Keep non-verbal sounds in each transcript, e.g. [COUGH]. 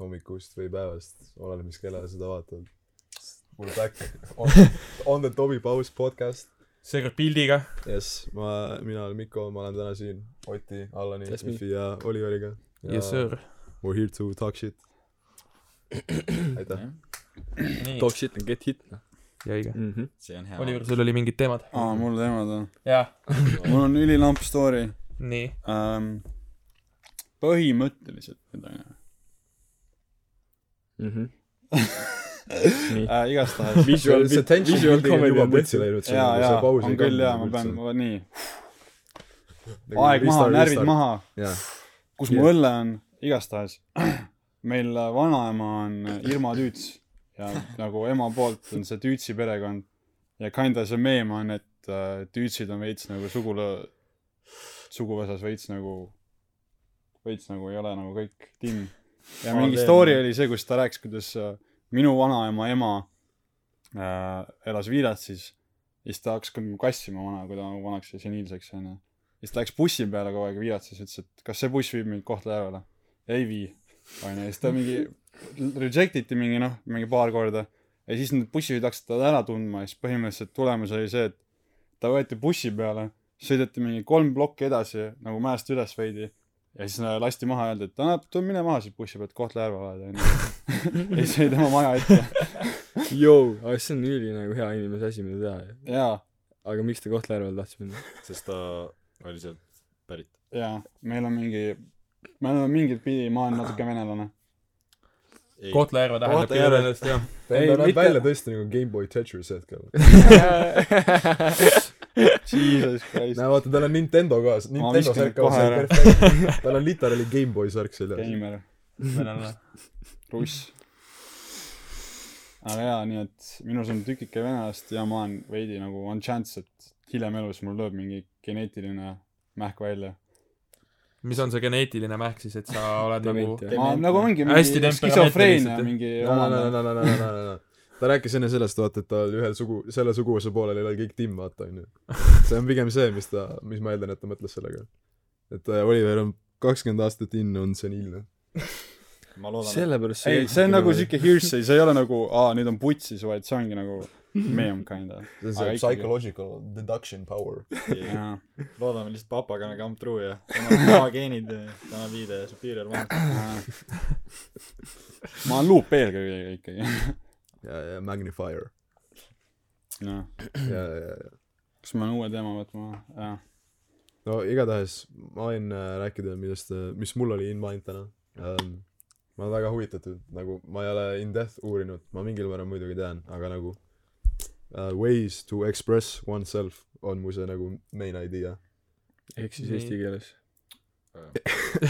hommikust või päevast , oleneb , mis kella sa seda vaatad . We're back on, on the Tobi Paus podcast . seekord pildiga . jess , ma , mina olen Mikko , ma olen täna siin Oti , Allani , Yes, me. Mihvi ja Oliveriga . Yes sir . We are here to talk shit . aitäh . nii , Talk shit and get hit noh ja õige . mm -hmm. see on hea . Oliver , sul oli mingid teemad ? aa , mul teemad on . [LAUGHS] jah , mul on ülilamp story nii . ähm, . põhimõtteliselt nüüd on ju [LAUGHS] mm -hmm. äh, . igastahes . Visual see bit- tension visual building on comedy juba on putsi läinud . jaa , jaa , on küll jaa , nagu ma pean , nii , aeg maha , närvid . maha , jaa , kus mu õlle on , igastahes . [CLEARS THROAT] meil äh, vanaema on Irma Tüüts ja nagu ema poolt on see Tüütsi perekond ja kinda see meem on , et äh, Tüütsid on veits nagu sugula , suguvõsas veits nagu , veits nagu ei ole nagu kõik timm . ja Ma mingi teen- story oli see , kus ta rääkis , kuidas äh, minu vanaema ema äh, elas Viiratsis ja siis ta hakkas kui- kassima vana , kui ta nagu vanaks sai seniilseks onju . siis ta läks bussi peale kogu aeg Viiratsis , ütles , et kas see buss viib mind Kohtla-Järvele . ei vii , onju , siis ta mingi reject iti mingi noh , mingi paar korda ja siis need bussijuhid hakkasid teda ära tundma ja siis põhimõtteliselt tulemus oli see , et ta võeti bussi peale , sõideti mingi kolm plokki edasi nagu mäest üles veidi ja siis äh, lasti maha , öeldi , et annab , tule mine maha siit bussi pealt , Kohtla-Järve oled onju . [LAUGHS] ja siis jäi tema maja ette Joo , aga see on üli nagu hea inimese asi , mida teha ju . ja , aga miks ta Kohtla-Järvel tahtis minna ? sest ta oli sealt pärit . ja meil on mingi , me oleme mingit pidi , ma olen natuke venelane . [LAUGHS] ei , Kohtla-Järve tähendab Kohtla-Järve. küll ennast , jah . Ei, ta näeb mitte- välja tõesti nagu GameBoy Tetris hetkel . Jesus Christ , näe , vaata , tal on Nintendo kaas , Nintendo viskasin särk on kohe seal ära. perfektne . tal on literaali GameBoy särk seljas . geimer , russ . aga jaa , nii et minus on tükike venelast ja ma olen veidi nagu on chance , et hiljem elus mul lööb mingi geneetiline mähk välja . mis on see geneetiline mähk siis , et sa oled nagu Dement, jah. ma nagu ongi Hästi mingi skisofreenia temperamentiliselt, mingi no , no , no , omane no , no , no , no , no , no . ta rääkis enne sellest , vaata , et tal ühel sugu , selle suguvõsa poolel ei ole kõik timm , vaata , onju . see on pigem see , mis ta , mis ma eeldan , et ta mõtles sellega . et äh, Oliver on kakskümmend aastat in , on seniilne . ma loodan , sellepärast ei , see on nagu siuke hearsay , see ei ole nagu aa , nüüd on putsis , vaid see ongi nagu meem kinda . see on Aga see ikkagi. psychological deduction power . [LAUGHS] et jaa , loodame lihtsalt papaga nagu come true ja tema tema geenid , tema [LAUGHS] viide ja superior one . jaa . ma olen luup eelkõige ikkagi . ja , ja magnifier . noh , ja , ja , ja . kas ma pean uue teema võtma ? jah , no igatahes ma võin äh, rääkida , millest , mis mul oli in mind täna um, . ma olen väga huvitatud , nagu ma ei ole in depth uurinud , ma mingil määral muidugi tean , aga nagu uh, ways to express oneself on mu see nagu main idea . ehk siis Nii. eesti keeles .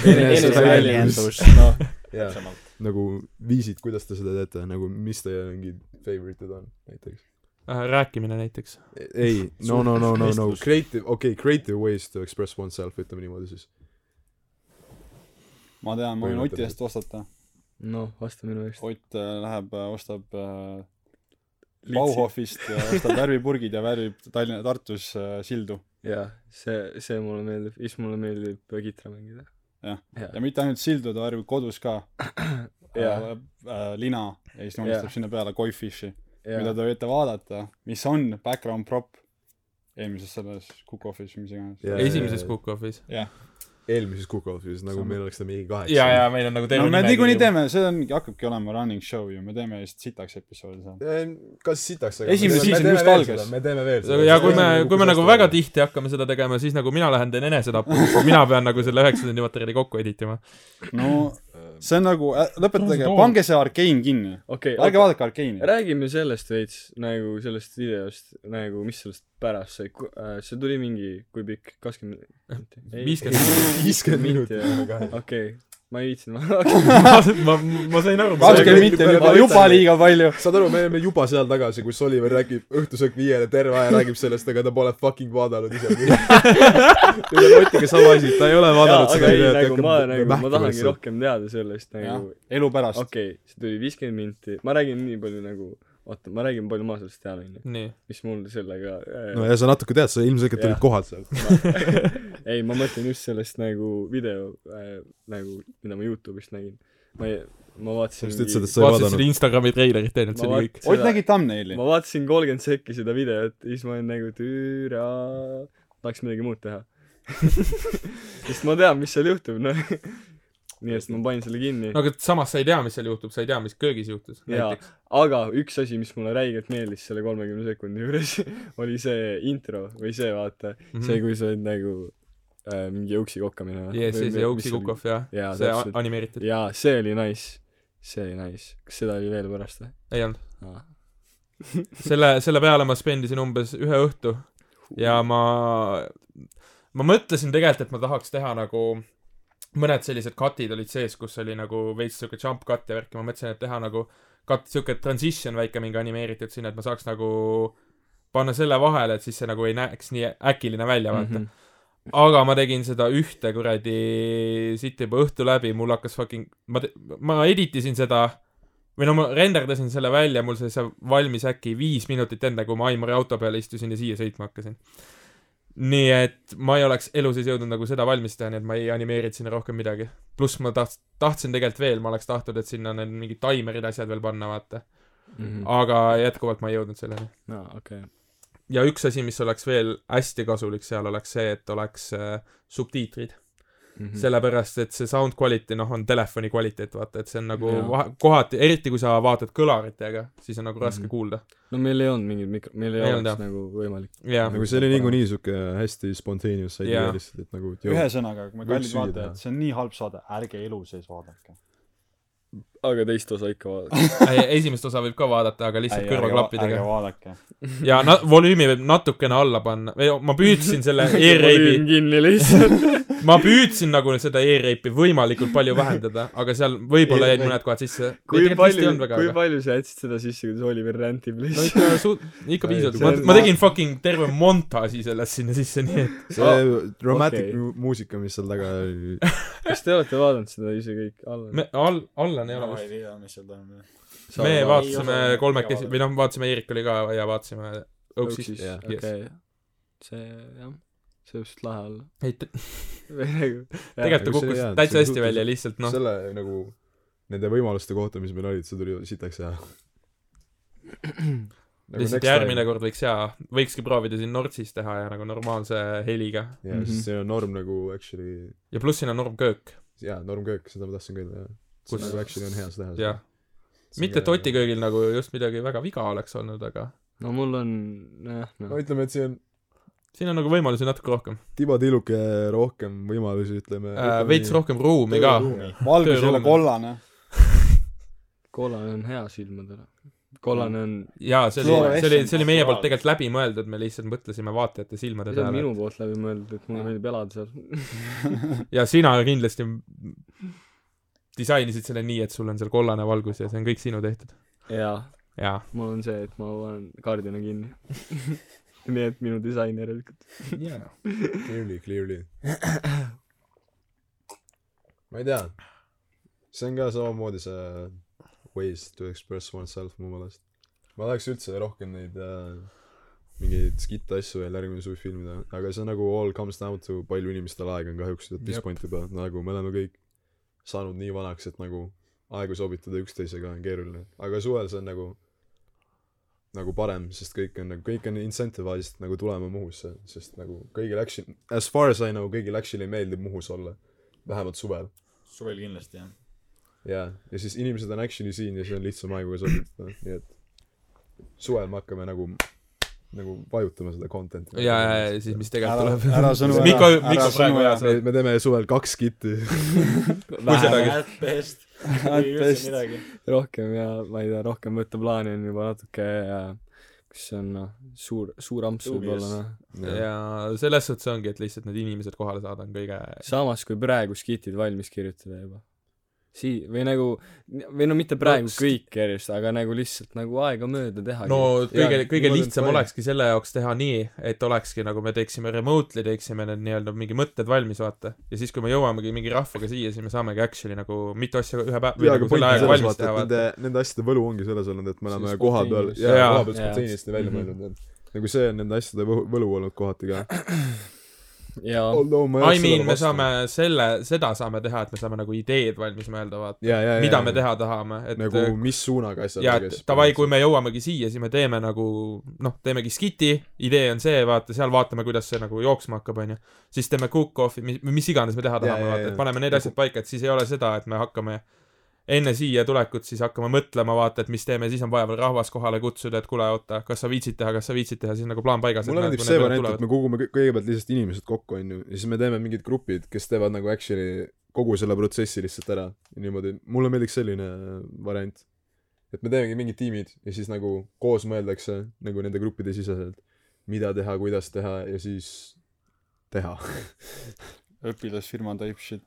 Eneseväljendus. noh , jaa , täpsemalt . nagu viisid , kuidas te seda teete , nagu mis teie mingid favorite'id on näiteks ? Äh, rääkimine näiteks . ei , no no no no no Suhtlusvestlus. creative , okei okay, , creative ways to express oneself , ütleme niimoodi siis . ma tean , ma võin Oti eest ostata . noh , vasta minu eest . Ott äh, läheb , ostab äh, Bauhofist ja [LAUGHS] ostab värvipurgid ja värvib Tallinna , Tartus äh, sildu . jaa , see , see mulle meeldib , siis mulle meeldib äh, kitra mängida . Jah. ja jaa , mitte ainult sildu , ta värvib kodus ka [CLEARS THROAT] Jaa. äh, äh, lina ja siis joonistab Jaa. sinna peale koi fish'i , mida jaa , te võite vaadata , mis on background prop eelmises selles Cook Offis või mis iganes . esimeses . Cook Offis . jah , eelmises Cook Offis , nagu meil oleks ta mingi kaheksa . ja , ja meil on nagu no me niikuinii . teeme , see on , hakkabki olema running show ju , me teeme vist sitaks episoodi seal . Ehm, kas sitaks , Esimene season just algas. me teeme veel ja kui me , kui me nagu väga . tihti hakkame seda tegema , siis nagu mina lähen teen enesetappu , mina pean nagu selle üheksakümnendi materjali kokku editima . no Ehm, see on nagu , lõpetage , pange see Arkane kinni . okei , ärge aga vaadake Arkane'i . räägime sellest veits nagu sellest videost nagu , mis sellest pärast sai , see tuli mingi , kui pikk , kakskümmend minutit ? viiskümmend . viiskümmend minutit . okei , ma ei viitsinud , ma hakkasin ma , ma sain aru . kakskümmend minti on juba , juba liiga palju . saad aru , me oleme juba seal tagasi , kus Oliver räägib õhtusöök viiele terve aja räägib sellest , aga ta pole fucking vaadanud [LAUGHS] ise . Teil on Otiga sama asi , ta ei ole vaadanud jaa , seda aga ei , nagu ma nagu , ma tahangi . rohkem teada sellest nagu , elu pärast okay. . okei okay, , see tuli viiskümmend minti , ma räägin nii palju nagu , oota , ma räägin palju ma sellest tean , onju , nii , mis mul sellega äh, no ja sa natuke tead , sa ilmselgelt Jah. olid kohal seal . ei , ma mõtlen just sellest nagu video äh, nagu , mida ma Youtube'ist nägin . ma ei , ma vaatasin just ütlesid , et sa ei vaatasid vaadanud seda . Instagrami treilerit teinud , see Ma oli kõik . Ott Seda- nägi thumbnaili . ma vaatasin kolmkümmend sekki seda videot ja siis ma olin nagu türa , tahaks midagi muud teha . [LAUGHS] sest ma tean , mis seal juhtub , noh . nii et ma panin selle kinni no . aga samas sa ei tea , mis seal juhtub , sa ei tea , mis köögis juhtus jaa näiteks ., aga üks asi , mis mulle räigelt meeldis selle kolmekümne sekundi juures , [LAUGHS] oli see intro või see , vaata mm , -hmm. Mhm. see , kui sa olid nagu äh, mingi jõuksi kokkamine . jess , jess , ja Uksi Kukov , jah Jaa, , see a- täpselt. animeeritud , jaa , see oli nice , see oli nice . kas seda oli veel pärast või ? ei olnud . selle , selle peale ma spendisin umbes ühe õhtu ja ma , ma mõtlesin tegelikult , et ma tahaks teha nagu mõned sellised cut'id olid sees , kus oli nagu veits siuke jump cut ja värk ja ma mõtlesin , et teha nagu cut , siuke transition väike mingi animeeritud sinna , et ma saaks nagu panna selle vahele , et siis see nagu ei näeks nii äkiline välja , vaata Mhm. mm . -hmm aga ma tegin seda ühte kuradi siit juba õhtu läbi , mul hakkas fucking , ma , ma editisin seda või no ma renderdasin selle välja , mul sai see valmis äkki viis minutit enne , kui ma Aimari auto peale istusin ja siia sõitma hakkasin . nii et ma ei oleks elu sees jõudnud nagu seda valmis teha , nii et ma ei animeerinud sinna rohkem midagi . pluss ma taht- , tahtsin tegelikult veel , ma oleks tahtnud , et sinna need mingid taimerid , asjad veel panna , vaata . aga jätkuvalt ma ei jõudnud selleni . aa , Mhm. okei . ja üks asi , mis oleks veel hästi kasulik seal , oleks see , et oleks äh, subtiitrid . Mhm. Mm. sellepärast , et see sound quality , noh , on telefoni kvaliteet , vaata , et see on nagu Jaa. vahe- kohati , eriti kui sa vaatad kõlaritega , siis on nagu raske mm -hmm. kuulda . no meil ei olnud mingit mikro , meil Ei ei olnud, jah. olnud nagu võimalik . jah , [LAUGHS] nagu see oli niikuinii siuke hästi spontaneous idea Jaa. lihtsalt , et nagu et jõu- ühesõnaga , Võiks kallid süüa vaatajad , teha. see on nii halb saade , ärge elu sees vaadake . aga teist osa ikka [LAUGHS] vaadata . esimest osa võib ka vaadata , aga lihtsalt ärge kõrvaklappidega . vaadake . ja na- , volüümi võib natukene alla panna või no ma püüdsin [LAUGHS] selle e-reipi , kinni lihtsalt . ma püüdsin nagu seda e-reipi võimalikult palju vähendada , aga seal võib-olla jäid mõned kohad sisse . [LAUGHS] kui palju , kui palju sa jätsid seda sisse , kuidas Oliver rändib no lihtsalt ? ikka suut- , ikka piisavalt , ma See on- , nagu- ma tegin fucking terve montaaži sellest sinna sisse , nii et see romantic okei. mu- muusika , mis seal taga oli , [LAUGHS] kas te olete vaadanud seda ise kõik alla ? me , all , Allan ei ole ma vist ei tea , mis seal toimub . me Ei vaatasime osanud kolmekesi vaadata. või noh , vaatasime , Eerik oli ka ja vaatasime Oaksis . jah. Yes. okei . see , jah , see võib suht lahe olla . [LAUGHS] ei , või nagu , tegelikult ta aga see kukkus ei jäänud, täitsa see hästi suhteliselt- välja , lihtsalt noh , selle nagu nende võimaluste kohta , mis meil olid , see tuli sitaks hea nagu lihtsalt järgmine . kord võiks jaa , võikski proovida siin Nortsis teha ja nagu normaalse heliga . jaa , Mhm. sest see on norm nagu actually , ja pluss siin on norm köök , jaa , normköök , seda ma tahtsin ka öelda , jah . Kus- kus nagu actually on hea seda teha . jah . mitte , et Oti . köögil nagu just midagi väga viga oleks olnud , aga no mul on , jah , no noh . ütleme , et siin on siin on nagu võimalusi natuke rohkem tibatilluke rohkem võimalusi , ütleme äh, . veits . rohkem ruumi ka . valgus ei ole Tööruumi. kollane . kollane on hea silmadele . kollane on , jaa , see oli , see oli , see oli meie poolt Naturaalne. tegelikult läbimõeldud , me lihtsalt mõtlesime vaatajate silmade see on peale minu poolt läbi mõeldud , et mulle meeldib elada seal . ja sina kindlasti disainisid selle nii , et sul on seal kollane valgus ja see on kõik sinu tehtud . jaa , jaa . mul on see , et ma panen kardina kinni . [LAUGHS] nii et minu disain järelikult . Clearly , clearly . ma ei tea . see on ka samamoodi see ways to express oneself mu meelest . ma tahaks üldse rohkem neid äh, mingeid skitte asju veel järgmine suvi filmida , aga see on nagu all comes down to palju inimestel aega on kahjuks at this Jep. point juba , nagu me oleme kõik saanud nii vanaks , et nagu aegu sobitada üksteisega on keeruline , aga suvel see on nagu nagu parem , sest kõik on nagu , kõik on incentivized nagu tulema Muhusse , sest nagu kõigil actually , as far as I know , kõigil actually meeldib Muhus olla . vähemalt suvel . suvel kindlasti [LAUGHS] jah . jaa , ja siis inimesed on actually siin ja siis on lihtsam aeguga sobitada , noh, nii et suvel me hakkame nagu , nagu vajutama seda content'i . ja , ja , ja siis mis ära tegelikult , ära sõnu ära , Mikko- Mikko ära praegu sõnu ära ajas. . me, me teeme suvel kaks kitti . sedagi. At best . At kui best. üldse midagi . rohkem ja ma ei tea , rohkem võtteplaani on juba natuke ja kas see on noh , suur , suur amps Tuubi võib-olla just. noh . tuleb . ja selles suhtes ongi , et lihtsalt need inimesed kohale saada on kõige samas kui praegu skitid valmis kirjutada juba . Sii- , või nagu , või no mitte praegu sk- kõik järjest , aga nagu lihtsalt nagu aegamööda teha . no kõige Jaa, , kõige mul on lihtsam fine. olekski selle jaoks teha nii , et olekski nagu me teeksime remotely , teeksime need nii-öelda mingi mõtted valmis , vaata . ja siis , kui me jõuamegi mingi rahvaga siia , siis me saamegi actually nagu mitu asja ühe päeva või jaa , aga nagu selle point on ajaga selles valmis vaata , teha , et vaata nende , nende asjade võlu ongi selles olnud , et me See oleme on koha peal spontaneous. ja Jaa. koha peal Jaa. spontaneeriliselt välja Mhm. mõelnud , et nagu see on nende asjade võ- võlu olnud kohati ka . jaa . although ma I mean , me saame . selle , seda saame teha , et me saame nagu ideed valmis mõelda , vaata . ja , ja , ja . mida me teha tahame , et nagu mis suunaga asjad ja et davai , kui me jõuamegi siia , siis me teeme nagu noh , teemegi skiti , idee on see , vaata , seal vaatame , kuidas see nagu jooksma hakkab , onju . siis teeme cook-off'i , mis , mis iganes me Ja, teha tahame , ja, vaata , ja. et paneme need Nagu- asjad paika , et siis ei ole seda , et me hakkame enne siia tulekut siis hakkame mõtlema , vaata , et mis teeme , siis on vaja veel rahvas kohale kutsuda , et kuule , oota , kas sa viitsid teha , kas sa viitsid teha , siis nagu plaan paigas . mulle meeldib see variant , et me kogume kõ- kõigepealt lihtsalt inimesed kokku , onju , ja siis me teeme mingid grupid , kes teevad nagu actually kogu selle protsessi lihtsalt ära . niimoodi , mulle meeldiks selline äh, variant . et me teemegi mingid tiimid ja siis nagu koos mõeldakse nagu nende gruppide siseselt , mida teha , kuidas teha ja siis teha . [LAUGHS] õpilasfirma type shit .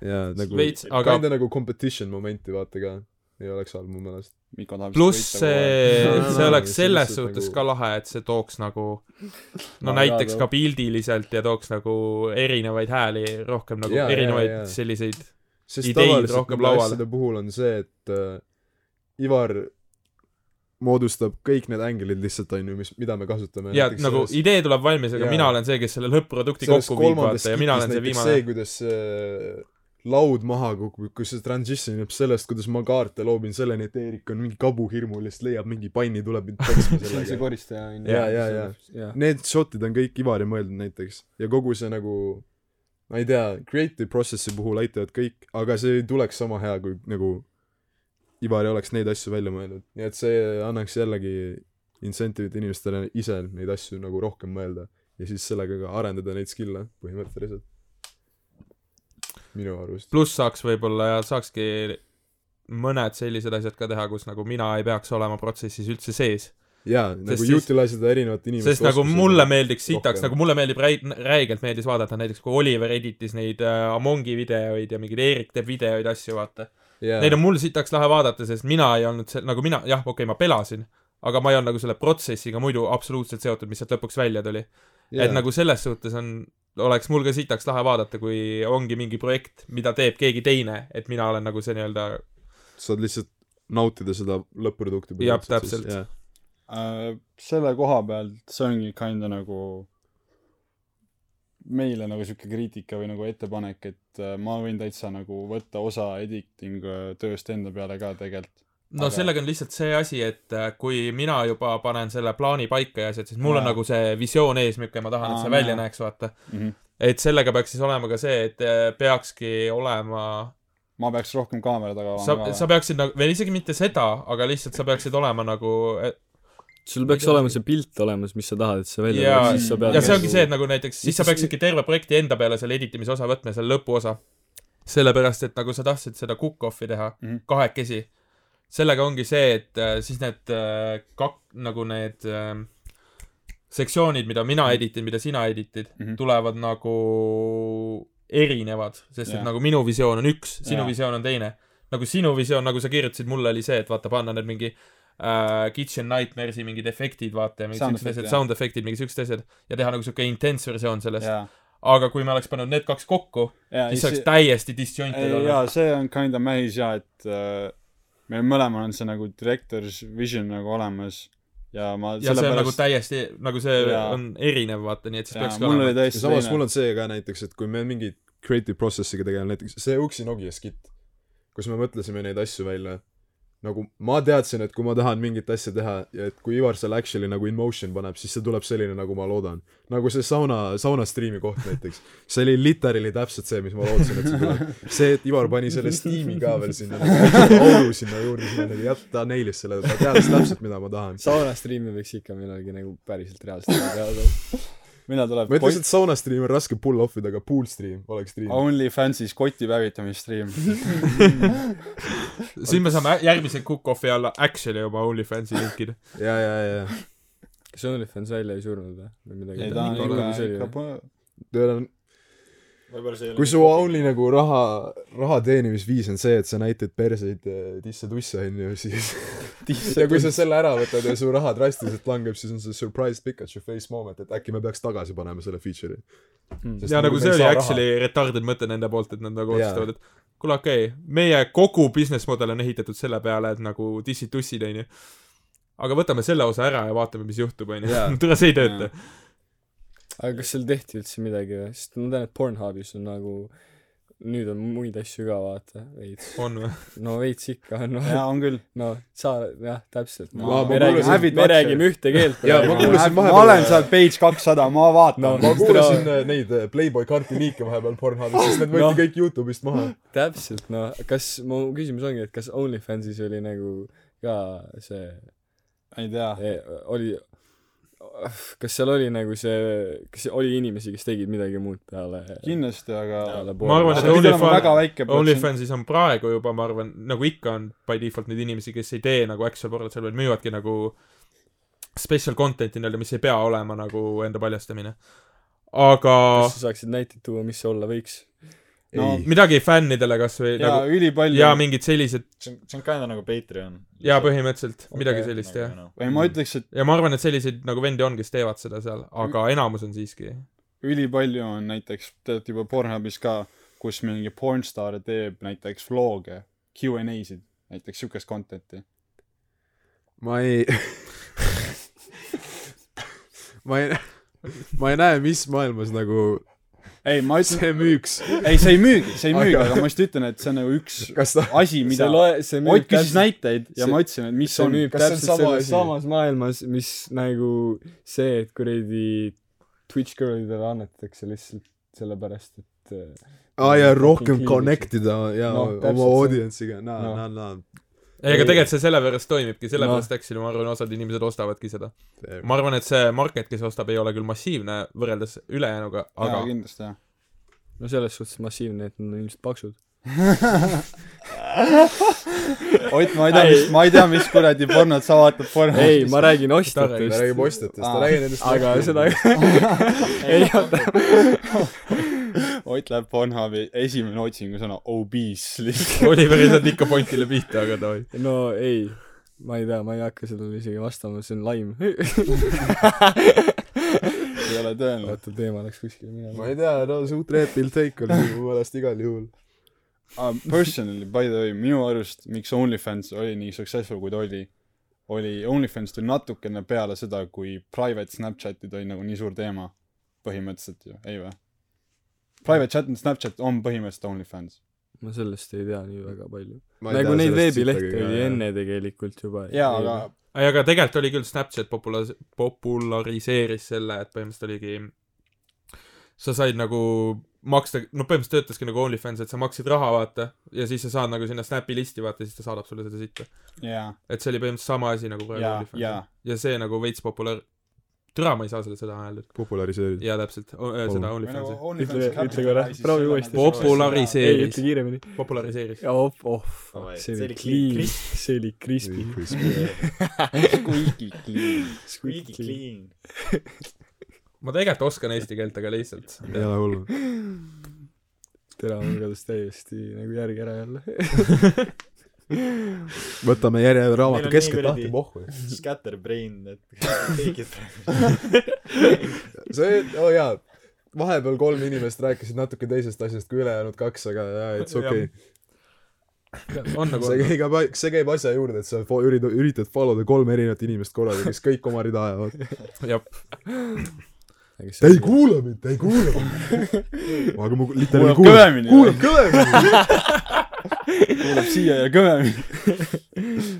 ja nagu veits , aga kinda nagu competition momenti vaata ka , ei oleks halb mu meelest . Miko tahab pluss nagu see No, , no, see no, oleks see selles lihtsalt suhtes nagu- ka lahe , et see tooks nagu no No näiteks jaa, ka pildiliselt ja tooks nagu erinevaid hääli rohkem nagu Jaa, jaa, jaa. erinevaid selliseid sest ideid tavaliselt rohkem nende lauale. asjade puhul on see , et äh, Ivar moodustab kõik need ängilid lihtsalt , on ju , mis , mida me kasutame . ja nagu idee tuleb valmis , aga jaa. mina olen see , kes selle lõpp-produkti kokku viib , vaata , ja mina olen see viimane see ,. kuidas äh, laud maha kukub , kus see transition jääb sellest , kuidas ma kaarte loobin selleni , et Eerik on mingi kabuhirmu , lihtsalt leiab mingi panni , tuleb mind [LAUGHS] peksma see on see sellega . koristaja onju . ja , ja , ja . Need shot'id on kõik Ivari mõeldud näiteks ja kogu see nagu ma ei tea , creative process'i puhul aitavad kõik , aga see ei tuleks sama hea , kui nagu Ivari oleks neid asju välja mõelnud , nii et see annaks jällegi incentive'it inimestele ise neid asju nagu rohkem mõelda ja siis sellega ka arendada neid skill'e põhimõtteliselt . minu arust . pluss saaks võib-olla ja saakski mõned sellised asjad ka teha , kus nagu mina ei peaks olema protsessis üldse sees . jaa , nagu siis- utilize ida erinevate inimeste sest nagu oskusi. mulle meeldiks sitaks , rohkem. nagu mulle meeldib räi- , räigelt meeldis vaadata näiteks , kui Oliver editis neid äh, Amongi videoid ja mingeid Eerik teeb videoid , asju , vaata . jaa. Neid on mul sitaks lahe vaadata , sest mina ei olnud see , nagu mina , jah , okei okay, , ma pelasin , aga ma ei olnud nagu selle protsessiga muidu absoluutselt seotud , mis sealt lõpuks välja tuli yeah. . Jaa. et nagu selles suhtes on , oleks mul ka sitaks lahe vaadata , kui ongi mingi projekt , mida teeb keegi teine , et mina olen nagu see nii-öelda saad lihtsalt nautida seda lõpp-produkti Jah, põhimõtteliselt siis, täpselt. jaa. Äh, selle koha pealt see ongi kinda nagu meile nagu siuke kriitika või nagu ettepanek , et äh, ma võin täitsa nagu võtta osa editing äh, tööst enda peale ka tegelikult . no Aga- sellega on lihtsalt see asi , et äh, kui mina juba panen selle plaani paika ja asjad , siis mul on Jaa. nagu see visioon ees , milline ma tahan , et see Aa, välja jaa. näeks , vaata . Mm -hmm. et sellega peaks siis olema ka see , et äh, peakski olema , ma peaks rohkem kaamera taga sa , sa peaksid nagu , või isegi mitte seda , aga lihtsalt sa peaksid olema nagu , sul peaks olema see pilt olemas , mis sa tahad , et see välja Jaa, tuleb , siis sa pead ja see ongi see , et nagu näiteks , siis sa Siis- peaksidki terve projekti enda peale selle editimise osa võtma ja selle lõpuosa . sellepärast , et nagu sa tahtsid seda cook-off'i teha Mhm. kahekesi , sellega ongi see , et äh, siis need äh, kak- , nagu need äh, sektsioonid , mida mina editan , mida sina editid mm , Mhm. -hmm. tulevad nagu erinevad , sest yeah. Jaa. et nagu minu visioon on üks , sinu Jaa. yeah. visioon on teine . nagu sinu visioon , nagu sa kirjutasid mulle , oli see , et vaata , panna need mingi äh, Kitchen Nightmares'i mingid efektid , vaata , ja mingid Sound siuksed asjad , efektid, jah. sound efektid , mingid siuksed asjad ja teha nagu siuke intense versioon sellest . jaa , aga kui me oleks pannud need kaks kokku , jaa , siis see oleks täiesti disjointed olnud . jaa , see on kinda mähis jaa , et äh, meil mõlemal on see nagu director's vision nagu olemas ja ma ja see on nagu täiesti , nagu see Jaa. on erinev , vaata , nii et siis jaa , peakski mul olema oli . täiesti ja samas mul teine on see ka näiteks , et kui me mingi creative process'iga tegeleme , näiteks see Uksi Nokia skitt , kus me mõtlesime neid asju välja , nagu ma teadsin , et kui ma tahan mingit asja teha ja et kui Ivar selle actually nagu in motion paneb , siis see tuleb selline , nagu ma loodan . nagu see sauna , sauna striimi koht näiteks . see oli literally täpselt see , mis ma lootsin , et see tuleb . see , et Ivar pani selle Steam'i ka veel sinna , auru sinna juurde , siis ma nagu jah , ta nailis selle , ta teadis täpselt , mida ma tahan . sauna striimi võiks ikka millalgi nagu päriselt reaalselt teha . [LAUGHS] millal tuleb ma ütleks , et sauna stream on raske pull off ida , aga pool stream oleks stream . OnlyFansis koti pävitamisstriim . siin me saame järgmise cook-off'i alla actually oma OnlyFansi linkida . ja , ja , ja kas OnlyFans välja ei surnud või , või [LAUGHS] midagi ei ta on ikka , ikka põ- tööl on võib-olla see ei kui su only nagu raha , raha teenimisviis on see , et sa näitad perseid eh, tisse-tusse onju , [LAUGHS] siis ja kui sa selle ära võtad ja su raha drastiliselt langeb , siis on see surprise Pikachu face moment , et äkki me peaks tagasi panema selle feature'i . Hmm. ja nagu see oli actually raha. retarded mõte nende poolt , et nad nagu Jaa. otsustavad , et kuule , okei okay, , meie kogu business model on ehitatud selle peale , et nagu dissid-tussid , onju . [LAUGHS] aga võtame selle osa ära ja vaatame , mis juhtub , onju Jaa. . tule , see ei tööta . aga kas seal tehti üldse midagi või sest ma tean et Pornhubis on nagu nüüd on muid asju ka vaata veits on või ? no veits ikka on noh jaa , on küll . no sa jah täpselt Ma- no, ma me kuulasin- räägime me räägime ühte keelt Jaa, ma praegu. kuulasin ma vahepeal- olen seal page kakssada , ma vaatan No. no. . ma kuulasin äh, neid äh, Playboy karti liike vahepeal Pornhubis , siis need võeti Noh. kõik Youtube'ist maha . täpselt noh kas mu küsimus ongi et kas OnlyFansis oli nagu ka see ei tea . eh, oli kas seal oli nagu see kas oli inimesi kes tegid midagi muud peale kindlasti , aga . peale Ma arvan, et see pidi olema OnlyFan- väga väike protsent . OnlyFansis on praegu juba , ma arvan , nagu ikka on by default neid inimesi , kes ei tee nagu actual pornot seal , vaid müüvadki nagu special content'i nii-öelda , mis ei pea olema nagu enda paljastamine . aga kas sa saaksid näiteid tuua mis see olla võiks No, ei , midagi fännidele kas või jaa nagu , ülipalju . ja mingid sellised see on , see on kinda nagu Patreon . nagu jaa , põhimõtteliselt Okei, okay, midagi sellist jah . või ma ütleks , et ja ma arvan , et selliseid nagu vendi on , kes teevad seda seal , Mm. aga enamus on siiski . ülipalju on näiteks tegelikult juba Pornhubis ka , kus mingi pornstaar teeb näiteks vlog'e , Q and A-sid , näiteks siukest content'i . ma ei [LAUGHS] ma ei , ma ei näe , mis maailmas nagu ei , ma ütlen , see müüks . ei see ei müügi , see ei müügi , Aga- aga ma just ütlen , et see on nagu üks kas ta , asi , mida see loe- see müüb Ott küsis täpselt- näiteid ja see- ma ütlesin , et mis see on müüb kas see on täpselt sama selles asi? samas maailmas , mis nagu see , et kuradi Twitch girl'idele annetatakse lihtsalt sellepärast , et äh, aa jaa , rohkem Fucking connect ida ja Noh, täpselt oma see. audience'iga , Noh. naa , naa , naa . ei , Ei. aga tegelikult see sellepärast toimibki , sellepärast no. Noh. actually ma arvan , osad inimesed ostavadki seda . ma arvan , et see market , kes ostab , ei ole küll massiivne võrreldes ülejäänuga , jaa aga , kindlasti jah no selles suhtes massiivne , et nad on ilmselt paksud . Ott , ma ei tea , mis , ma ei tea , mis kuradi pornot sa vaatad pornot . [LAUGHS] ei , ma räägin Ta räägib- ta ostjatest , räägib ostjatest , ta Aa. räägib nendest aga [LAUGHS] seda ostjatest. ei oota , Ott läheb Pornhubi , esimene otsingusõna obese lihtsalt . Oliver ei saanud ikka pointile pihta , aga davai . no ei , ma ei tea , ma ei hakka sellele isegi vastama , see on laim . [LAUGHS] [LAUGHS] ei ole tõenäoline . vaata , teema läks kuskile minema ma . ei tea , no see uut Red Pill Take oli mu meelest igal juhul . Ah, Personally , by the way , minu arust , miks OnlyFans oli nii successful , kui ta oli , oli , OnlyFans tuli natukene peale seda , kui private Snapchatid olid nagu nii suur teema . põhimõtteliselt ju , ei vä ? Private chat and Snapchat on põhimõtteliselt OnlyFans . ma sellest ei tea nii väga palju . nagu neid veebilehti oli . enne tegelikult juba . jaa , aga ei , aga tegelikult oli küll , Snapchat popula- , populariseeris selle , et põhimõtteliselt oligi , sa said nagu maksta , no põhimõtteliselt töötaski nagu OnlyFans , et sa maksid raha , vaata , ja siis sa saad nagu sinna Snapi listi , vaata , ja siis ta saadab sulle seda sitta . jaa , et see oli põhimõtteliselt sama asi nagu praegu jaa , OnlyFans . jaa . ja see nagu veits populaar- , türa ma ei saa selle sõna öelda . populariseerida . jaa , täpselt , seda nagu OnlyFansi . Ütle- ütle korra, proovi uuesti. ei , populariseeris ütle , kiiremini . populariseeris . oh , oh , Oi, see see oli oli clean , clean. see oli [LAUGHS] crispy . Squeaky clean . Squeaky clean . ma tegelikult oskan eesti keelt , aga [LAUGHS] lihtsalt . ei ole hullu . [LAUGHS] tera mul kadus täiesti nagu järgi ära jälle . võtame järje Meil raamatu on keskelt nii lahti kuradi- , pohhu . Scatterbrain , [LAUGHS] et kõik ei tea . see , oo jaa , vahepeal kolm inimest rääkisid natuke teisest asjast kui ülejäänud kaks , aga jaa , it's okei okay. . on nagu see , käib , see käib asja juurde , et sa fo- üritad , üritad follow da kolme erinevat inimest korraga , kes kõik oma rida ajavad . jah . ta ei kuula mind , ta ei kuula mind . [LAUGHS] aga ma kuulab literaalselt kuulan . kõvemini . kuulan [LAUGHS] kõvemini . kuulab siia ja kõvemini .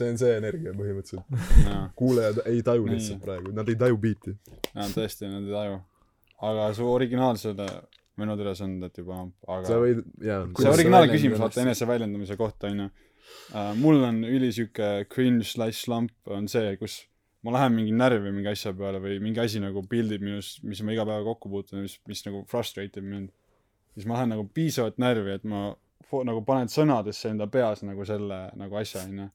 see on see energia põhimõtteliselt . kuulajad ei taju Nii. lihtsalt praegu , nad ei taju biiti . jaa , tõesti , nad ei taju . aga su originaalsele menüüd üles on tead juba amp , sa aga võid , jaa . see sa originaalne väljendad küsimus , vaata ennast? eneseväljendamise kohta onju . mul on üli siuke cringe slash slump on see , kus ma lähen mingi närvi mingi asja peale või mingi asi nagu pildib minust , mis ma iga päev kokku puutun ja mis , mis nagu frustrate ib mind . siis ma lähen nagu piisavalt närvi , et ma fo- nagu panen sõnadesse enda peas nagu selle nagu asja onju .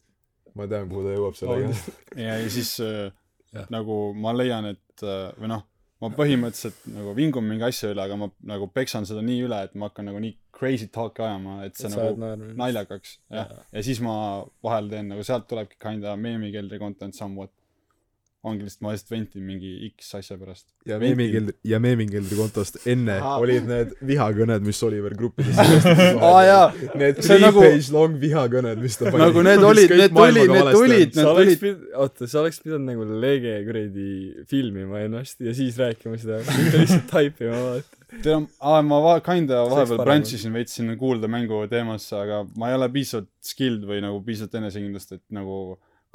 ma tean , kuhu ta jõuab sellega . ja , ja siis äh, Jah. nagu ma leian , et äh, või noh , ma põhimõtteliselt nagu vingun mingi asja üle , aga ma nagu peksan seda nii üle , et ma hakkan nagu nii crazy talk'i ajama , et see sa et oled nagu naernud . naljakaks , jah . ja siis ma vahel teen nagu sealt tulebki kinda meemikeldri content somewhat . ongi lihtsalt ma lihtsalt ventin mingi X asja pärast . ja Vendi. meemikildri , ja meemikildri kontost enne Aa. olid need vihakõned , mis Oliver [LAUGHS] gruppides aa Aa, jaa. Need See three nagu- page long vihakõned , mis ta pani nagu need olid , Kõik need maailmaga valesti tulid , need tulid , [LAUGHS] sa need oleks tulid . pidanud , oota , sa oleks pidanud nagu lege kuradi filmima ennast ja siis rääkima seda , mitte lihtsalt [LAUGHS] taipima , vaata . tead , aa , ma va- , kinda vahepeal parem branch isin veits sinna kuuldemängu teemasse , aga ma ei ole piisavalt skilled või nagu piisavalt enesekindlust , et nagu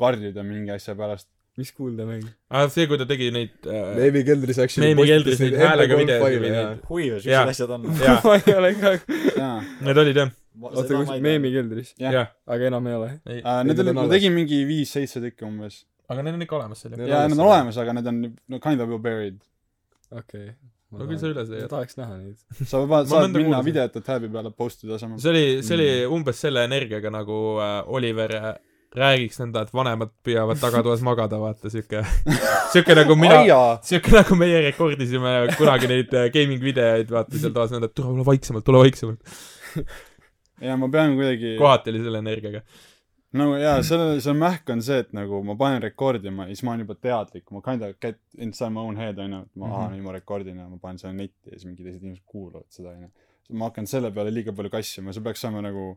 kardida mingi asja pärast . mis kuuldemäng ? aa , Ah, see , kui ta tegi neid äh, meemikeldris äkki meemikeldris neid häälega videosid või neid . huvi või Jaa. siuksed asjad on . jaa , [LAUGHS] ma ei ole ka , jaa . need olid jah , oota , kus meemikeldris , Jah. jah . aga enam ei ole . Need olid , ma tegin mingi viis-seitse tükki umbes . aga need on ikka olemas seal ju . Need on jaa , alles need on seal. olemas , aga need on no kind of buried . okei okay. . no küll sa üle sa jääd . tahaks näha neid . [LAUGHS] sa vaba- Ma saad nõnda minna kuulsin. videot tab'i peale post ida samas . see oli , see oli Mm. umbes selle energiaga nagu äh, Oliver äh, räägiks nõnda , et vanemad püüavad [LAUGHS] tagatoas magada , vaata siuke , siuke nagu mina , siuke nagu meie rekordisime kunagi neid äh, gaming videoid , vaata seal toas nõnda , et tule , ole vaiksemalt , ole vaiksemalt . ja ma pean kuidagi kohati oli selle energiaga . nagu jaa , selle , see mähk on see , et nagu ma panen rekordima ja siis ma olen juba teadlik , ma kind of get inside my own head onju , et ma mm -hmm. aa Mhm. nüüd ma rekordin ja ma panen selle netti ja siis mingid teised inimesed kuulavad seda onju . ma hakkan selle peale liiga palju kassima , see peaks saama nagu ,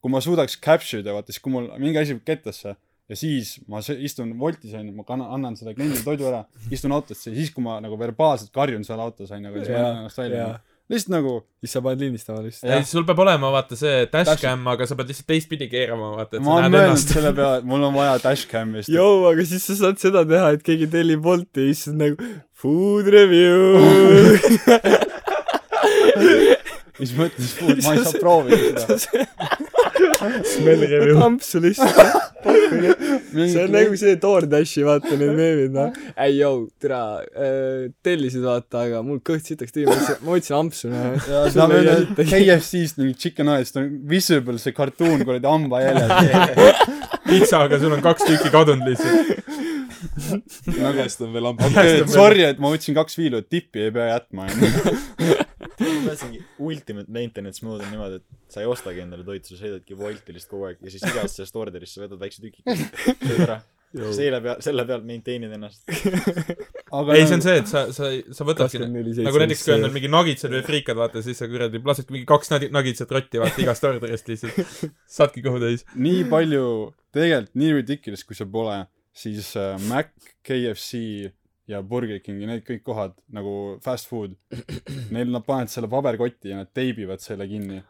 kui ma suudaks capture ida vaata , siis kui mul mingi asi jääb kettesse ja siis ma se- istun voltis onju , ma kannan , annan selle kliendile toidu ära , istun autosse ja siis , kui ma nagu verbaalselt karjun seal autos onju , aga siis ma Jaa, annan ennast välja jaa. . lihtsalt nagu siis sa paned lindistama lihtsalt . Jah. ei , sul peab olema , vaata see dashcam , Täpselt. aga sa pead lihtsalt teistpidi keerama , vaata , et ma sa olen näed mõelnud ennast . [LAUGHS] selle peale , et mul on vaja dashcam'i , sest et Joo , aga siis sa saad seda teha , et keegi tellib Bolti ja siis on nagu food review . [LAUGHS] mis mõttes , [LAUGHS] ma ei saa proovida seda . kampsu lihtsalt . see mingi on nagu see DoorDashi , vaata need meemid , noh . ei , joo , türa , tellisid vaata , aga mul kõht sitaks tühi , ma võtsin , ma võtsin ampsu , noh . [LAUGHS] saame öelda KFC-st mingi nagu chicken eyes , ta on visible see kartuun kuradi [LAUGHS] hambajäljed . pitsa , aga sul on kaks tükki kadunud lihtsalt . nagest on veel amps okei , [LAUGHS] sorry , et ma võtsin kaks viilu , et tippi ei pea jätma , onju . [LAUGHS] ma tahtsingi , ultimate maintenance mode on niimoodi , et sa ei ostagi endale toitu , sa sõidadki Wolti lihtsalt kogu aeg ja siis igast sellest orderist sa võtad väikse tüki , sööd ära . selle peal , selle pealt maintain'id ennast . ei , see on see , et sa , sa , sa võtadki kakskümmend neli nagu näiteks kui on veel . mingi nagitsad või friikad , vaata , siis sa kuradi lasedki mingi kaks nagi- nagitsat rotti , vaata igast orderist [LAUGHS] lihtsalt . saadki kõhu täis . nii palju , tegelikult nii ridiculous , kui see pole , siis äh, Mac , KFC ja Burger King ja need kõik kohad nagu fast food , neil nad panevad selle paberkotti ja nad teibivad selle kinni .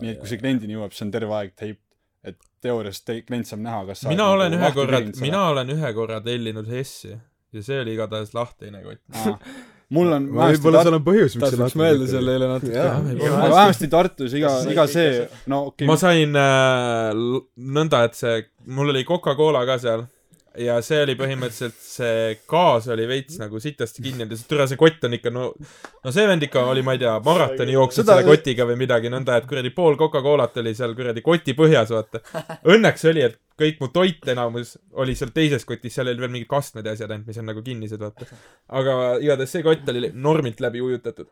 nii et kui see kliendini jõuab , see on terve aeg teip , et teoorias te- , klient saab näha , kas sa mina oled olen ühe nagu lahti korra tirinud , selle. mina olen ühe korra tellinud Hessi ja see oli igatahes lahtine kott . Aa. [LAUGHS] mul on võib-olla seal on põhjus , miks tahaks võiks mõelda selle üle natuke . Jaa. aga vähemasti Tartus iga Kas , see iga kõik see , no okei ma , sain äh, l- nõnda , et see , mul oli Coca-Cola ka seal ja see oli põhimõtteliselt , see gaas oli veits nagu sitasti kinni , et türa see kott on ikka no , no see vend ikka oli , ma ei tea , maratoni jooksnud Seda- selle kotiga või midagi , nõnda et kuradi pool Coca-Colat oli seal kuradi koti põhjas , vaata . Õnneks oli , et kõik mu toit enamus oli seal teises kotis , seal olid veel mingid kastmed ja asjad ainult , mis on nagu kinnised , vaata . aga igatahes see kott oli normilt läbi ujutatud .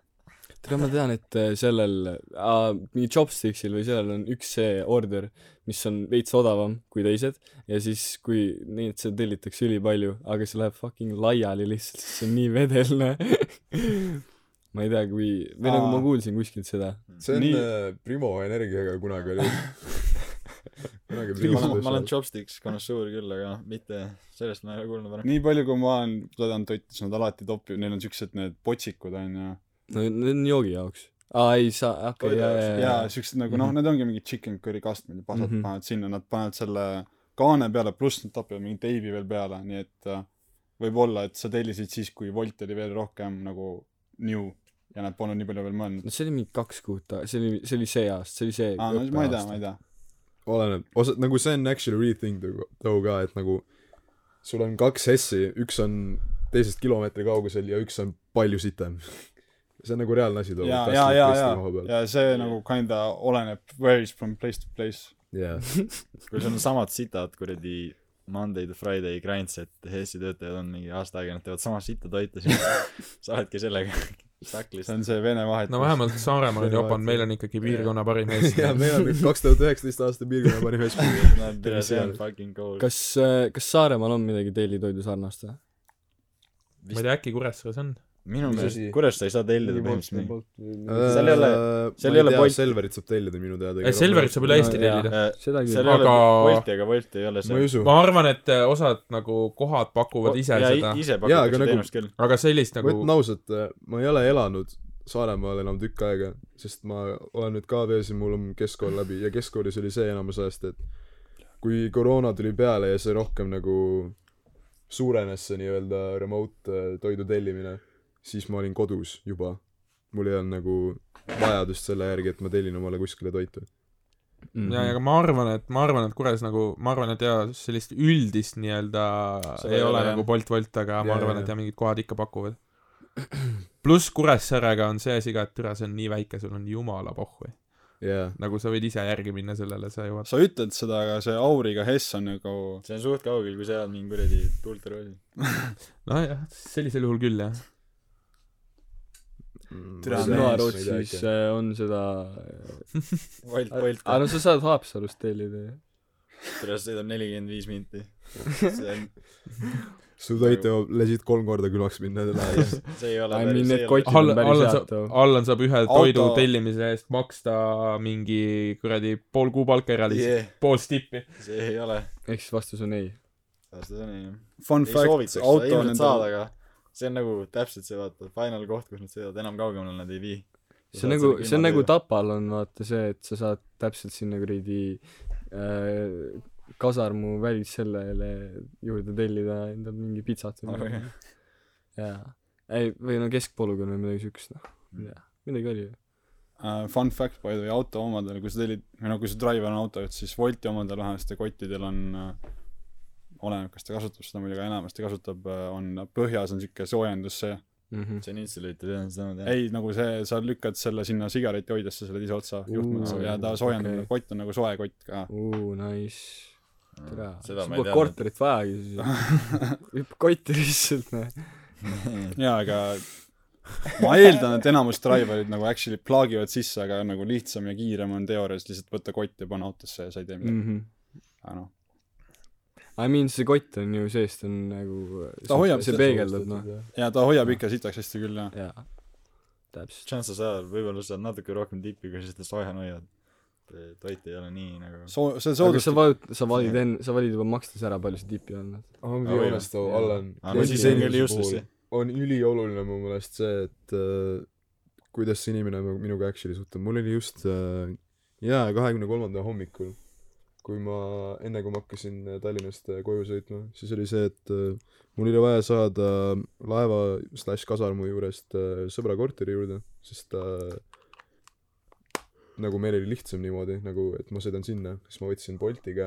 tead , ma tean , et äh, sellel äh, , mingi Chopsticksil või sellel on üks see order , mis on veits odavam kui teised ja siis , kui neid seal tellitakse ülipalju , aga see läheb fucking laiali lihtsalt , sest see on nii vedelne . [LAUGHS] ma ei tea , kui , või nagu ma Aa. kuulsin kuskilt seda . see on Nii. äh, Primo energiaga kunagi [LAUGHS] oli kunagi ma Primo olen , ma töös olen chopsticks konnoisseur küll , aga noh, mitte sellest ma ei ole kuulnud varem . nii palju , kui ma olen tõdanud toitu , siis nad alati topivad , neil on siuksed need potsikud onju no need on joogi jaoks . aa , ei saa , okei Toidu okay, , jaa , jaoks. ja jaa , siuksed nagu Mhm. noh , need ongi mingid chicken curry kastmed ja pasad mm Mhm. -hmm. panevad sinna , nad panevad selle kaane peale , pluss nad topivad mingi teibi veel peale , nii et äh, võib-olla , et sa tellisid siis , kui Wolt oli veel rohkem nagu new ja nad polnud nii palju veel mõelnud . no see oli mingi kaks kuud tagasi , see oli , see oli see aasta , see oli see aa , Ah, no ma ei tea , ma ei tea . oleneb osa nagu see on actually rethink though though ka et nagu sul on kaks S-i üks on teisest kilomeetri kaugusel ja üks on palju sitem [LAUGHS] see on nagu reaalne asi too ja , ja , ja , ja , ja see nagu kinda oleneb varies from place to place . jaa [LAUGHS] kui sul on samad sitad kuradi Monday to Friday grinds , et HES-i töötajad on mingi aasta aega , nad teevad sama sitta toitu , siis [LAUGHS] sa oledki sellega saklis see . on see Vene vahetus no vähemalt Saaremaal oli Opan , meil on ikkagi piirkonna parim [LAUGHS] mees . ja meil [LAUGHS] on nüüd kaks tuhat üheksateist aasta piirkonna parim S-i Nad , see on fucking cool . kas , kas Saaremaal on midagi tellitoidu sarnast või ? ma ei tea , äkki Kuressaares on ? minu Mis meelest asi? Kuressaares ei saa tellida põhimõtteliselt mingi mingi . Seal ei ole- Äh, seal ei ole Bolti. Selverit saab tellida minu teada ei , Selverit saab üle Eesti No jaa. tellida . seda Äh, seal küll ei . ole Aga- Bolti , aga Bolt ei ole ma ei seal usu ma arvan , et eh, osad nagu kohad pakuvad ise jaa, i- seda , ise Jaa, aga pakutakse nagu- teenust küll aga sellist ma nagu ütlen ausalt , ma ei ole elanud Saaremaal enam tükk aega , sest ma olen nüüd KV-s ja mul on keskkool läbi ja keskkoolis oli see enamus ajast , et kui koroona tuli peale ja see rohkem nagu suurenes , see nii-öelda remote äh, toidu tellimine , siis ma olin kodus juba . mul ei olnud nagu vajadust selle järgi , et ma tellin omale kuskile toitu . ja , ja ma arvan , et ma arvan , et Kures nagu , ma arvan , et jaa , sellist üldist nii-öelda Seda ei ei ole ole, nagu jah. Bolt-Wolt , aga Jaa, ma arvan , jaa, et jaa. jaa , mingid kohad ikka pakuvad . pluss Kuressaarega on see asi ka , et türa , see on nii väike , sul on jumala pohhu . jaa . nagu sa võid ise järgi minna sellele , sa jõuad . sa ütled seda , aga see Auriga Hess on nagu see on suht kaugel , kui sa elad mingi kuradi tuulterolli nojah , sellisel juhul küll , jah . Türa, minu arust siis äh, on seda , Bolt , Bolt aga no sa saad Haapsalust tellida ju . Kuressaares sõidab nelikümmend viis [LAUGHS] minti see on su toit jõuab legit kolm korda külmaks minna selle [LAUGHS] aja eest . see ei ole I päris mean, see need ei ole kotid- on All- , päris Allan head saab too. , Allan saab ühe toidu Auto- tellimise eest maksta mingi kuradi pool kuupalka ära päris- lihtsalt , Yeah, pool stippi . see ei ole ehk siis vastus on ei . see on jah fun ei fact , soovitaks seda auto on ilmselt saada , endal aga see on nagu täpselt see vaata final koht , kus nad sõidavad , enam kaugemale nad ei vii . see on nagu , see on nagu . Tapal on vaata see , et sa saad täpselt sinna kuradi äh, kasarmu välis sellele juurde tellida endal mingi pitsat Oh, või [LAUGHS] midagi . jaa . ei , või no keskpolügoon või midagi siukest , noh , ma ei tea , midagi oli ju . Äh, fun fact by the way , auto omadel , kui sa tellid , või noh , kui su driver on autojuht , siis Wolti omadel vähemasti kottidel on äh, oleneb , kas ta kasutab seda muidugi , aga enamasti kasutab , on põhjas on siuke soojendus see . Mhm. see on insulated jah , seda ma tean . ei , nagu see , sa lükkad selle sinna sigaretihoidjasse , selle teise otsa juhtme Uu, ja ta soojendab okei. okay. , kott on nagu soe kott ka . oo , nice . tere , sul seda ma ei pole teadnud . korterit vajagi siis . [LAUGHS] hüppa kotti lihtsalt , noh . jaa , aga ma eeldan , et enamus driver'id nagu actually plaagivad sisse , aga nagu lihtsam ja kiirem on teoorias lihtsalt võtta kott ja panna autosse ja sa ei tee Mm. midagi . Mhm. aga noh , I mean , see kott on ju seest on nagu Ta hoiab see seda peegeldab , noh . ja ta hoiab ikka sitaks hästi küll jah . jaa , täpselt . Chances are , võib-olla saad natuke rohkem tippi , kui sa seda sooja hoiad . toit ei ole nii nagu . soo- , see aga soodustab sa vajut- , sa valid enne , sa valid juba makstes ära , palju see tipi on . noh? I m Ah, be või- honest though , jah. Allan . Aa, no siis on küll useless, jah. on ülioluline mu meelest see , et äh, kuidas see inimene mu- minuga actually suhtub . mul oli just äh, jaa , kahekümne kolmanda hommikul , kui ma , enne kui ma hakkasin äh, Tallinnast äh, koju sõitma , siis oli see , et äh, mul oli vaja saada äh, laeva slaš kasarmu juurest äh, sõbra korteri juurde , sest äh, nagu meil oli lihtsam niimoodi , nagu et ma sõidan sinna , siis ma võtsin Bolti ka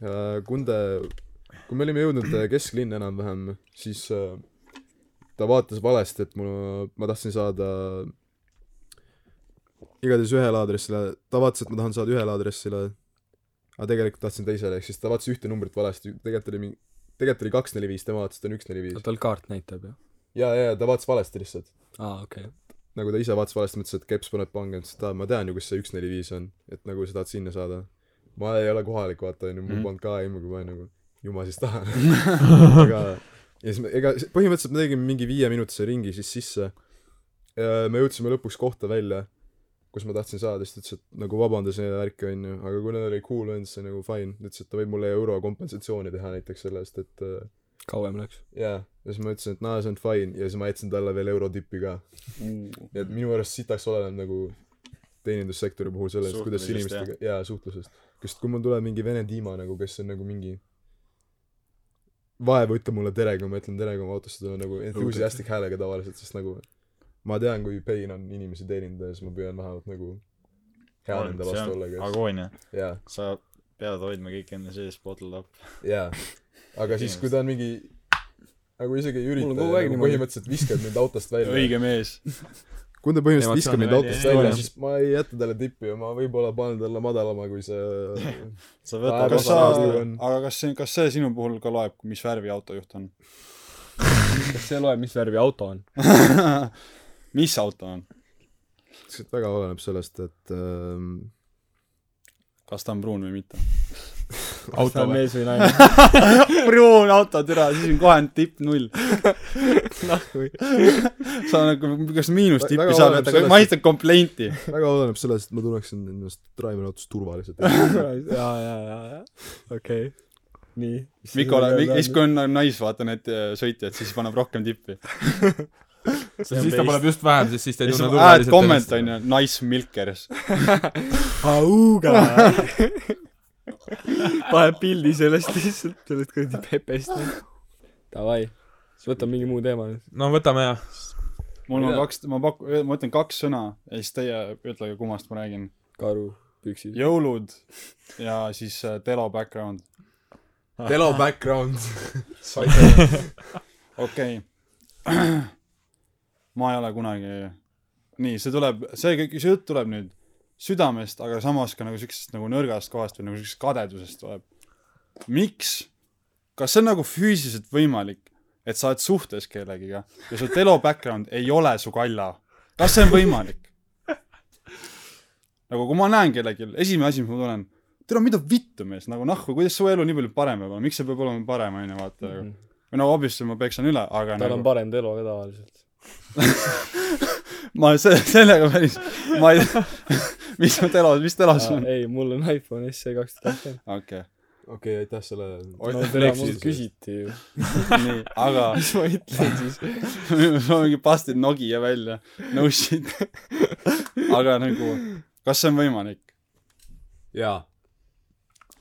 äh, . Kunde kui me olime jõudnud äh, kesklinna enam-vähem , siis äh, ta vaatas valesti , et mul , ma tahtsin saada igatahes ühele aadressile , ta vaatas , et ma tahan saada ühele aadressile , aga tegelikult tahtsin teisele , ehk siis ta vaatas ühte numbrit valesti , tegelikult oli mingi , tegelikult oli kaks neli viis , tema vaatas , et on üks neli viis . tal kaart näitab ju . jaa , jaa , ta vaatas valesti lihtsalt . aa , okei okay. . nagu ta ise vaatas valesti , mõtles , et keps paneb pange , ütles , et aa , ma tean ju , kus see üks neli viis on , et nagu sa tahad sinna saada . ma ei ole kohalik , vaata onju , mul Mhm. polnud ka aimu , kui ma nagu , ju ma siis tahan . [LAUGHS] aga , ja siis me , ega s- põhimõtteliselt me tegime mingi viieminutise ringi siis sisse . me jõudsime lõpuks kohta välja , kus ma tahtsin saada , siis ta ütles , et nagu vabandas ja värki onju , aga kuna ta oli cool olnud , siis oli nagu fine , ta ütles , et ta võib mulle euro kompensatsiooni teha näiteks selle eest , et äh, kauem läks . jaa , ja siis ma ütlesin , et naa , see on fine ja siis ma jätsin talle veel eurotippi ka . nii et minu arust sitaks oleneb nagu teenindussektori puhul sellest , kuidas Suhtlusest, inimestega , jaa , suhtlusest . sest kui mul tuleb mingi vene tiima nagu , kes on nagu mingi vaev ütleb mulle tere , kui ma ütlen tere , kui ma autosse tulen nagu entusiastlik häälega tavaliselt , sest nagu ma tean , kui pain on inimesi teenindada , siis ma püüan vähemalt nagu hea nende see vastu on olla , kes agoonia . jaa , sa pead hoidma kõik enda sees bottled up . jaa . aga siis , kui ta on mingi nagu isegi ei Mul ürita on , kogu aeg nagu niimoodi. põhimõtteliselt viskab mind autost välja . õige mees . kui ta põhimõtteliselt viskab Emotsioone mind autost välja ei välja , jää. siis ma ei jäta talle tippi ja ma võib-olla panen talle madalama , kui [LAUGHS] see sa Aga võtad kas sa- sa Vabandust, kui , on- aga kas see , kas see sinu puhul ka loeb , mis värvi autojuht on ? [LAUGHS] kas see loeb , mis värvi auto on ? mis auto on ? see väga oleneb sellest , et ähm, kas ta on pruun või mitte ? auto või ? mees või naine ? [LAUGHS] pruun auto türa , siis on kohe on tipp null . [LAUGHS] Noh, sa nagu , kas miinus Väga- tippi väga saad oleneb võtta , sellest, ma esitan kompleinti . väga oleneb sellest , et ma tunneksin ennast Driver autos turvaliselt . [LAUGHS] jaa , jaa , jaa , jaa . okei okay. . nii . Mikole , siis kui on nais , vaata need äh, sõitjad , siis paneb rohkem tippi . siis ta paneb just vähem , sest siis ta ei nagu ja siis tunne äed ennast. komment on ju , nice milkers . [LAUGHS] auga paneb pildi sellest lihtsalt , sellest kuradi pepest . Davai , siis võtame mingi muu teema nüüd . no võtame ja . mul on Mida? kaks , ma pakun , ma ütlen kaks sõna ja siis teie ütlege , kummast ma räägin . karu , püksid . jõulud ja siis äh, telo background . Telo background . [LAUGHS] okei okay. . ma ei ole kunagi , nii , see tuleb , see kõik , see jutt tuleb nüüd südamest , aga samas ka nagu siuksest nagu nõrgast kohast või nagu siuksest kadedusest tuleb . miks ? kas see on nagu füüsiliselt võimalik , et sa oled suhtes kellegiga ja su telo background ei ole su kalla ? kas see on võimalik ? nagu kui ma näen kellelgi , esimene asi , mis ma tunnen , tere , mida vittu mees , nagu nahku , kuidas su elu nii palju parem peab olema , miks see peab olema parem , onju , vaata nagu . või no obviously ma peksan üle , aga Mhm. tal on nagu parem telo ka [LAUGHS] tavaliselt . ma se- , sellega päris , ma ei tea , mis mu telos , mis telos on . ei , mul on iPhone SE kaks tuhat kakskümmend . okei , okei , aitäh selle . [LAUGHS] no tere , mul küsiti ju . nii , aga mis ma ütlen siis ? [LAUGHS] ma mingi pastin Nokia välja , no shit . aga nagu , kas see on võimalik ? jaa .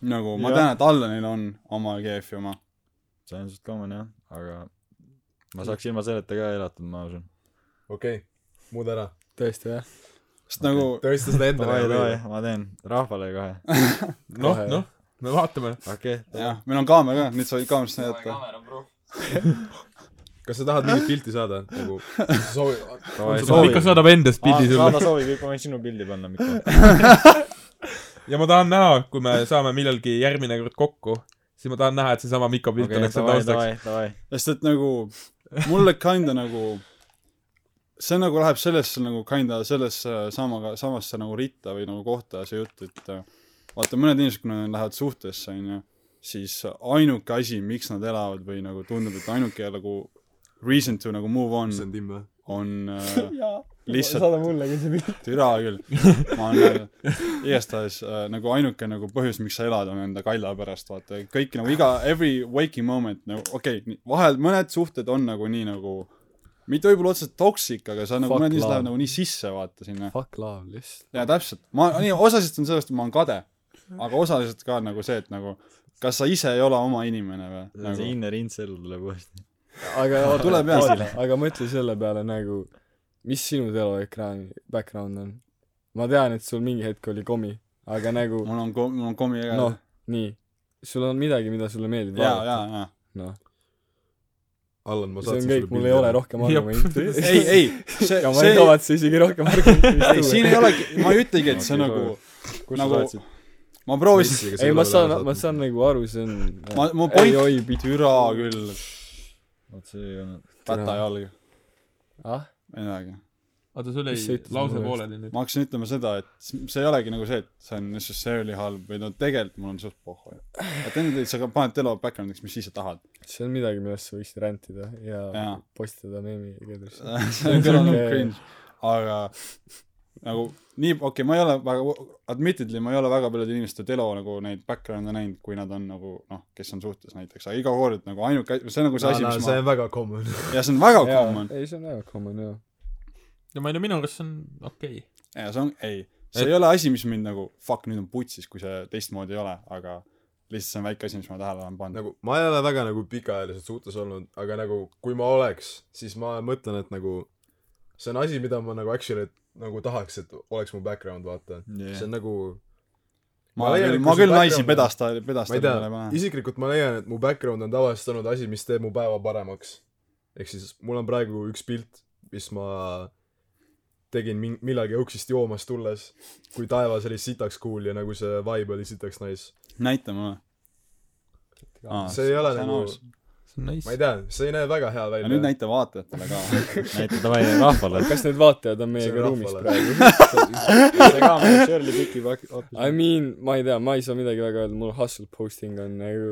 nagu ma Jah. tean , et Allanil on oma GF-i oma . see on suht common jah , aga ma saaks ilma selleta ka elatud , ma usun . okei okay. , muuda ära . tõesti või ? sest nagu , tõesta seda davai , davai endale ., ma teen rahvale kohe , noh , noh , me vaatame . okei . jah , meil on kaamera ka , nüüd sa võid kaamerast näidata . kas sa tahad mingit pilti saada nagu ? soovi , davai , Mikko soovi . saadab endast pildi saada sulle . soovi , kõik ma võin sinu pildi panna , [LAUGHS] Mikko . ja ma tahan näha , kui me saame millalgi järgmine kord kokku , siis ma tahan näha , et seesama Mikko pilt okei , oleks seal davai , taustaks . davai , davai . sest et nagu mulle kinda nagu see nagu läheb sellesse nagu kinda sellesse samaga samasse nagu ritta või nagu kohta see jutt et äh, vaata mõned inimesed kui nad lähevad suhtesse onju siis ainuke asi miks nad elavad või nagu tundub et ainuke nagu reason to nagu move on see on Tim või ? on [LAUGHS] äh, Lihtsalt- saada mulle ka see pilt . türa küll ma olen äh, igastahes äh, nagu ainuke nagu põhjus miks sa elad on enda kalja pärast vaata kõik nagu iga every waking moment nagu okei okay, vahel mõned suhted on nagu nii nagu mitte võibolla otseselt toxic aga sa nagu Fuck mõned inimesed love. lähevad nagu nii sisse vaata sinna Fuck love lihtsalt . ja täpselt ma nii osaliselt on sellest et ma olen kade aga osaliselt ka nagu see et nagu kas sa ise ei ole oma inimene või see nagu inner incel tuleb uuesti . aga tuleb jah. aga mõtle selle peale nagu , mis sinu teleekraani background on ? ma tean , et sul mingi hetk oli komi , aga nagu mul on ko- mul on komi ega noh , nii , sul on midagi , mida sulle meeldib jaa jaa jaa noh , Allan , ma see saatsin on sulle kõik , mul ei ole . rohkem Jep. [LAUGHS] argumente . ei ei see ja ma ei see kavatse isegi rohkem ei siin ei argumente . olegi ma ei ütlegi et see Okei, nagu kus sa nagu saatsid ? ma proovisin , ei , ma saan , ma saan . nagu aru , see on ma , mu ei , point , oi , pidi . türa küll , vot see ei olnud . päta jalg , ah , midagi . oota , sul Mis sa jäi ütlesid lause mulle pooleli nüüd . ma hakkasin ütlema seda , et s- see ei olegi nagu see , et see on necessarily halb või no tegelikult mul on suht pohhu . et enne sa ka paned telo background'iks , mis ise tahad . see on midagi , millest sa võiksid rändida ja, ja. jaa , postitada meemi kedrisse . see on küll nagu cringe , aga nagu nii , okei okay, , ma ei ole väga , admittedly ma ei ole väga paljude inimeste telo nagu neid background'e näinud , kui nad on nagu noh , kes on suhtes näiteks , aga iga kord nagu ainuke , see on nagu see asi , mis see ma , on väga common . ja see on väga common . ei , see on väga common jaa . no ma ei tea , minu arust see on okei okay. . ja see on , ei , see Et- et... ei ole asi , mis mind nagu fuck nüüd on putsis , kui see teistmoodi ei ole , aga lihtsalt see on väike asi , mis ma tähele olen pannud . [LAUGHS] nagu ma ei ole väga nagu pikaajaliselt suhtes olnud , aga nagu kui ma oleks , siis ma mõtlen , et nagu see on asi , mida ma nagu actually nagu tahaks , et oleks mu background , vaata . see on nagu , ma ma leian, küll , et ma kui küll see naisi background- pedasta , ma ei pedastada ei tea , pane . isiklikult ma leian , et mu background on tavaliselt olnud asi , mis teeb mu päeva paremaks . ehk siis mul on praegu üks pilt , mis ma tegin min- , millalgi õuksist joomas tulles , kui taevas oli sitaks kuul ja nagu see vibe oli sitaks nice . näita mulle . see ei ole nagu , see ma nice ei . tea , see ei näe väga hea ja nüüd välja . näita vaatajatele [LAUGHS] ka . näita davai rahvale kas need vaatajad on meiega ruumis praegu ? praegu . see ka meil Shirley Piki pak- I mean , ma ei tea , ma ei saa midagi väga öelda , mul hustle posting on nagu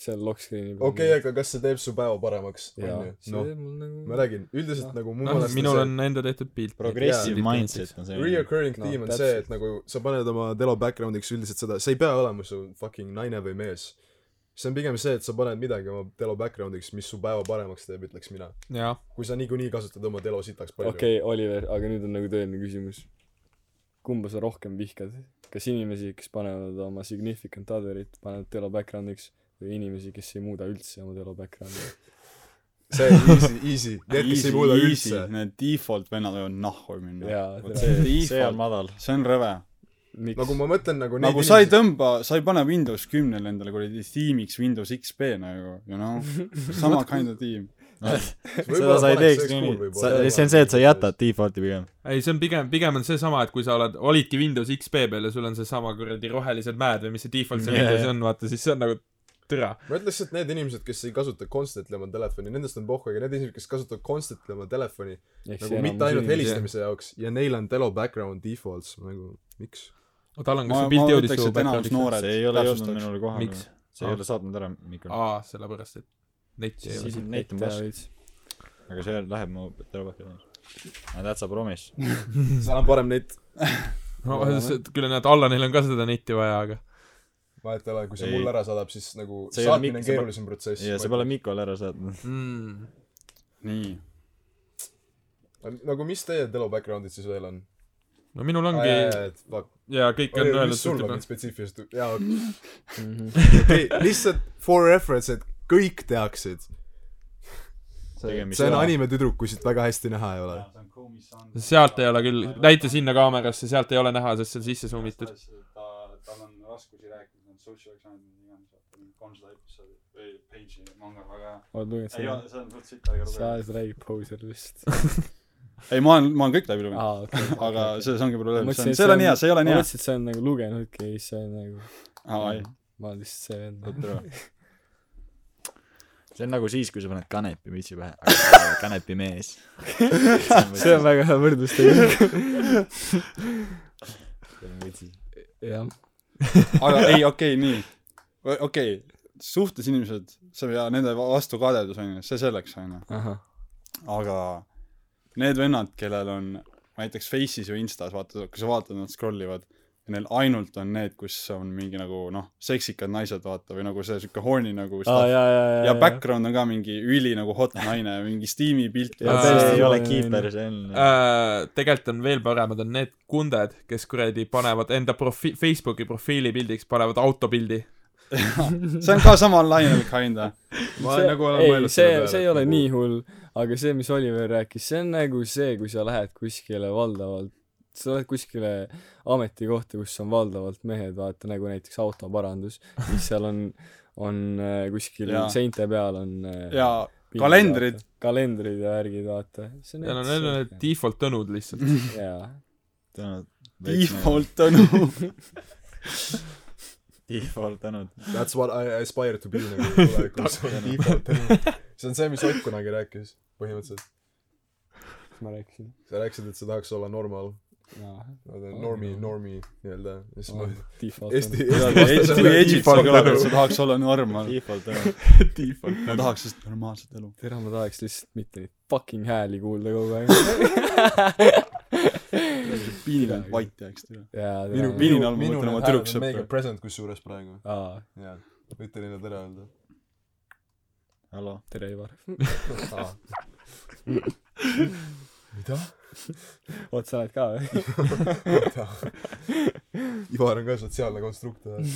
seal lock screen'i peal . okei , aga kas see teeb su päeva paremaks ? jaa , see noh , teeb mul nagu ma räägin , üldiselt nagu mu noh , meelest minul on enda tehtud pilt . progressive Jaa. mindset on see Reoccurring No, theme on täpselt. see , et nagu sa paned oma telo background'iks üldiselt seda , see ei pea olema su fucking naine või mees . see on pigem see , et sa paned midagi oma telo background'iks , mis su päeva paremaks teeb , ütleks mina . jah , kui sa niikuinii kasutad oma telo sitaks palju okei okay, , Oliver , aga nüüd on nagu tõeline küsimus . kumba sa rohkem vihkad , kas inimesi , kes panevad oma significant other'it , panevad telo background'iks või inimesi , kes ei muuda üldse oma telo [LAUGHS] background'i ? see on easy , [LAUGHS] easy , need , kes ei muuda üldse . Need default vennad võivad nahhu minna . jaa , Vot see , see on madal see on rõve . miks nagu nagu... ? ma mõtlen nagu nagu sa ei tõmba , sa ei pane Windows kümnele endale kuradi tiimiks Windows XP nagu , you know . sama kind of tiim . [LAUGHS] seda sa ei teeks nii sa see on see et sa jätad . default'i pigem ei , see on pigem , pigem on seesama , et kui sa oled , olidki Windows XP peal ja sul on seesama kuradi rohelised mäed või mis see default seal Jaa, Windows jaa. on , vaata , siis see on nagu türa . ma ütleks , et need inimesed , kes ei kasuta constantly oma telefoni , nendest on pohhu , aga need inimesed , kes kasutavad constantly oma telefoni nagu mitte ainult helistamise jaoks ja neil on telo background defaults nagu miks ? oota , Allan , kas ma , su ma pilt jõudis ütleks , su et enamus background'i ? noored see ei ole jõudnud täpsustaks. minule kohale miks ? see ei ole saatnud ära mikrofoni aa , sellepärast , et neti ei ole . Siis- Neid on pass. aga see läheb mu [LAUGHS] telefonile aga that's a promise seal on parem net , [LAUGHS] no see- küll on jah , et Allanil on ka seda neti vaja , aga vahet ei ole , kui see Ei. mulle ära saadab , siis nagu See ei ole saatmine mik- on see pole- keerulisem protsess . ja sa pole Mikole ära saatnud Hmm. mm. . nii . nagu mis teie telo background'id siis veel on ? no minul ongi ja kõik on mis sul on öelnud , need spetsiifilised , jaa , okei , lihtsalt for reference , et kõik teaksid . see on animetüdrukusid väga hästi näha ei ole . sealt ei ole küll , näita sinna kaamerasse , sealt ei ole näha , sest see on sisse suumitud . ta , tal on raskusi rääkida , ta on social examine'i nimi , kolmsada episoodi või page'i , manga väga hea . ma tunnen , et ei see on , ole , see on suht sitt , ärge sa lugege . alles räägid poser [LAUGHS] vist . ei , ma olen , ma olen kõik läbi lugenud . aa , Ah, okei . aga selles ongi probleem , Mõtlesin, see on , et see ei ole nii see on- hea , see ei ole ma nii hea . mõtlesin , et sa oled nagu lugenudki ja siis sa oled nagu , aa , ei . ma olen lihtsalt see vend . oot , ära . see on nagu siis , kui sa paned kanepi mütsi pähe , aga sa ei ole kanepi mees . [LAUGHS] see on väga hea võrdlustehnika . jah . aga ei , okei , nii . okei , suhtes inimesed , see ja nende vastu kadedus on ju , see selleks on ju . ahah . aga need vennad , kellel on ma näiteks Face'is või Instas , vaata , kui sa vaatad , nad scroll ivad ja neil ainult on need , kus on mingi nagu noh , seksikad naised , vaata , või nagu see sihuke horny nagu aa , stuff. jaa , jaa , jaa . ja background on ka mingi üli nagu hot naine , mingi Steam'i pilt . ja Aa, see ei jaa, ole jaa, kiiper , see on Äh, tegelikult on veel paremad , on need kunded , kes kuradi panevad enda profi- , Facebooki profiili pildiks panevad autopildi . see on ka samal lainel kinda . ma olen nagu olen ei , mõelnud see , see ei ole nii . nagu- hull , aga see , mis Oliver rääkis , see on nagu see , kui sa lähed kuskile valdavalt , sa lähed kuskile ametikohta , kus on valdavalt mehed , vaata nagu näiteks autoparandus , siis seal on , on äh, kuskil Jaa. seinte peal on äh, ja pildid, kalendrid. vaata. kalendrid ja värgid , vaata . ja no need on need default tõnud lihtsalt . jaa , tänud . default Tõnu . [LAUGHS] default tänud . That's what I aspire to be nagu tulevikus . see on see , mis Ott kunagi rääkis , põhimõtteliselt . mis ma rääkisin . sa rääkisid , et sa tahaks olla normal , jaa . normi , normi nii-öelda . ja siis ma , default Eesti , kui Edgepark Eesti oleks , sa . tahaks olla normaal . default tänud . ma tahaks just normaalset elu . tere , ma tahaks lihtsalt mitte neid fucking hääli kuulda kogu aeg . piinil vait jääks tüve . jaa , minu , Viini minu , all ma minu mõtlen oma need hääled on tüdruksõpra. mega present kusjuures praegu . aa , jaa , võite neile tere öelda . hallo . tere , Ivar . mida ? oot , sa oled ka või ? oota . Ivar on ka sotsiaalne konstrukt või ?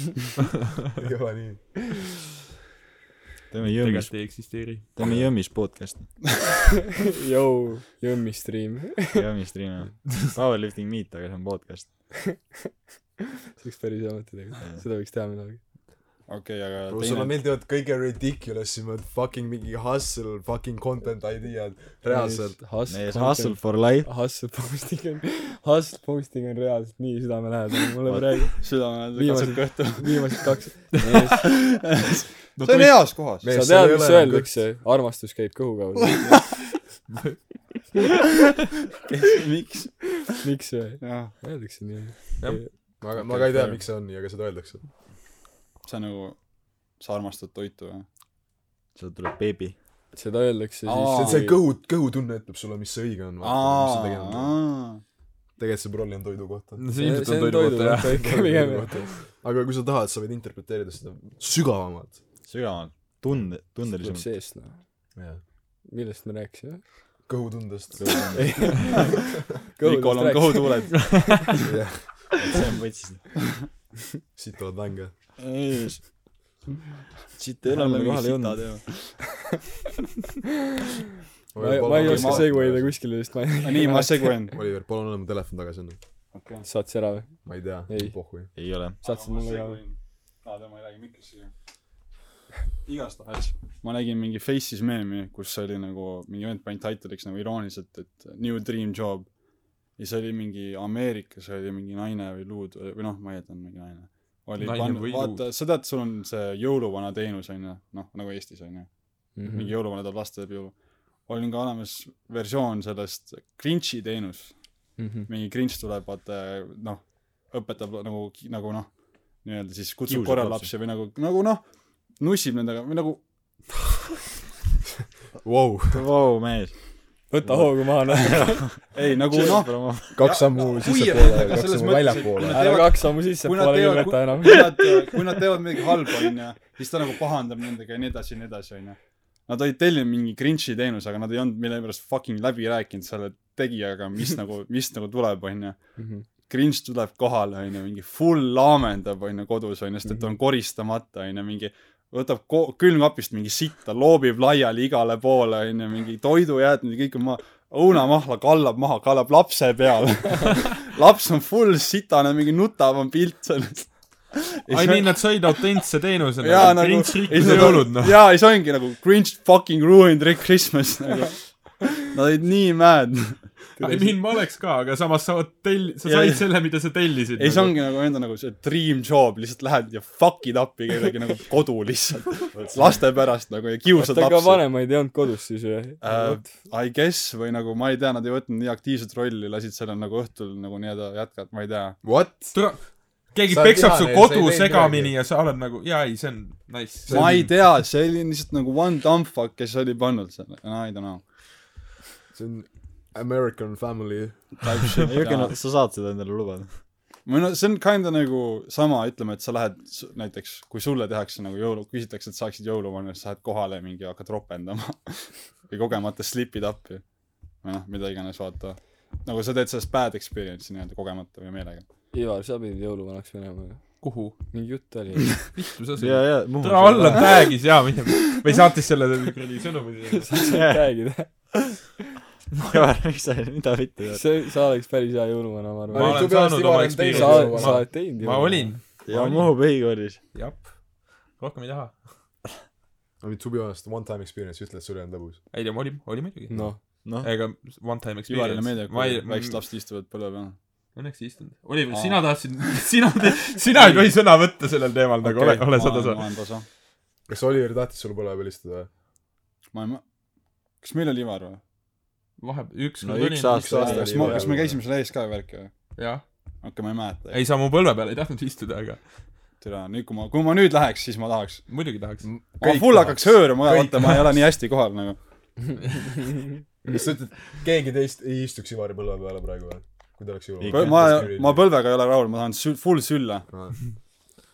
ei ole nii . teeme Jõmmis , tegelikult ei eksisteeri . teeme Jõmmis podcast'i . Jou , jõmmi stream . Jõmmis stream'i . Powerlifting meet , aga see on podcast . see oleks päris hea mõte tegelikult . seda võiks teha millalgi . okei , aga Bro, sulle teine , meeldivad kõige ridiculous imad fucking mingi hustle fucking content idead reaalselt hustle mees hustle for life hustle posting on hustle posting on reaalselt nii südamelähedane mulle praegu [LAUGHS] südame Viimased- katsub kõhtu . viimased kaks mees no, see on heas kohas . Mees, sa seal ei tead ole mis enam öeldakse armastus käib kõhu kaudu [LAUGHS] miks ? miks see jah , öeldakse nii ma aga ma ka ei tea miks see on nii aga seda öeldakse see on nagu , sa armastad toitu või ? sealt tuleb beebi seda öeldakse Aa. see on siis see kõhu kõhutunne ütleb sulle mis see õige on vaata mis sa tegema pead tegelikult see brolli on toidu kohta no see see ilmselt see on on toidu [LAUGHS] kohta jah toidukohta ikka pigem jah aga kui sa tahad sa võid interpreteerida seda sügavamalt sügavamalt tunde tuleb tundelisemalt seest noh jah millest me rääkisime kõhutundest Mikol on kõhutuuled . jah see on võtsis [LAUGHS] siit tuleb vänge ei , siit enam Oleme kohal ei olnud mingi ma ei ma ei oska seguida kuskile vist ma ei nii , ma seguen . Oliver palun anna mu telefon tagasi enne saad sa ära või ma ei tea Ei. pohhui ei ole saatsid mulle ka või aa , tema ei räägi mikrisse . igastahes . ma nägin mingi Faces meemi , kus oli nagu mingi vend pani title'iks nagu irooniliselt , et New Dream Job . ja see oli mingi Ameerikas oli mingi naine või luud või või noh , ma ei tea , ta on mingi naine . oli Naine pannud või , luud. vaata , sa tead , sul on see jõuluvana teenus onju , noh nagu Eestis onju . Mhm. mingi jõuluvana tahab lasta läbi jõulu . oli ka olemas versioon sellest Grinchi teenus Mhm. mhmh mingi cringe tuleb , vaata noh , õpetab nagu , nagu noh , nii-öelda siis kutsub Kiusab korra lapsi. lapsi või nagu , nagu noh , nussib nendega või nagu vau [LAUGHS] vau mees võta hoogu maha noh ei , nagu noh , kaks sammu sissepoole kaks sammu väljapoole ära kaks sammu kui nad sissepoole küll teevad , võta [LAUGHS] enam kui nad , kui nad teevad midagi halba , onju , siis ta nagu pahandab nendega ja nii edasi ja nii edasi , onju . Nad olid tellinud mingi cringe'i teenuse , aga nad ei olnud millegipärast fucking läbi rääkinud selle tegijaga , mis nagu , mis nagu tuleb , onju . cringe tuleb kohale onju mingi full laamendab onju kodus onju sest et ta on koristamata onju mingi võtab ko- külmkapist mingi sitta loobib laiali igale poole onju mingi toidujäätmed ja kõik on maha õunamahla kallab maha kallab lapse peale [LAUGHS] laps on full sitane mingi nutav on pilt sellest ai nii nad said autentse teenuse jaa nagu nagu Grinch rikkus jõulud noh jaa ei see ongi nagu cringe fucking ruined Rick Christmas [LAUGHS] nagu nad olid nii mad I mean ma oleks ka aga samas sa tell- sa said Jaa. selle mida sa tellisid ei see ongi nagu enda nagu see dream job lihtsalt lähed ja fuck'id appi kellegi nagu kodu [LAUGHS] lihtsalt laste pärast nagu ja kiusad ta ka lapsi vanemaid ei olnud kodus siis või Äh, I guess või nagu ma ei tea nad ei võtnud nii aktiivset rolli lasid sellel nagu õhtul nagu nii-öelda jätkata ma ei tea what tule keegi Sa oled peksab su vihane ja sa ei kodu teinud segamini midagi. ja sa oled nagu jaa ei see on nice ma ei tea see oli lihtsalt nagu one dumb fuck kes oli pannud selle no I don't know see on American Family type shit Jürgen jaa. sa saad seda endale lubada või no see on kinda nagu sama , ütleme , et sa lähed s- näiteks , kui sulle tehakse nagu jõulu , küsitakse , et saaksid jõuluvana , siis lähed kohale mingi ja hakkad ropendama [LAUGHS] või kogemata slipid appi või noh , mida iganes , vaata . nagu sa teed sellest bad experience'i nii-öelda kogemata või meelega . Ivar sa pidid jõuluvanaks minema ju kuhu mingi jutt [LAUGHS] oli vittu sa jaa sõid jaa tule alla tag'is jaa mine või saatis selle kuradi sõnumi [LAUGHS] räägida Ivar miks sa mida vittu tead see sa oleks päris hea jõuluvana ma ma arvan olin olen tubli aasta Ivar on teinud saanud oma jõuluvana. sa experience'i sa ma oled teinud ma olin ja Muhu põhikoolis jep rohkem ei taha I mean to be honest one time experience ütle et sul ei olnud lõbus ei tea ma olin oli muidugi noh noh ega one time Ivarile experience meeldib , ma ei Mm, kui väiksed lapsed istuvad põlve peal . õnneks ei istunud Oliver Aa. sina tahtsid [LAUGHS] sina te- sina ei tohi sõna võtta sellel teemal nagu ole ole sada ma sa olen tasa . kas Oliver tahtis sulle põlve peal istuda või ma ei ma- , kas meil oli Ivar või ? vahepeal üks no kord üks olin aasta oli aasta oli kas ma , Ivar kas me või? käisime selle ees ka värki või ? jah okei , ma ei mäleta . ei sa mu põlve peal ei tahtnud istuda aga türa , nüüd kui ma , kui ma nüüd läheks , siis ma tahaks . muidugi tahaks ma Kõik full hakkaks tahaks. hõõruma ka , Kõik vaata , ma ei ole nii hästi kohal nagu . kas sa ütled keegi teist ei istuks Ivari põlve peale praegu või kui ta oleks Ei, Põ- jõuluvana ma , ma põlvega ei ole rahul , ma tahan sül- , full [LAUGHS] sülla ,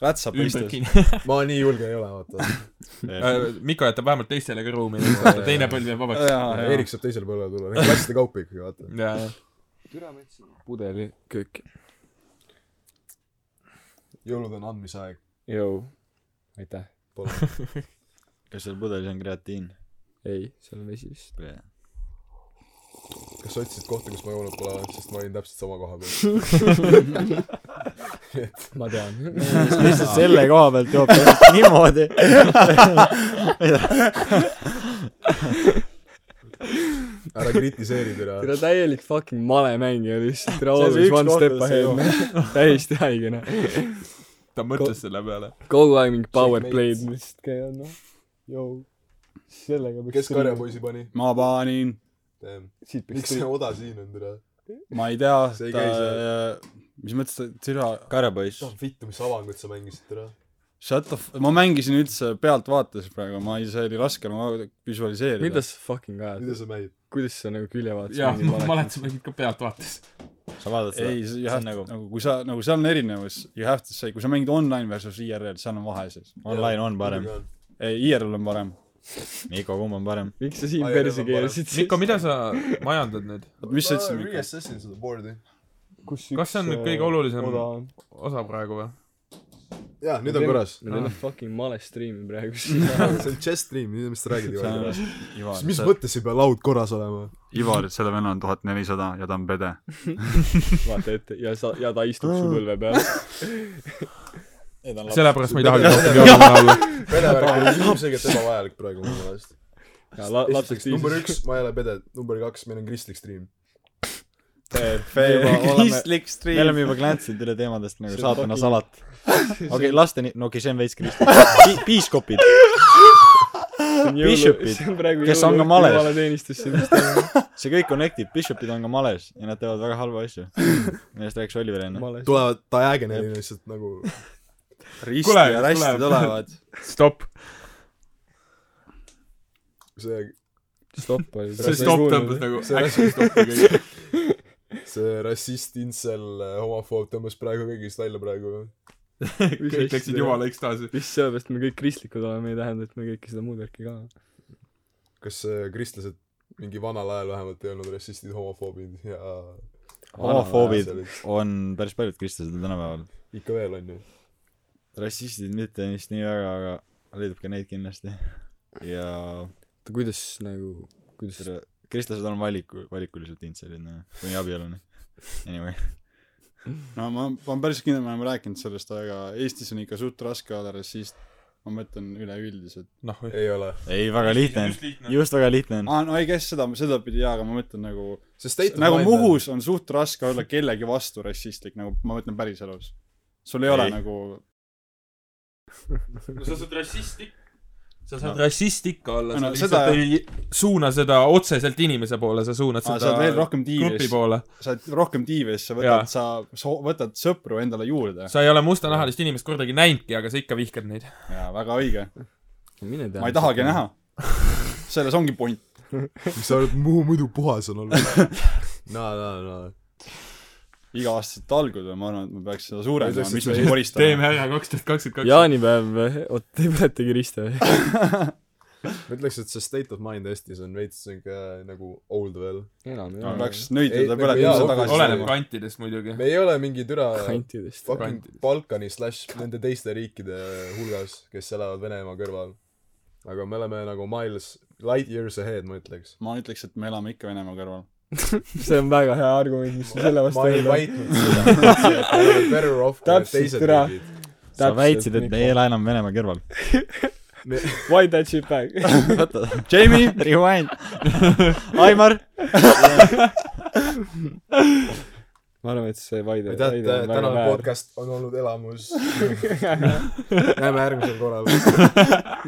rätsap ümber istus . kinni ma nii julge ei ole vaata Miko jätab vähemalt teistele ka [LAUGHS] ruumi jaa. teine põlv jääb vabaks Erik , Ah, Erik saab teisele põlvele tulla nagu klasside kaupa ikkagi vaata jaa jaa pudeli kööki jõulud on andmisaeg jõu aitäh palun kas seal pudelis on kreatiin ei seal on vesi vist kas sa otsisid kohta , kus ma joonud pole olnud , sest ma olin täpselt sama koha peal . ma tean . [LAUGHS] lihtsalt selle koha pealt joob täpselt niimoodi . ära kritiseeri teda . tere , täielik fucking malemängija lihtsalt , tere , See on see always üks one koht, step kus ei ahead . [LAUGHS] täiesti haige noh . ta mõtles selle peale . kogu aeg mingi power Checkmate. play'd lihtsalt käivad noh . Jou , sellega peaks kes . karjapoisi pani ? ma panin , miks siit peaks see tulema . oda siin on teda ? ma ei tea , See ei ta käi , mis mõttes ta , türa , karjapoiss . vittu , mis avangut sa mängisid teda ? shut the f- , ma mängisin üldse pealtvaates praegu , ma ei , see oli raske , ma visualiseerida . mida sa fucking ajad mida ? sa mängid ? kuidas sa nagu külje jaa , ma vaatasid ? mäletasin , ma olin ka pealtvaates . sa vaatad seda ? ei , you see have on nagu nagu , nagu kui sa , nagu seal on erinevus , you have to say , kui sa mängid online versus IRL , seal on vahe siis . online on parem . ei , IRL on parem . Mikko , kumb on parem ? miks sa siin Ai, perse ma keerasid ? Mikko , mida sa majandad nüüd ? oot , mis sa ütlesid , Mikko ? reassessin seda board'i . Kas see on äh, nüüd kõige olulisem? osa praegu või ? jaa , nüüd on korras . me teeme fucking male stream'i praegu . see on chest stream , nüüd mis sa räägid iga päev . Ivar , mis mõttes ei pea laud korras olema ? Ivar , selle venna on tuhat nelisada ja ta on pede . vaata ette ja sa , ja ta istub su põlve peal . sellepärast ma ei [LAUGHS] tahagi rohkem joonida olla . pede värk [LAUGHS] on ilmselgelt ebavajalik praegu minu meelest . ja la- , lapsed number tiisid . üks , ma ei ole pede , number kaks , meil on kristlik stream . kristlik stream . me oleme juba klantsinud üle teemadest nagu saatana salat . okei , laste nii , no okei , see on veits kristlik . piiskopid . Bishopid, kes on ka males. jumalateenistusse vist . [LAUGHS] see kõik connect'ib , bishopid on ka males ja nad teevad väga halbu asju . millest rääkis Oliver enne . males . tulevad diagonalina lihtsalt nagu risti Kuule, ja rästi kuule. tulevad . [LAUGHS] stopp . see , stopp oli . see stopp tõmbas nagu see äkki rassist stoppi kõik . [LAUGHS] see rassist , intsel , homofoob tõmbas praegu kõigist välja praegu . kõik läksid jumala ekstaasi . lihtsalt sellepärast me kõik kristlikud oleme , ei tähenda , et me kõike seda muud värki ka . kas äh, kristlased mingi vanal ajal vähemalt ei olnud rassistid , homofoobid ja homofoobid asjad, et on päris paljud kristlased tänapäeval . ikka veel on ju . rassistid mitte vist nii väga , aga leidub ka neid kindlasti . ja oota , kuidas nagu , kuidas tere , kristlased on valiku , valikuliselt intselid , noh , kuni abieluni . Anyway , no ma , ma olen päris kindel , me oleme rääkinud sellest , aga Eestis on ikka suht raske olla rassist . ma mõtlen üleüldiselt . noh , ei ole . ei , väga lihtne on , just väga lihtne on . aa , Ah, no I guess seda , sedapidi jaa , aga ma mõtlen nagu , see state of nagu mind on- Muhus on suht raske olla kellegi vastu rassistlik , nagu ma mõtlen päriselus . sul ei ole Ei. nagu , no sa saad rassist ikka , sa saad no. rassist ikka olla , sa No no, seda- lihtsalt seda... ei suuna seda otseselt inimese poole , sa suunad Ah, sa seda oled veel rohkem grupi tiivis , poole . sa oled rohkem tiivis , sa Jaa. võtad , sa so- võtad sõpru endale juurde . sa ei ole mustanahalist inimest kordagi näinudki , aga sa ikka vihkad neid . jaa , väga õige . mine tea . ma ei tahagi . näha . selles ongi point . mis [LAUGHS] sa arvad , Muhu muidu puhas on olnud [LAUGHS] no, ? no , no , iga-aastaselt algul ma arvan , et ma peaks seda Ma suurendama , ütleks, mis et me me siin koristame . teeme ära kaks tuhat kakskümmend kaks . jaanipäev , oot , te eh? põletegi riste või ? no. . ma ütleks , et see state of mind Eestis on veits siuke nagu old veel . enam ei ma ole . peaks nõidluse Ei, peale nagu jaa, tõusa okei, tagasi oleneb tulema . kantidest muidugi . me ei ole mingi türa kantidest . fucking Balkani slaš nende teiste riikide hulgas , kes elavad Venemaa kõrval . aga me oleme nagu miles , light years ahead , ma ütleks . ma ütleks , et me elame ikka Venemaa kõrval . see on väga hea argument , mis sa selle vastu ma ei öelda . väitnud seda . me oleme better off kui need Täpselt, teised türa. riigid . sa väitsid , et me ei ela enam Venemaa kõrval . Why that shit back ? oota , Jamie , rewind . Aimar . ma arvan , et see Why that , aitäh Why , that on väga äh, tänane väär . podcast on olnud [LAUGHS] elamus . näeme järgmisel korral .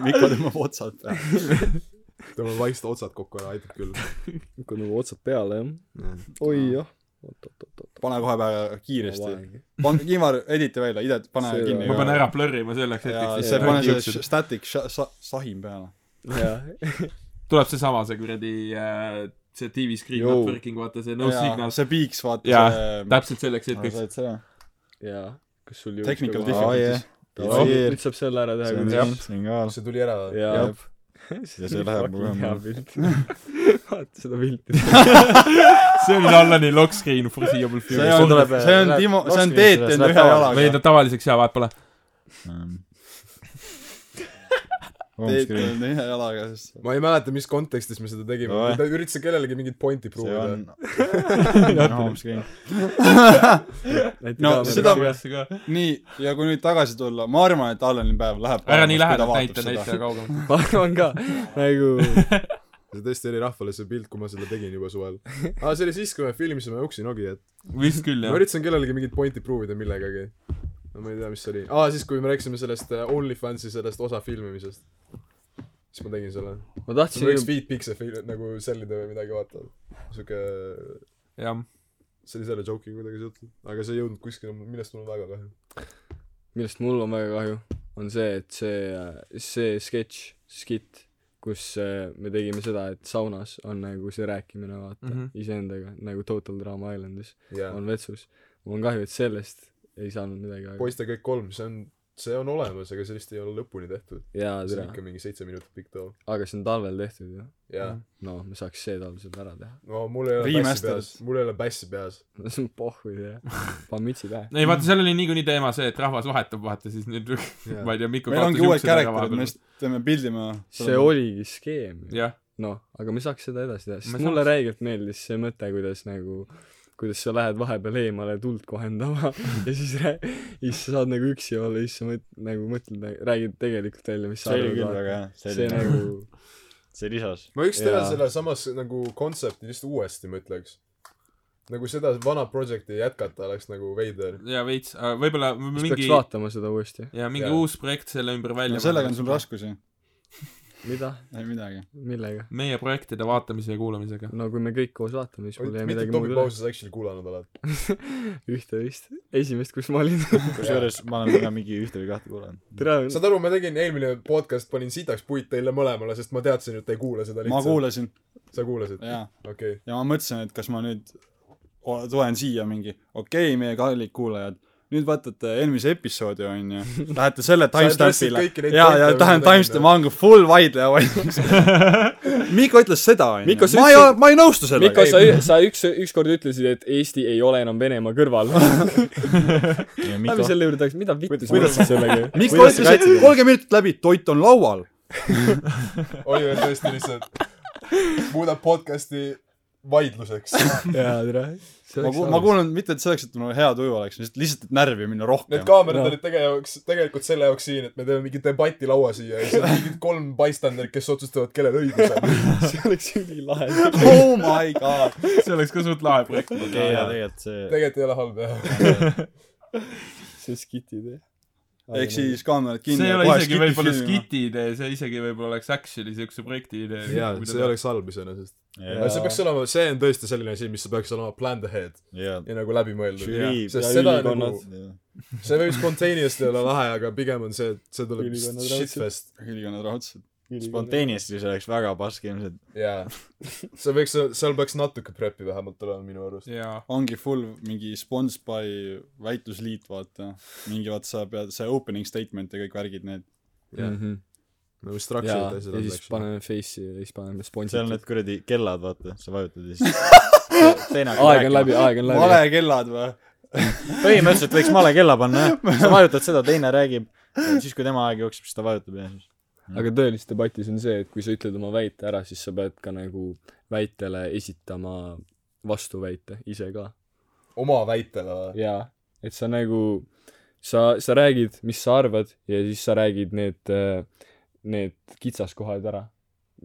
Mikko tõmbab otsad peale . tõmbame vaikselt otsad kokku ära , aitab küll . kui nagu otsad peale jah . oi jah . oot-oot-oot-oot . pane kohe peale kiiresti . pange , Ivar , editi välja , Ide , pane See- kinni . ma panen ära plõrrima selleks ja hetkeks see , see- pane see static sh- sa- sahin peale . jaa . tuleb seesama , see kuradi , see TV screen Joo. networking , vaata see no signal . see piiks , vaata Jaa, see . täpselt selleks hetkeks . said seda ? jaa . kas sul Technical juba- difficulty. Aa, nüüd saab selle ära teha , kui jah , see on ka . see tuli ära või ? jaa . [LAUGHS] Ja see läheb kohe hea maha. pilt . vaata seda pilti . see oli Allani lock screen foreseeable see future . on , tuleb- see on läheb- Timo , see on Moskvas Teet läheb enda ühe tavaliselt. jalaga ähm. veida . tavaliseks ja vaat pole . Um, teed need ühe jalaga , siis ma ei mäleta , mis kontekstis me seda tegime Oi. , ma üritasin kellelegi mingit pointi see pruuvida . [LAUGHS] on homscreen . No seda- ka . nii , ja kui nüüd tagasi tulla , ma arvan , et Allanil päev läheb ära nii lähedalt näita , näita kaugemalt . ma arvan ka , nagu see tõesti oli rahvale see pilt , kui ma seda tegin juba [LAUGHS] suvel . aa , see oli siis , kui me filmisime Uksi Nokiat . vist küll ma jah . üritasin kellelegi mingit pointi pruuvida millegagi . no ma ei tea , mis see oli . aa , siis kui me rääkisime sellest äh, OnlyFansi sellest osa filmimisest . siis ma tegin selle . ma see võiks tahtsin Beat Pixel fil- nagu sellida või midagi , vaata . sihuke , jah . see oli selle joke'i kuidagi seotud . aga see ei jõudnud kuskile , millest mul on väga kahju . millest mul on väga kahju , on see , et see , see sketš , skitt , kus äh, me tegime seda , et saunas on nagu see rääkimine , vaata mm Mhm. -hmm. , iseendaga , nagu Total Drama Islandis jaa . on vetsus . mul on kahju , et sellest ei saanud midagi aega . poiste kõik kolm , see on , see on olemas , aga sellist ei ole lõpuni tehtud . jaa , see on tere , ikka mingi seitse minutit pikk too . aga see on talvel tehtud ju . jaa . no me saaks see talv seda ära teha . [LAUGHS] no mul ei ole pässi Remastered. peas , mul ei ole pässi peas . no see on pohhu [LAUGHS] jah , pann mütsi pähe . ei vaata , seal oli niikuinii teema see , et rahvas vahetub , vaata siis nüüd Jaa. ma ei tea , Mikko meil ongi uued karakterid , me lihtsalt teeme pildi maha . see . oligi skeem ju . jah , noh , aga me saaks seda edasi teha , sest Me mulle saaks. räigelt meeldis see mõte , kuidas nagu , kuidas sa lähed vahepeal eemale tuld kohendama [LAUGHS] ja siis rää- , siis sa saad nagu üksi olla , siis sa mõt- , nagu mõtled , räägid tegelikult välja , mis sa see oli arvad . küll väga hea , see see oli , nagu , see lisas . ma võiks teha Jaa. selle samas nagu kontsepti lihtsalt uuesti , ma ütleks . nagu seda vana projekti jätkata oleks nagu veider . ja veits , võib-olla siis mingi peaks , vaatama seda uuesti . ja mingi Jaa. uus projekt selle ümber välja . no sellega on sul . raskusi , mida , ei midagi . millega ? meie projektide vaatamise ja kuulamisega . no kui me kõik koos vaatame , siis mul ei jää mitte midagi Tommy muud üle . Pauses actually kuulanud oled . ühte vist , esimest , kus ma [LAUGHS] olin . kusjuures ma olen ka mingi ühte või kahte kuulanud . tere , saad aru , ma tegin eelmine podcast , panin sitaks puid teile mõlemale , sest ma teadsin , et te ei kuula seda ma lihtsalt . kuulasin sa kuulasid ? ja , okei . ja ma mõtlesin , et kas ma nüüd o- tulen siia mingi , okei okay, , meie kallid kuulajad , nüüd vaatate eelmise episoodi , [LAUGHS] onju , lähete selle Sa tõstsid timestampile kõiki neid ja , pointe, ja mis me tahan tegime. timestamp , ma olen full vaidleja valmis . [LAUGHS] Mikko ütles seda , Mikko, onju sa . ma ei ütlesid- , ma ei nõustu sellega Mikko ,. sa , sa üks , ükskord ütlesid , et Eesti ei ole enam Venemaa [LAUGHS] kõrval . lähme selle juurde tagasi , mida vittu sa kuidas- mõtlesid sellega ? [LAUGHS] Mikko kuidas sa ütles , et kaitsed? kolmkümmend minutit läbi , toit on laual . Oliver tõesti lihtsalt muudab podcasti vaidluseks . jaa , tere . ma kuul- , ma kuulan mitte , et selleks , et mul hea tuju oleks , lihtsalt , lihtsalt et närvi minna Need rohkem . kaamerad Jaa. olid tegevaks , tegelikult selle jaoks siin , et me teeme mingi debatilaua siia ja siis on mingid kolm bystanderit , kes otsustavad , kellel õigus on . [LAUGHS] see oleks [LAUGHS] ülilahe . [LAUGHS] oh my [LAUGHS] god . see oleks ka suht lahe projekt . okei , ja tegelikult see , tegelikult ei ole halb jah . see on skiti idee . ehk siis kaamerad kinni see ei ja ole kohe isegi skiti võib-olla filmima . skiti idee , see isegi võib-olla oleks actually siukse projekti idee . oleks halb iseenesest . jaa , see peaks olema , see on tõesti selline asi , mis peaks olema planned ahead jaa . ja nagu läbimõeldud . žürii , sest Ja seda ülikonnad. nagu , see võib spontaneously olla lahe , aga pigem on see , et see tuleb Ülikonnad shitfest . ülikonnad raudselt . spontaneously see oleks väga paske ilmselt . jaa . see võiks , seal peaks natuke prep'i vähemalt olema minu arust . jaa , ongi full mingi spons by väitlusliit , vaata . mingi vaata , sa pead , see opening statement ja kõik värgid , need . jah , ja nagu structure'id Mhm. ja siis . paneme face'i ja siis paneme sponsi seal on need kuradi kellad , vaata , sa vajutad ja [LAUGHS] siis aeg on läbi , aeg on läbi valekellad või ? põhimõtteliselt võiks male kella panna , [LAUGHS] jah . sa vajutad seda , teine räägib , siis kui tema aeg jookseb , siis ta vajutab ja siis aga tõelises debatis on see , et kui sa ütled oma väite ära , siis sa pead ka nagu väitele esitama vastuväite ise ka oma väitele või ? jaa et sa nagu sa sa räägid mis sa arvad ja siis sa räägid need äh, need kitsaskohad ära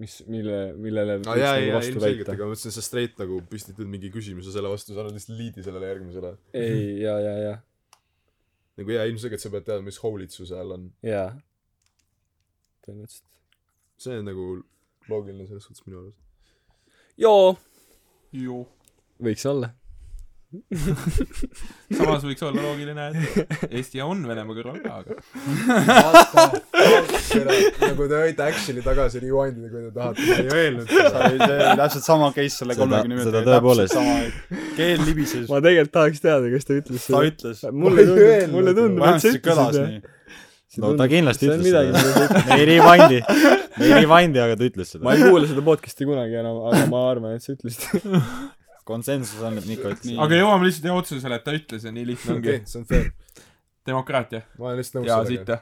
mis mille millele aa võiks Ah, jaa , nagu jaa , vastu ilmselgelt , väita. aga ma mõtlesin , sa straight nagu püstitad mingi küsimuse selle vastu , sa annad lihtsalt liidi sellele järgmisele . ei jaa jaa jaa nagu jaa , ilmselgelt sa pead teadma , mis hoolitsus seal on . jaa tõenäoliselt see on nagu loogiline selles suhtes minu arust . joo ju . võiks olla samas võiks olla loogiline , et Eesti on Venemaa kõrval ka , aga nagu te võite actually tagasi rewind ida , kui te tahate , ma ei öelnud see [LAUGHS] seda . oli see oli täpselt sama case selle Seda- kolmekümne seda minutiga , tõepoolest. täpselt sama . keel libises , ma tegelikult tahaks teada kas ta ütles ta ütles . Ma mulle ei tundub öelnud. mulle tundub et vähemasti sa see kõlas ütlesid nii . See no ta tundub- kindlasti see on ütles midagi, seda . mida ta ütles. me ei rewind'i , me ei rewind'i , aga ta ütles seda . ma ei kuule seda podcast'i kunagi enam aga ma arvan et sa ütlesid konsensus on , et Niko ütles Nii. seda . aga jõuame lihtsalt jah otsusele , et ta ütles ja nii lihtne ongi okei , see on fair . demokraatia ma olen lihtsalt ja nõus siit sellega .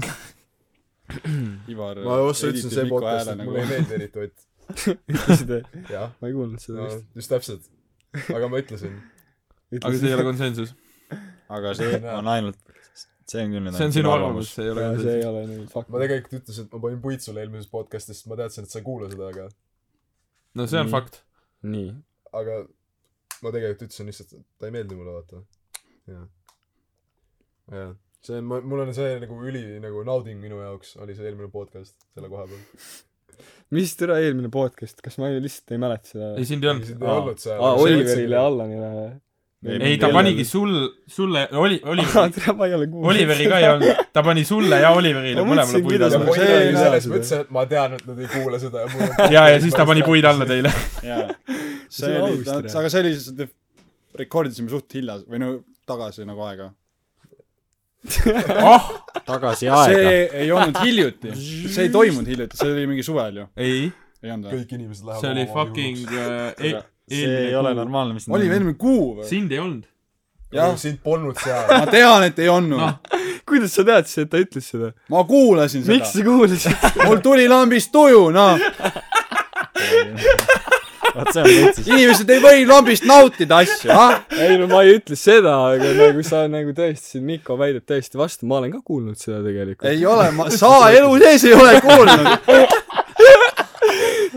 jah Ivar ma otse ütlesin see podcast , nagu et mulle ei meeldi eriti Ott . ütlesid või ? jah , ma ei kuulnud seda vist . just täpselt . aga ma ütlesin . aga see ei ole konsensus . aga [LAUGHS] see on ainult , see on küll nüüd see on sinu arvamus , see ei ole see ei konsensus . ole nüüd fakt . ma tegelikult ütlesin , et ma panin puid sulle eelmises podcastis , sest ma teadsin , et sa ei kuula seda , aga , no see on Nii. fakt . nii . aga ma tegelikult ütlesin lihtsalt , et ta ei meeldi mulle , vaata . jah . jah , see , ma , mul on see nagu üli nagu nauding minu jaoks oli see eelmine podcast selle koha peal . mis türa eelmine podcast , kas ma ei- lihtsalt ei mäleta seda ei , sind ei olnud . sind ei olnud seal . aa , Oliverile . Allanile või ? ei , ta Kellele? panigi sul , sulle , oli , oli , tere , ma ei ole kuulnud . Oliveri ka ei . olnud , ta pani sulle ja Oliverile Ma mõlemale mõtlesin, puid kuidas ja alla . ma See ise ei saa selles seda. mõttes , et ma tean , et nad ei kuula seda ja mul ja , ja siis ta pani puid alla teile . jaa . See [LAUGHS] see on oli , aus tere. aga see oli lihtsalt , rekordisime suht hilja või no tagasi nagu aega . ah , tagasi see aega . ei olnud hiljuti , see ei toimunud hiljuti , see oli mingi suvel ju , ei , ei olnud või ? kõik inimesed see lähevad oli fucking äh, e- see , ei eelmine ole kuu . normaalne , mis oli eelmine kuu või ? sind ei olnud . jah jah ,, Nagu sind polnud seal [LAUGHS] ma tean , et ei olnud Noh. no. . [LAUGHS] kuidas sa teadsid , et ta ütles seda ? ma kuulasin miks [LAUGHS] seda . sa [LAUGHS] kuulasid ? mul tuli lambist tuju , noh . vot see on täitsa . inimesed ei või lambist nautida asju , ah . ei no ma ei ütle seda , aga nagu sa nagu tõestasid Mikko väidet täiesti vastu , ma olen ka kuulnud seda tegelikult . ei ole , [LAUGHS] ma , sa elu sees ei ole kuulnud .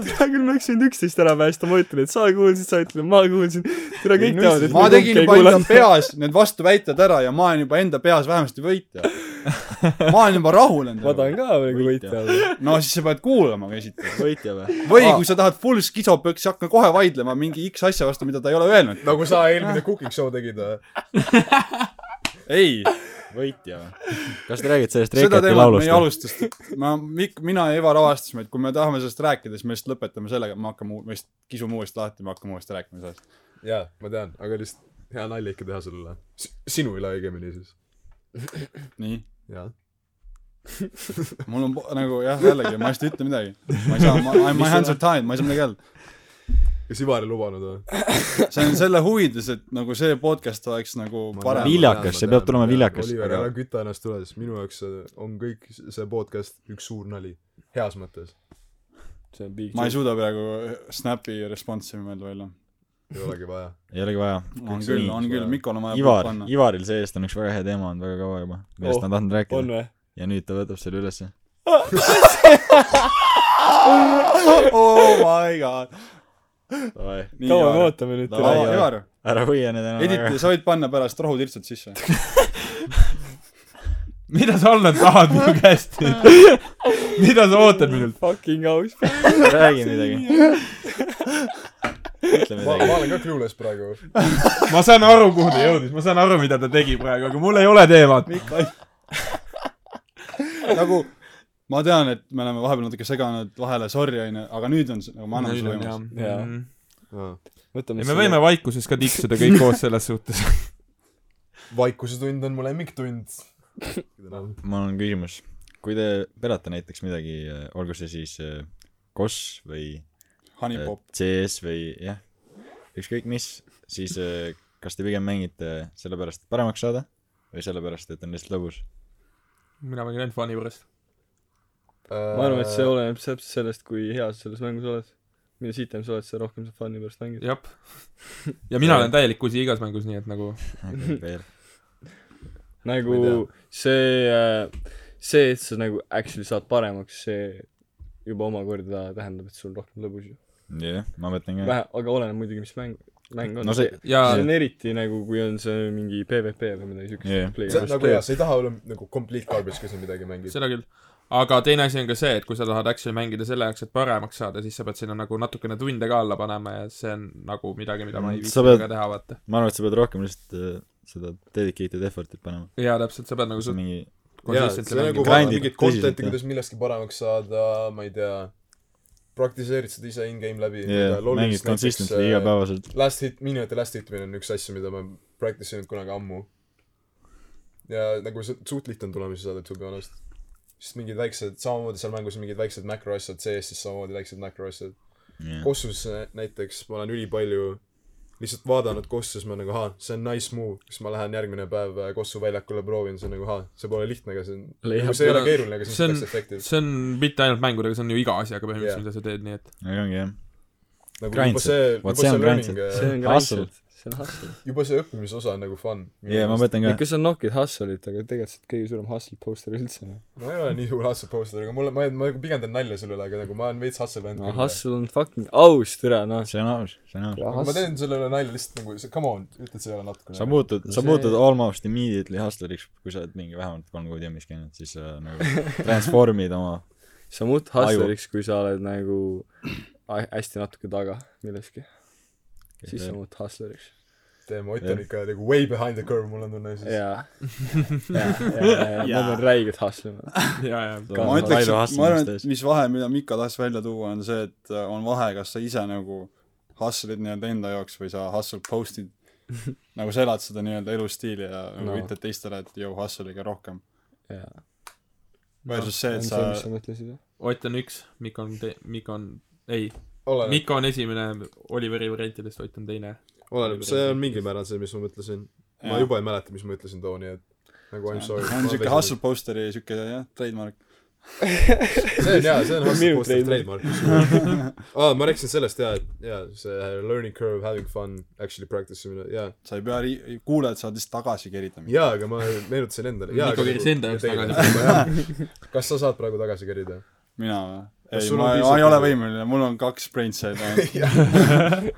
hea küll , me oleks võinud üksteist ära päästa , ma ütlen , et sa kuulsid , sa ütled , ma kuulsin . tere , kõik teavad , et ma tegin juba enda kuulanud . peas need vastuväited ära ja ma olen juba enda peas vähemasti võitja . ma olen juba rahul ma tahan endaga . ka nagu võitja olla . no siis sa pead kuulama ka esiteks . võitja või ? või Aa. kui sa tahad full skisopöks , hakka kohe vaidlema mingi X asja vastu , mida ta ei ole öelnud . nagu sa eelmine cooking show tegid äh. või ei , võitja või ? kas te räägite sellest seda Reikati teemat me laulust ei ? alustusnud . ma , Mikk , mina ja Ivar avastasime , et kui me tahame sellest rääkida , siis me lihtsalt lõpetame sellega , et me hakkame , me lihtsalt kisume uuesti lahti , me hakkame uuesti rääkima sellest . jaa , ma tean , aga lihtsalt hea nalja ikka teha selle üle . sinu üle õigemini siis . nii , jaa . mul on po- nagu jah , jällegi , ma just ei ütle midagi . ma ei saa , ma , I am my hands are tied , ma ei saa midagi öelda . kas Ivar ei lubanud äh. või ? see on selle huvides , et nagu see podcast oleks nagu parem . Viljakas, see peab tulema viljakas. Oliver , Aga- ära küta ennast üles , minu jaoks see on kõik see podcast üks suur nali . heas mõttes . see on big ma ei suuda praegu Snapi response'i mõelda välja . ei olegi vaja . ei olegi vaja . on küll , on küll , Mikol on vaja Ivar puhk , panna. Ivaril see-eest on üks väga hea teema olnud väga kaua juba , millest Oh, ta on tahtnud on rääkida . või ? ja nüüd ta võtab selle ülesse . oh my god . kaua me ootame nüüd Davai, Aa, Ivar. teda ? Ivar , ära hoia need enam editi ,. sa võid panna pärast rohutirtsud sisse . mida sa Allan tahad minu käest [LAUGHS] nüüd ? mida sa ootad minult ? Fucking aus . räägi midagi . ütle ma , ma midagi . olen ka clueless praegu . ma saan aru , kuhu ta jõudis , ma saan aru , mida ta tegi praegu , aga mul ei ole teemat . [LAUGHS] nagu ma tean , et me oleme vahepeal natuke seganud vahele , sorry onju , aga nüüd on see , nagu ma annan sulle võimaluse . Jaa. ja võtame me võime vaikuses ka tiksuda kõik koos selles suhtes . vaikusetund on mu lemmiktund . mul on küsimus . kui te pelate näiteks midagi , olgu see siis äh, COS või äh, Honeypop , CS või jah , ükskõik mis , siis äh, kas te pigem mängite sellepärast , et paremaks saada või sellepärast , et on lihtsalt lõbus ? [LAUGHS] mina mängin ainult fani [LAUGHS] pärast . ma arvan , et see oleneb täpselt sellest , kui hea sa selles mängus oled . mida sitem sa oled , seda rohkem sa fun'i pärast mängid . jah . ja mina olen täielik kusi igas mängus , nii et nagu [LAUGHS] veel . nagu Ma ei see , see , et sa nagu actually saad paremaks , see juba omakorda tähendab , et sul on rohkem lõbus ju . jah , ma mõtlen ka . vähe , aga oleneb muidugi , mis mäng , mäng on no see , ja see on eriti nagu , kui on see mingi PVP või midagi Jaa. see on nagu hea , siukest . sa ei taha olla nagu complete garbage , kui sa midagi mängid . seda küll . aga teine asi on ka see , et kui sa tahad actually mängida selle jaoks , et paremaks saada , siis sa pead sinna nagu natukene tunde ka alla panema ja see on nagu midagi , mida ma ei Mm, viitsi sa pead- väga teha , vaata . ma arvan , et sa pead rohkem lihtsalt äh, seda dedicated effort'it panema . jaa , täpselt , sa pead nagu suht- mingi , Mm, jaa , see konsistentsi on nagu mängima . vaatad Grindid mingit tõsiselt, content'i , jah. kuidas millestki paremaks saada , ma ei tea , praktiseerid seda ise in-game läbi jaa , mängid consistently igapäevaselt . äh, Last hit , miniati last hitmine on üks asju , mida ma practice inud kunagi ammu . ja nagu see suht lihtne on tulemusi saada , to be honest . sest mingid väiksed , samamoodi seal mängus on mingid väiksed makroasjad , CS-is samamoodi väiksed makroasjad . jah , Kossus näiteks ma olen ülipalju lihtsalt vaadanud Kossu , siis ma nagu ahah , see on nice move , siis ma lähen järgmine päev äh, Kossu väljakule proovin , see on nagu ahah , see pole lihtne , aga see on , Leiab nagu see ei ole ära- keeruline , aga see see on on- täitsa efektiivne . see on mitte ainult mängudega , see on ju iga asjaga Jaa. põhimõtteliselt , mida sa teed , nii et [LAUGHS] ei ongi jah . nagu grind juba set. see , juba Vot see see on grind learning set. , see on Hustle. hustle , see on hustle . juba see õppimisosa on nagu fun . jaa , ma mõtlen ka . kui sa nokid hustle'it , aga tegelikult sa oled kõige suurem hustle poster üldse . ma ei ole nii hull hustle poster , aga mulle , ma , ma nagu pigem teen nalja selle üle , aga nagu ma olen veits hustle bänd no . hustle on fucking aus , türa , noh . see on aus , see on aus . ma teen selle üle nalja lihtsalt nagu , come on , ütled selle üle natukene . sa muutud , sa See- muutud almost immediately hustleriks , kui sa oled mingi vähemalt kolm kuud jammis käinud , siis sa [LAUGHS] nagu transform'id oma sa muud hustle'iks , kui sa oled nagu a- hästi natuke taga milleski , siis sa muud hustle'iks . teeme , Ott on ikka nagu way behind the curve , mul on tunne siis . [LAUGHS] jaa . Nad on räiged hustle'id . jaa , jaa . Ka- ma ütleks , Raido et ma arvan , hustlemistes. et mis vahe , mida Mika tahtis välja tuua , on see , et äh, on vahe , kas sa ise nagu hustle'id nii-öelda enda jaoks või sa hustle [LAUGHS] post'id nagu sa elad seda nii-öelda elustiili ja nagu No. no. ütled teistele , et jõu hustle'ige rohkem . jaa . versus see , see et on see , mis sa sa mõtlesid , jah ? Ott on üks , Mikk on te- , Mikk on , ei , oleneb , Mikk on esimene Oliveri variantidest , Ott on teine . oleneb , see on mingil määral see , mis ma mõtlesin . ma Jaa. juba ei mäleta , mis ma ütlesin too , nii et nagu I m sorry . on siuke hustle . posteri siuke jah , trademark . see on jaa , see on hustle Minu poster trademark. trademark . [LAUGHS] aa , ma rääkisin sellest jaa , et jaa , see learning curve , having fun , actually practice imine , jaa . sa ei pea ri- , kuulajad saavad lihtsalt tagasi kerida . jaa , aga ma meenutasin endale . Mikko keris enda jaoks tagasi . kas sa saad praegu tagasi kerida ? mina või ? Kas ei , sul on ma, ma ei piisavalt- nagu- ole võimeline , mul on kaks brain [LAUGHS] cell'i ainult .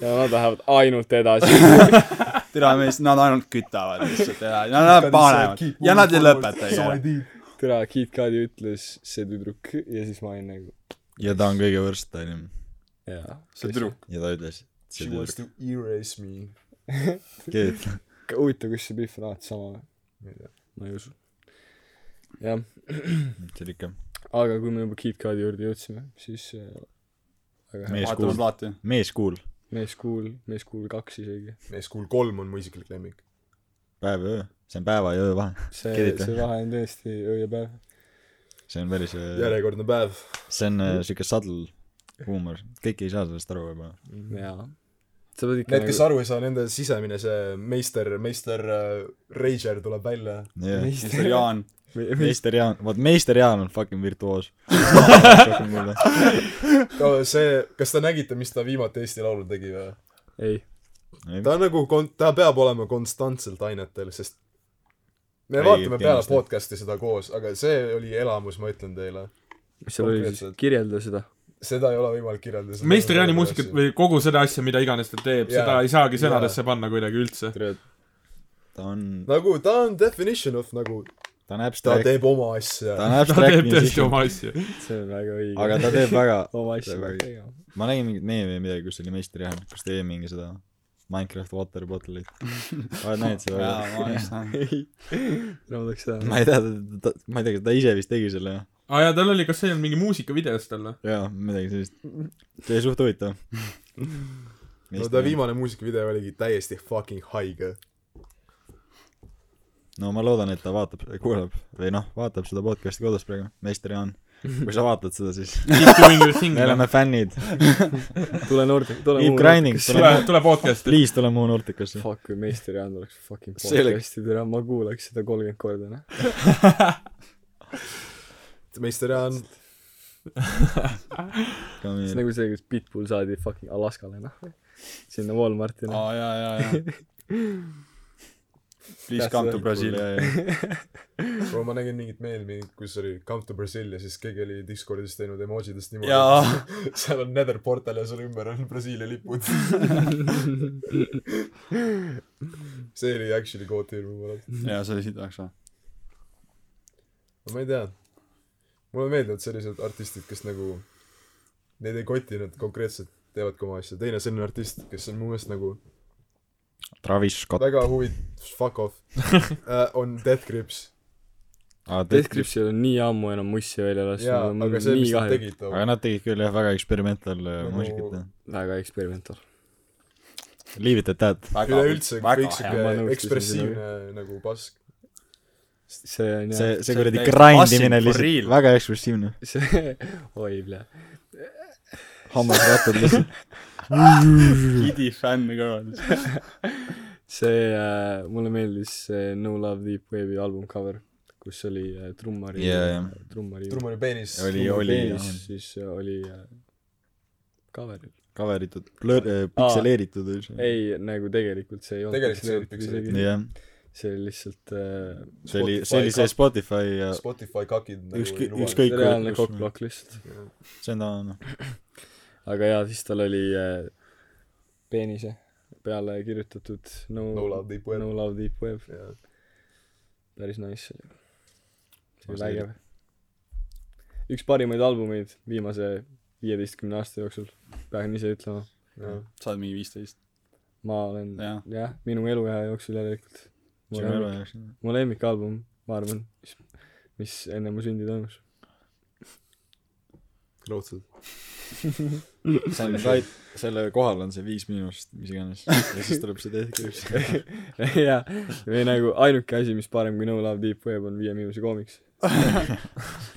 ja nad lähevad ainult edasi . [LAUGHS] tere mees , nad ainult kütavad lihtsalt ja ja nad panevad ja nad ei lõpeta iga . türa , Kid Cudi ütles see tüdruk ja siis ma olin nagu , ja ta on kõige versatiline jaa . see tüdruk . ja ta ütles , She wants to erase me . keegi ütleb , huvitav , kas see Biff on alati sama või ? ma ei usu . jah , see oli ikka aga kui me juba Kid Cudi juurde jõudsime , siis äh, väga hea Mees vaatame kuul. plaati . mees cool , mees kuul , mees kuul kaks isegi . mees , kuul kolm on mu isiklik lemmik . päev ja öö , see on päeva ja öö vahe , see , Kirjuta. see vahe on tõesti öö ja päev . see on päris , järjekordne päev . see on äh, siuke subtle huumor , kõik ei saa sellest aru võib-olla . Mm. jaa . sa pead ikka Need , kes aru ei saa , nende sisemine see meister , meister äh, Rager tuleb välja . jah , siis oli [LAUGHS] Jaan . meister Jaan , vot meister Jaan on fucking [LAUGHS] virtuoos . see , kas te nägite , mis ta viimati Eesti Laulul tegi või ? ei , ta on nagu kon- , ta peab olema konstantselt ainetel , sest me Ei, ei, vaatame peale kindlasti. podcast'i seda koos , aga see oli elamus , ma ütlen teile . mis nagu- seal oli siis Konkreetselt. , kirjelda seda . seda ei ole võimalik kirjeldada . meister Jaani muusikat või kogu seda asja , mida iganes ta teeb , Jaa. seda ei saagi Jaa. sõnadesse panna kuidagi üldse . ta on , nagu ta on definition of nagu , ta on ta abstract , teeb oma asja ta . on ta teeb abstract tõesti musician , oma asju . see on väga õige . aga ta teeb väga , oma asja see peab väga- tegema . ma nägin mingit meemi või midagi , kus oli meister Jaan , kus tegi mingi seda Minecraft water [LAUGHS] bottle'it . oled näinud seda ? no ma tahaks seda [LAUGHS] ma ei tea , ta , ta , ma ei tea , kas ta ise vist tegi selle jah ? aa Ah, jaa , tal oli , kas see ei olnud mingi muusikavideos tal [LAUGHS] või ? jaa , midagi sellist . see oli suht huvitav . [LAUGHS] no ta . viimane muusikavideo oligi täiesti fucking haige . no ma loodan , et ta vaatab , kuulab või noh , vaatab seda podcast'i kodus praegu , meister Jaan . kui sa vaatad seda , siis Keep doing your thing noh. me või ? oleme fännid . tule noorte , tule Keep grinding , tule tule ,, tule podcast'i . please tule muu Nordicasse . Fuck , kui meister Jaan tuleks fucking See oli- podcast'i türa , ma kuulaks seda kolmkümmend korda , noh . meister Jaan , see on nagu see , kus Pitbull saadi fucking Alaskale , noh . sinna Walmarti , noh . aa jaa jaa [LAUGHS] jaa Please That's come to the- Brazil kui ma nägin mingit meemi , kus oli Come to Brazil ja siis keegi oli Discordis teinud emojidest niimoodi . jaa [LAUGHS] seal on Nether portal ja seal ümber on Brasiilia [LAUGHS] lipud . see oli actually kvooti hirmu pärast . jaa see oli siit ajaks vä aga ma ei tea . mulle meeldivad sellised artistid , kes nagu , neid ei koti , nad konkreetselt teevadki oma asja . teine selline artist , kes on mu meelest nagu Travis Scott . väga huvitav , fuck [LAUGHS] off uh, , on Death Grips . Death Grips ei ole nii ammu enam mussi välja jaa , lasknud , mul aga on see , nii mis nad kahju . tegid aga too . nad tegid küll jah , väga experimental Nagu- nagu... muusikat jah . väga eksperimentaal . Leave it at that . üleüldse kõik hea, ma siuke nõustusin ekspressiivne nagu pask . see on jah , see , see see kuradi on täiesti grind passing imine for lihtsalt real. , väga [LAUGHS] ekspressiivne . see , oi , plee . [LAUGHS] hammasrattad lihtsalt . Gidi fänn girl . see äh, , mulle meeldis see No Love Deep Wave'i album cover , kus oli äh, trummari Jaa, jah. trummari trummari peenis . oli , oli ja siis äh, oli äh, coveril . coveritud , blur- , pikseleeritud üldse . ei , nagu tegelikult see ei olnud Tegelikult see oli pikselitud isegi . jah , see oli lihtsalt äh, see oli , see oli see Spotify ja Spotify kakid nagu Ükskõik- ei luba. ükskõik- Kõik reaalne olid- kokkplokk lihtsalt . see on ta , noh . aga jaa , siis tal oli äh, peenise peale kirjutatud No, No love deep web no Love Deep Web , Jaa. päris nice oli . see oli Ma vägev . üks parimaid albumeid viimase viieteistkümne aasta jooksul , pean ise ütlema . Jaa. sa oled mingi viisteist . ma olen Jah. jah , minu eluea jooksul järelikult . mu lemmik , mu lemmikalbum , ma arvan , mis , mis enne mu sündi toimus . [LAUGHS] raudselt . see on right , selle kohal on see viis miinust , mis iganes . ja siis tuleb see [LAUGHS] tehniline . jaa , või nagu ainuke asi , mis parem kui No Love Deep Web on Viie Miinuse koomiks .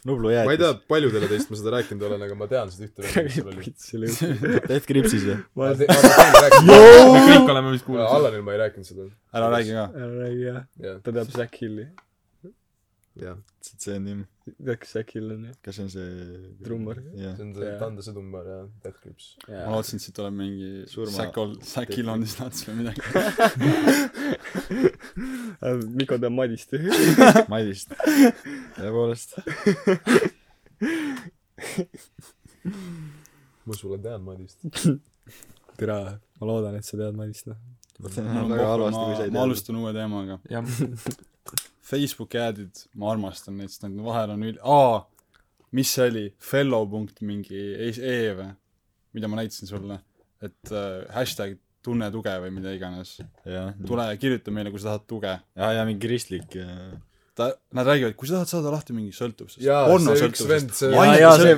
Nublu ma ei tea jäätis ., paljudele teist ma seda rääkinud olen , aga ma tean seda ühte venda , kes sul [LAUGHS] oli . teed kriipsis või ? ma te- ma tean rääkida . me kõik oleme vist kuulnud . Allanil ma ei rääkinud seda . ära räägi ka , ära räägi jah , jah , ta teab Zack Hilli . jah . sest see on nii , tead , kes Zack Hill on jah ? kas see on see Trummar. jah see on see Jaa. Tande Sõdumar ja Death Grips . ma lootsin , et siit tuleb mingi Surma- Säkol , Säkilonis nats või midagi . Miko teab Madist . [LAUGHS] Madist , tõepoolest . ma sulle tean , Madis . türa , ma loodan , et sa tead Madist , noh . see on väga halvasti , kui sa ei ma tea . alustan uue teemaga . jah , Facebooki ad'id , ma armastan neid , sest nad vahel on üli- , aa , mis see oli , fellow punkt mingi e- e- või , mida ma näitasin sulle , et äh, hashtag tunne tuge või mida iganes . jah , tule ja kirjuta meile , kui sa tahad tuge . ja , ja mingi äh, kristlik ja ta , nad räägivad , kui sa tahad saada lahti mingi sõltuvusest , Jaa, see porno üks vend, sõltuvusest see- , Jaa, vaimse jaa, see kuradi-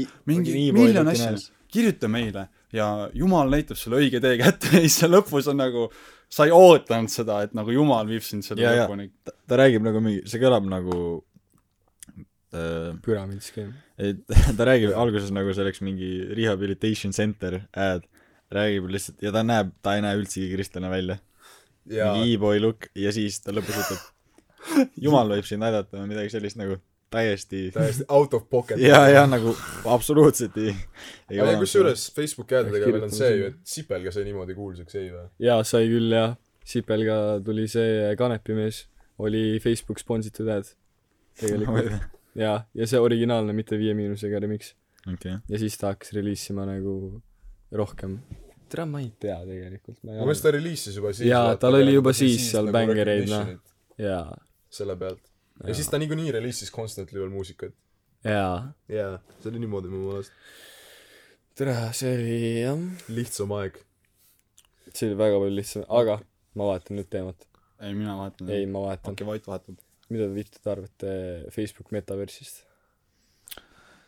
sõltuvusest , mingi nii miljon poilik asja näes. , kirjuta meile ja jumal näitab sulle õige tee kätte [LAUGHS] ja siis seal lõpus on nagu , sa ei ootanud seda , et nagu jumal viib sind selle Jaa, jaa. lõpuni . ta, ta räägib nagu mingi , see kõlab nagu äh, , püramiidskeem . et [LAUGHS] ta räägib alguses nagu see oleks mingi rehabilitation center ad , räägib lihtsalt ja ta näeb , ta ei näe üldsegi kristlane välja . ja mingi e-boy look ja siis ta lõpus ütleb , [LAUGHS] jumal võib sind aidata või midagi sellist nagu täiesti täiesti out of pocket . ja , ja nagu absoluutselt ei , ei aga kusjuures Facebooki hääldega veel on see ju , kirjutame et sipelga sai niimoodi kuulsaks , ei või ? jaa , sai küll jah . Sipelga tuli see kanepimees , oli Facebook sponsitud ad . tegelikult . [LAUGHS] tegelikult . jaa , ja see originaalne , mitte Viie Miinusega remix . okei , ja siis ta hakkas reliisima nagu rohkem . türa , ma ei tea tegelikult , ma mu meelest ta reliisis juba siis . Jaa, vaata, tal oli aga juba siis siis seal nagu bängereid, noh. recognition'it jaa , selle pealt . ja Jaa. siis ta niikuinii reliisis constantly veel muusikat . jaa . jaa , see oli niimoodi mu meelest . türa , see oli jah . lihtsam aeg . see oli väga palju lihtsam , aga ma vaatan nüüd teemat . nagu- ei , mina vaatan . ei , ma vaatan . okei , Vait vahetab . mida te vittu te arvate Facebook metaversist ?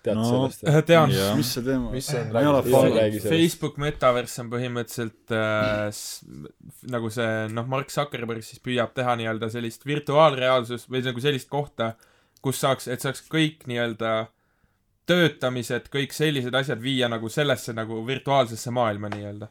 tead no, No, sellest jah ? tean . Jah. Ah, mis see teema Mis see on? ma ei ole Ei ole fan . räägi sellest . Facebook metavers on põhimõtteliselt äh, s- nagu see noh , Mark Zuckerberg siis püüab teha nii-öelda sellist virtuaalreaalsust või nagu sellist kohta , kus saaks , et saaks kõik nii-öelda töötamised , kõik sellised asjad viia nagu sellesse nagu virtuaalsesse maailma nii-öelda .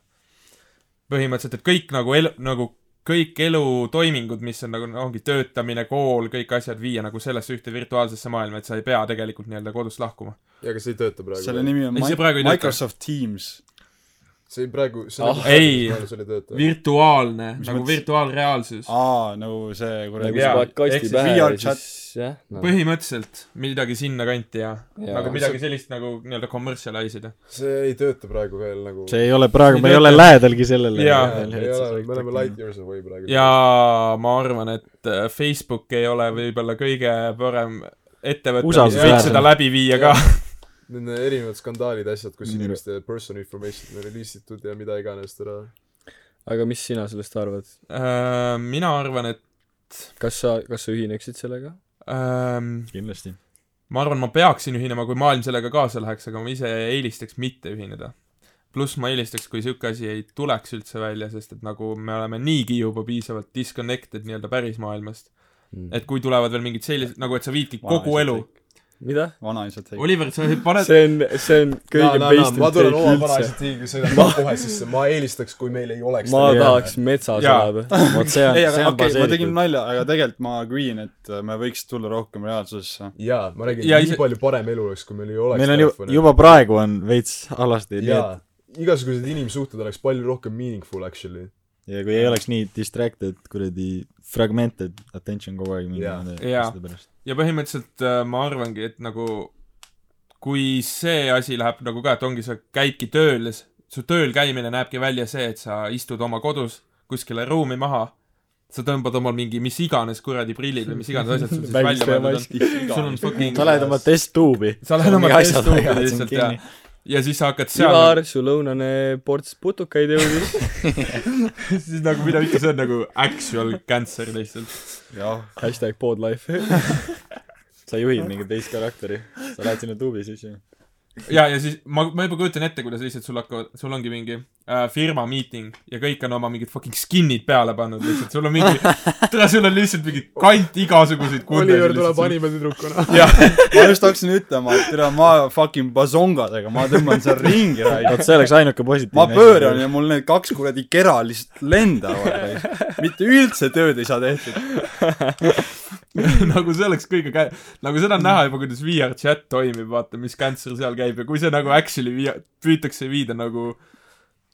põhimõtteliselt , et kõik nagu elu , nagu kõik elutoimingud , mis on nagu , ongi töötamine , kool , kõik asjad viia nagu sellesse ühte virtuaalsesse maailma , et sa ei pea tegelikult nii-öelda kodust lahkuma . jaa , aga see ei tööta praegu . selle nimi on Ei, see Mi- praegu ei tööta. Microsoft Teams . see ei praegu , see Ah, nagu ei. see oli töötav . virtuaalne , nagu mõttes? virtuaalreaalsus . aa , nagu see nagu kuradi sa Jaa, paned ehk kasti siis pähe VR ja siis jah , noh . põhimõtteliselt midagi sinnakanti ja, ja Jaa. nagu midagi sellist nagu nii-öelda commercialise ida . see ei tööta praegu veel nagu . see ei ole praegu , me ei Ei ole [LAUGHS] tööta. lähedalgi sellele . Jaa. me ei ole , me oleme light years away praegu . ja ma arvan , et äh, Facebook ei ole võib-olla kõige parem ettevõte , mis Usaldusväärsem. võiks seda läbi viia ka . Need erinevad skandaalid , asjad , kus Nii. inimeste person information on reliisitud ja mida iganes täna . aga mis sina sellest arvad ? [LAUGHS] Äh, mina arvan , et kas sa , kas sa ühineksid sellega ? ähm, kindlasti . ma arvan , ma peaksin ühinema , kui maailm sellega kaasa läheks , aga ma ise eelistaks mitte ühineda . pluss ma eelistaks , kui niisugune asi ei tuleks üldse välja , sest et nagu me oleme niigi juba piisavalt Mm. disconnected nii-öelda päris maailmast . et kui tulevad veel mingid sellised , nagu et sa viidki Vana kogu asja elu , mida ? vanaisa tegi . Oliver , sa paned , see on , see on no, no, kõige no, based ma tulen take oma üldse . vanaisalt tiigri sõidan ka kohe sisse , ma eelistaks , kui meil ei oleks ma täna- tahaks metsas Jaa. elada . vot see on ei , aga see on okei okay, , ma tegin baseeritud . nalja , aga tegelikult ma agree'n , et äh, me võiks tulla rohkem reaalsusesse . jaa , ma räägin , Ja nii ise- palju parem elu oleks , kui meil ei oleks meil on ju , juba praegu on veits halvasti , nii jaa , igasugused inimsuhted oleks palju rohkem meaningful actually . et ja kui ei oleks nii distracted , kuradi fragmented attention kogu aeg mingi Jaa. nende Jaa. asjade pärast . ja põhimõtteliselt äh, ma arvangi , et nagu kui see asi läheb nagu ka , et ongi , sa käidki tööl ja s- su tööl käimine näebki välja see , et sa istud oma kodus kuskile ruumi maha , sa tõmbad omal mingi mis iganes kuradi prillid või mis iganes asjad sul siis välja mõeldud on . sul on fucking sa , lähed oma test tuubi . sa lähed oma testuubi lihtsalt ja , ja siis sa hakkad seal Ivar , su lõunane ports putukaid jõudis . [LAUGHS] [LAUGHS] siis nagu mida ikka , see on nagu actual cancer lihtsalt . jah , hashtag podlife . sa juhid mingit teist karakteri , sa lähed sinna tuubi sisse . ja , ja siis ma , ma juba kujutan ette , kuidas lihtsalt sul hakkavad , sul ongi mingi äh, firma miiting ja kõik on oma mingid fucking skin'id peale pannud lihtsalt , sul on mingi , tere , sul on lihtsalt mingi kant igasuguseid Oliver tuleb . animetüdrukuna . jah , ma just hakkasin ütlema , et tere , ma fucking basongadega , ma tõmban seal ringi vot raisk . see oleks ainuke positiivne ma pööran . ja mul need kaks kuradi kera lihtsalt lendavad raisk . mitte üldse tööd ei saa tehtud . nagu see oleks kõige kä- , nagu seda on näha juba , kuidas VR chat toimib , vaata , mis cancer seal käib ja kui see nagu actually vii- , püütakse viida nagu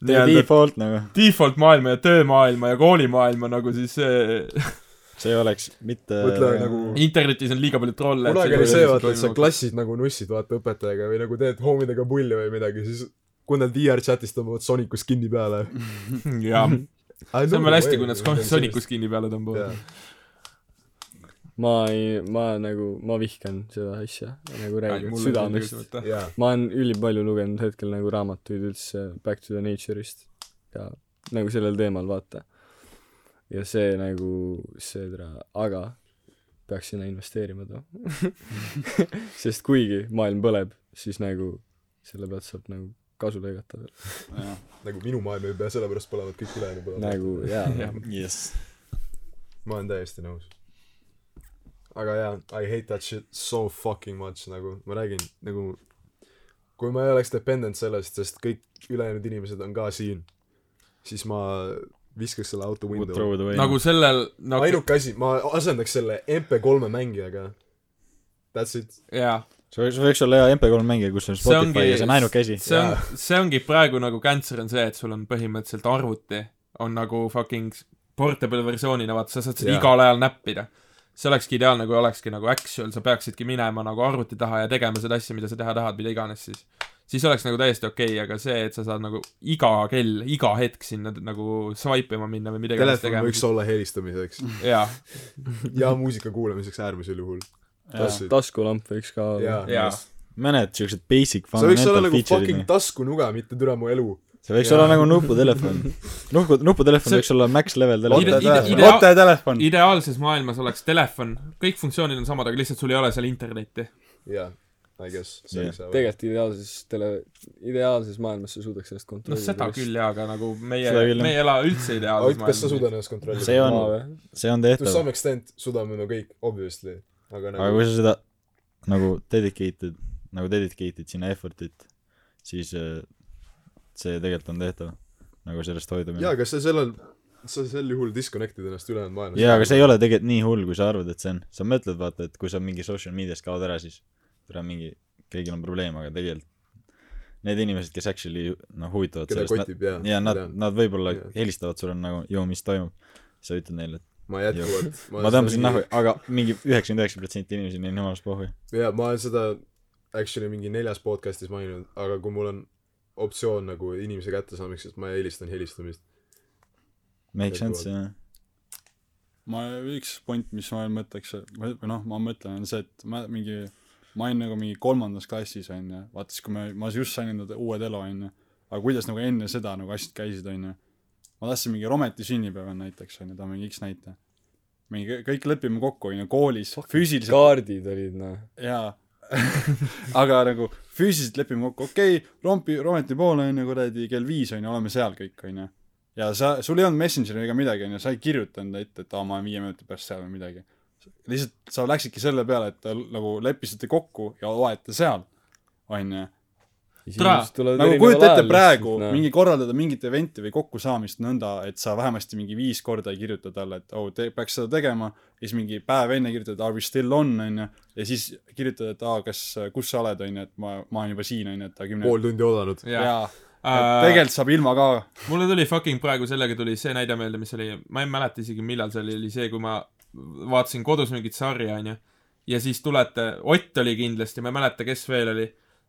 nii-öelda Default nagu , default maailma ja töömaailma ja koolimaailma nagu siis äh, see ei oleks mitte mõtle nagu , internetis on liiga palju trolle . kunagi oli see , vaata , et sa klassid nagu nussid , vaata , õpetajaga või nagu teed homidega pulli või midagi , siis kui nad VR chatis tõmbavad Sonicus kinni [LAUGHS] peale . jaa , see on veel hästi , kui nad Sonicus kinni peale tõmbavad . ma ei , ma nagu , ma vihkan seda asja nagu räägin südamest . südamest . jaa , ma olen ülipalju lugenud hetkel nagu raamatuid üldse Back to the Nature'ist ja nagu sellel teemal vaata ja see nagu see tra- aga peaks sinna investeerima too [LAUGHS] sest kuigi maailm põleb siis nagu selle pealt saab nagu kasu lõigata veel nagu minu maailm ei pea , sellepärast põlevad kõik ülejäänud põlevad . nagu jaa jess . ma olen täiesti nõus . aga jaa , I hate that shit so fucking much , nagu ma räägin , nagu kui ma ei oleks dependent sellest , sest kõik ülejäänud inimesed on ka siin , siis ma viskaks selle auto Would window throw it away . nagu sellel , okay. nagu , ainuke asi , ma asendaks selle MP3-e mängijaga . That's it . jaa . see võiks , see võiks olla hea MP3 mängija , kus on see Spotify ongi ja see on ainuke asi . see on , see ongi praegu nagu cancer on see , et sul on põhimõtteliselt arvuti on nagu fucking portable versioonina , vaata , sa saad seda Jaa. igal ajal näppida . see olekski ideaalne , kui olekski nagu actual , sa peaksidki minema nagu arvuti taha ja tegema seda asja , mida sa teha tahad , mida iganes siis . siis oleks nagu täiesti okei okay, , aga see , et sa saad nagu iga kell , iga hetk sinna nagu swipe ima minna või mida iganes telefon tegema võiks . olla helistamiseks jaa , ja muusika kuulamiseks äärmisel juhul . That's it . [LAUGHS] taskulamp võiks ka olla jaa . jaa . mõned siuksed basic see võiks olla fundamental nagu feature'id fucking . taskunuga , mitte türa mu elu . see võiks olla nagu [LAUGHS] nuputelefon . nupu , nuputelefon See- võiks olla max level Ide- Lotte ide- telefon , idea- telefon . Lotte telefon . ideaalses maailmas oleks telefon , kõik funktsioonid on samad , aga lihtsalt sul ei ole seal internetti . jaa , I guess . see Jah. oleks hea . tegelikult ideaalses tele- ideaalses maailmas sa suudaks ennast noh , kontrollida seda küll jaa , aga nagu meie Seda , küll, jah. me ei ela üldse ideaalses Ott , kas sa suudad ennast kontrollida ? See on- maa või see on to tehtav . some extent suudame me kõik , obviously . aga aga nagu kui sa seda nagu dedicated , nagu dedicated sinna effort'it , siis äh, see tegelikult on tehtav . nagu sellest jaa , hoidumine . aga sa sellel , sa sel juhul disconnect'id ennast ülejäänud maailmast . jaa , aga see ei ole tegelikult nii hull , kui sa arvad , et see on . sa mõtled , vaata , et kui sa mingi social meediast kaod ära , siis tere mingi , kõigil on probleem , aga tegelikult need inimesed , kes actually noh , huvituvad keda sellest , kotib jaa . ja nad , nad võib-olla Jaa. helistavad sulle nagu , joo , mis toimub . sa ütled neile , et ma jätkuvalt . ma tõmbasin nahku , aga mingi üheksakümmend üheksa protsenti inimesi neil on jumalast pohhu . jaa , ma olen seda actually mingi neljas podcastis maininud , aga kui mul on optsioon nagu inimese kättesaamiseks , siis ma eelistan helistamist . Make sense , jah . ma , üks point , mis ma veel mõtleks , või või noh , ma mõtlen , on see , et ma mingi , ma olin nagu mingi kolmandas klassis onju , vaata siis kui me , ma just sain endale uue telo onju , aga kuidas nagu enne seda nagu asjad käisid onju . ma tahtsin mingi Rometi sünnipäeval näiteks onju , toon mingi X näite . mingi kõik lepime kokku onju , koolis füüsiliselt kaardid olid noh jaa aga nagu füüsiliselt lepime kokku , okei okay, , rompi , Rometi poole on ju kuradi kell viis on ju , oleme seal kõik on ju . ja sa , sul ei olnud Messengeri ega midagi on ju , sa ei kirjutanud ette , et aa , ma olen viie minuti pärast seal või midagi . lihtsalt sa läksidki selle peale , et te l- nagu leppisite kokku ja loete seal , onju . nagu kujuta ette praegu noh. no. mingi korraldada mingit eventi või kokkusaamist nõnda , et sa vähemasti mingi viis korda ei kirjuta talle , et oh , te peaks seda tegema . ja siis mingi päev enne kirjutad , are we still on , onju . ja siis kirjutad , et aa , kas , kus sa oled , onju , et ma , ma olen juba siin , onju , et aga kümne . pool Äh. tundi oodanud . jaa . [LAUGHS] jaa , Äh, tegelikult saab ilma ka . mulle tuli fucking praegu sellega tuli see näide meelde , mis oli , ma ei mäleta isegi , millal see oli , oli see , kui ma vaatasin kodus mingit sarja , onju . ja siis tulete , Ott oli kindlasti , ma ei mäleta , kes veel oli .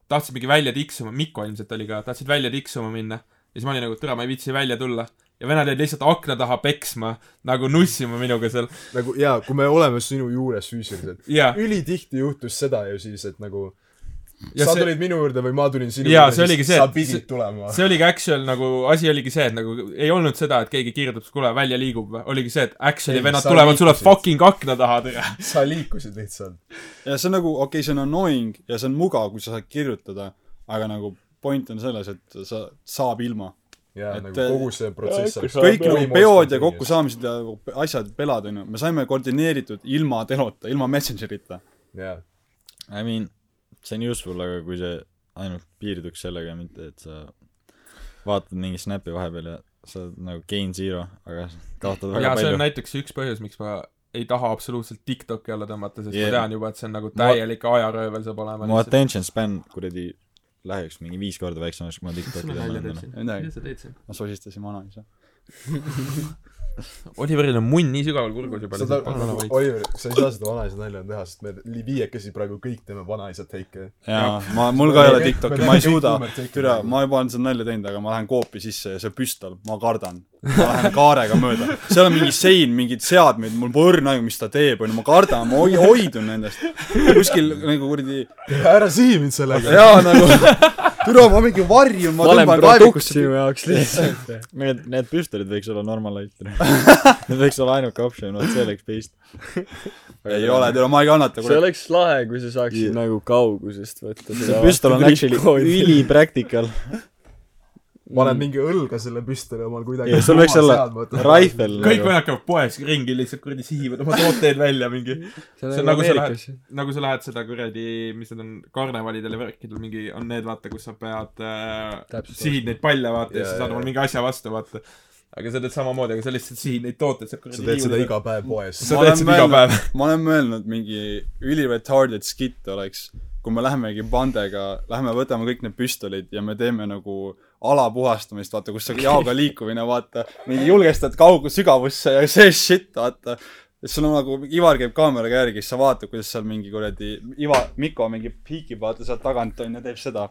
tahtsid mingi välja tiksuma , Mikko ilmselt oli ka , tahtsid välja tiksuma minna . ja siis ma olin nagu , türa , ma ei viitsi välja tulla . ja vennad jäid lihtsalt akna taha peksma , nagu nussima minuga seal . nagu jaa , kui me oleme sinu juures füüsiliselt . jaa , ülitihti juhtus seda ju siis , et nagu Ja sa see- see... tulid minu juurde või ma tulin sinu Jaa, see juurde , oligi siis see, sa et pidid see- tulema . see oligi actual nagu , asi oligi see , et nagu ei olnud seda , et keegi kirjutab , kuule , välja liigub või . oligi see , et actually Ei, vennad sa tulevad sulle liikusid. fucking akna taha , tere . sa liikusid lihtsalt . ja see on nagu , okei okay, , see on annoying ja see on mugav , kui sa saad kirjutada , aga nagu point on selles , et sa saab ilma . jaa , Et, nagu äh, kogu see protsess on kõik Saab nagu ilma peod ja oskuseta kokkusaamised ja asjad , pelad onju , me saime koordineeritud ilma telota , ilma messengerita . jaa , I mean , see on useful , aga kui see ainult piirduks sellega , mitte et sa vaatad mingi snap'i vahepeal ja sa oled nagu gain zero , aga sa kaotad väga jaa , see on palju . näiteks üks põhjus , miks ma ei taha absoluutselt TikToki alla tõmmata , sest yeah. Yeah. ma tean juba , et see on nagu täielik ajaröövel saab olema mu . attention span kuradi läheks mingi viis korda [LAUGHS] väiksemaks , kui ma TikToki tõmban . noh. midagi , sa teed siin ? ma sosistasin vanaisa . Oliveril on munn nii sügaval kurgus juba . seda , Oliver , sa ei saa seda vanaisa nalja teha , sest me li- viiekesi praegu kõik teeme vanaisa teike . jaa , ma , mul ka ei ole TikTok'i , ma ei suuda Me teeme kõik . türa , boomer-take'i. ma juba olen seda nalja teinud , aga ma lähen koopi sisse ja see püstol , ma kardan . ma lähen kaarega mööda . seal on mingi sein , mingid seadmed , mul pole õrna aimu , mis ta teeb , onju , ma kardan , ma hoi- hoidun nendest . kuskil nagu kuradi , ära sihi mind sellega . jaa nagu , türa , ma mingi varjun , ma valem tõmban produkt kaevikusse sinu jaoks lihtsalt . Need , need püstolid võiks olla [LAUGHS] normalighter . Need võiks olla ainuke optsioon , vot see oleks based . ei ole , türa , ma ei kannata , see kurat . oleks lahe , kui sa saaksid Jaa. nagu kaugusest võtta . see püstol on actually ülipraktikal . paned mingi õlga selle püstoli omal kuidagi . ja sul võiks olla rifle kõik nagu . vennad käivad poes ringi lihtsalt kuradi sihivad oma tooteid välja mingi , see on nagu sa lähed- nagu sa lähed seda kuradi , mis need on , karnevalidel ja värkidel mingi on need , vaata , kus sa pead äh, , Täpselt. sihid neid palle , vaata , ja Jaa, sa saad jaa. omale mingi asja vastu , vaata . aga sa teed samamoodi , aga sa lihtsalt sihid neid tooteid , sa sa teed seda iga päev poes . sa Ma teed olen seda iga mõelnud- päev . ma olen mõelnud , mingi üli-retarded skitt oleks , kui me lähemegi bandega , lähme võtame kõik need püstolid ja me teeme nagu ala puhastamist , vaata , kus on jaoga liikumine , vaata , mingi julgestad kaugus sügavusse ja see shit , vaata . et sul on nagu , Ivar käib kaameraga järgi , siis sa vaatad , kuidas seal mingi kuradi Ivar , Miko mingi piikib , vaata sealt tagant onju , teeb seda .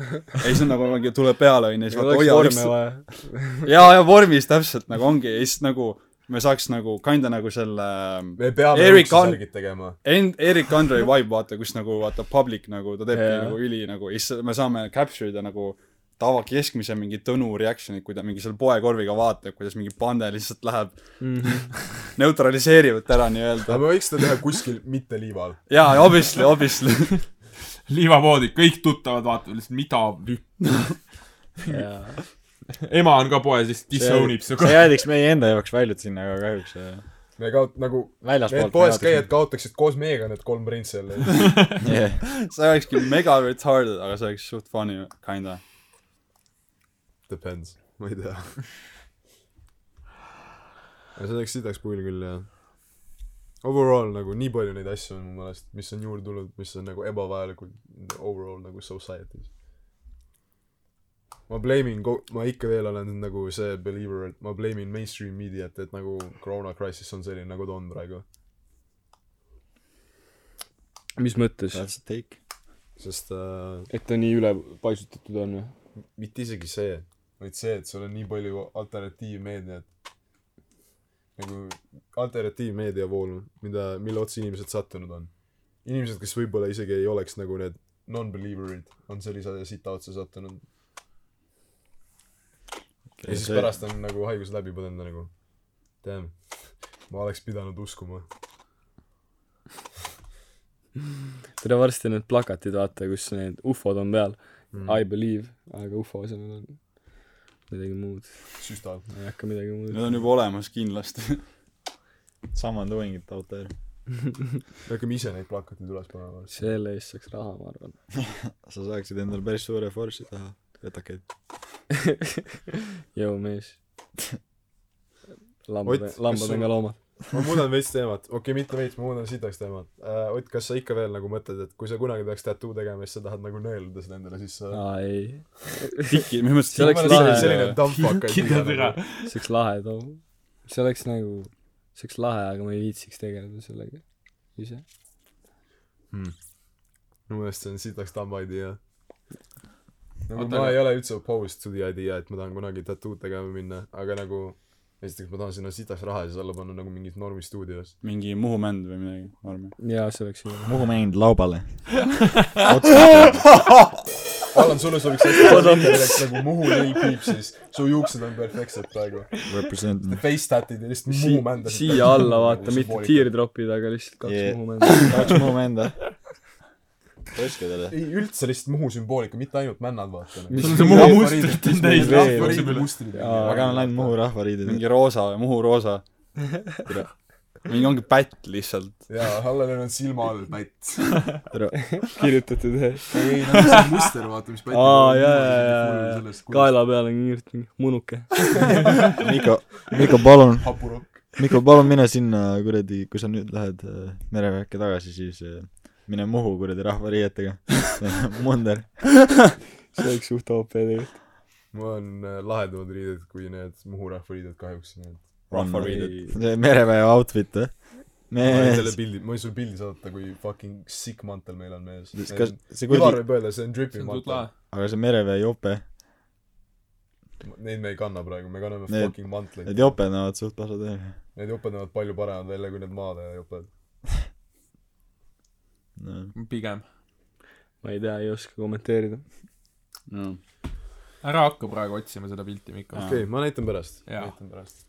ja siis on nagu mingi tuleb peale onju , siis vaata oleks hoia vorme lihtsalt vaja . jaa , ja vormis täpselt nagu ongi ja siis nagu me saaks nagu kinda nagu selle me peame Eric Eric on on- . tegema . End- , Erik Andre vibe vaata , kus nagu vaata public nagu ta teebki Jaa. yeah. nagu üli nagu ja siis me saame capture ida nagu tava keskmise mingi Tõnu reaction'it , kui ta mingi selle poekorviga vaatab , kuidas mingi pande lihtsalt läheb [LAUGHS] neutraliseerivat ära aga nii-öelda . me võiks seda teha kuskil mitte liival . jaa , obviously , obviously . liivapoodi , kõik tuttavad vaatavad lihtsalt , mida vi- ema on ka poes , lihtsalt disown ib su see jäädiks meie enda jaoks väljud sinna , aga kahjuks äh, me kaot- , nagu need väljaspoolt . poes käijad . jätkaksid koos meiega need kolm printsi jälle . see olekski mega retarded , aga see oleks suht funny , kinda . Depends , [LAUGHS] ma ei tea . aga see oleks sitaks pull küll jah . Overall nagu nii palju neid asju on mu meelest , mis on juurde tulnud , mis on nagu ebavajalikud overall nagu society's . ma blame in , ma ikka veel olen nagu see believer , et ma blame in mainstream meediat , et nagu koroona crisis on selline nagu ta on praegu . mis mõttes , That's a take . sest äh, et ta nii üle paisutatud on või ? mitte isegi see , vaid see , et sul on nii palju alternatiivmeediat , nagu alternatiivmeedia voolu , mida , mille otsa inimesed sattunud on . inimesed , kes võib-olla isegi ei oleks nagu need non-believer'id , on sellise sita otsa sattunud ja siis pärast on nagu haigus läbi põdenud ja nagu damn , ma oleks pidanud uskuma . tere varsti need plakatid , vaata , kus need ufod on peal Mm. mm. . I believe , aga ufo asemel on midagi muud . süstal . ma ei hakka midagi muud Need on juba olemas kindlasti . Someone doing it out there . me hakkame ise neid plakateid üles panema . selle eest saaks raha , ma arvan . sa saaksid endale päris suure force'i taha , vetakaid . jõu mees . Ott, lambad kas , lambad sul- on ka loomad . ma muudan veits teemat , okei okay, , mitte veits , ma muudan sitaks teemat uh, . Ott , kas sa ikka veel nagu mõtled , et kui sa kunagi peaks tattoo tegema , siis sa tahad nagu nõeluda seda endale sisse ? aa ei , tiki , minu meelest See oleks tiki- lahe. selline dumbfuck kindad ära . see oleks lahe too . see oleks nagu , see oleks lahe , aga ma ei viitsiks tegeleda sellega ise . minu meelest see on sitaks dumb idea . nagu Oota, ma aga- ei ole üldse opposed to the idea , et ma tahan kunagi tattoo tegema minna , aga nagu esiteks ma tahan sinna sitaks raha siis alla panna nagu mingis normistuudios . mingi Muhu mänd või [LAUGHS] midagi , ma arvan . jaa , see oleks hea . Muhu mäng laubale . Allan , sulle sobiks [LAUGHS] hästi , et nagu Muhu lill piipsis , su juuksed on perfektsed praegu . Represent . Face tatid ja lihtsalt Si- Muhu mändasid . siia alla vaata , mitte . teardrop'id , aga lihtsalt kaks Yeah. yeah. [LAUGHS] Muhu mända . tahaks Muhu mända . poiskedele . ei , üldse lihtsalt Muhu sümboolika , mitte ainult männad , vaata . nagu. sul on see Muhu mustrit on täis veel- lahti jookseb üle . ma kannan ainult Muhu rahvariideid . mingi roosa , Muhu roosa . mingi ongi pätt lihtsalt . jaa , Allanil on silma all pätt . kirjutatud jah . ei , ei , no see on muster , vaata , mis pätt . aa , jaa , jaa , jaa , jaa . kaela peal on kirjutatud munuke . Miko , Miko , palun , hapurokk . Miko , palun mine sinna kuradi , kui sa nüüd lähed äh, mereväkke tagasi , siis äh, mine Muhu kuradi rahvariietega . [LAUGHS] munder . see oleks suht OP tegelikult . mul on äh, lahedamad riided kui need Muhu rahvariided kahjuks . ma rahvariided . see mereväe outfit , jah ? võin mees selle . pildi , ma võin sulle pildi saata , kui fucking sick mantel meil on mees . kas Ivar see kuradi , võib öelda , see on see dripping on suht mantel lahe .. aga see mereväe jope , Neid me ei kanna praegu , me kanname Need- fucking mantleid need . joped näevad suht pasad välja . Need joped näevad palju paremad välja kui need maade joped . no. pigem . ma ei tea , ei oska kommenteerida . ära hakka praegu otsima seda pilti , Mikko . Okei, ma näitan pärast Jaa. näitan pärast .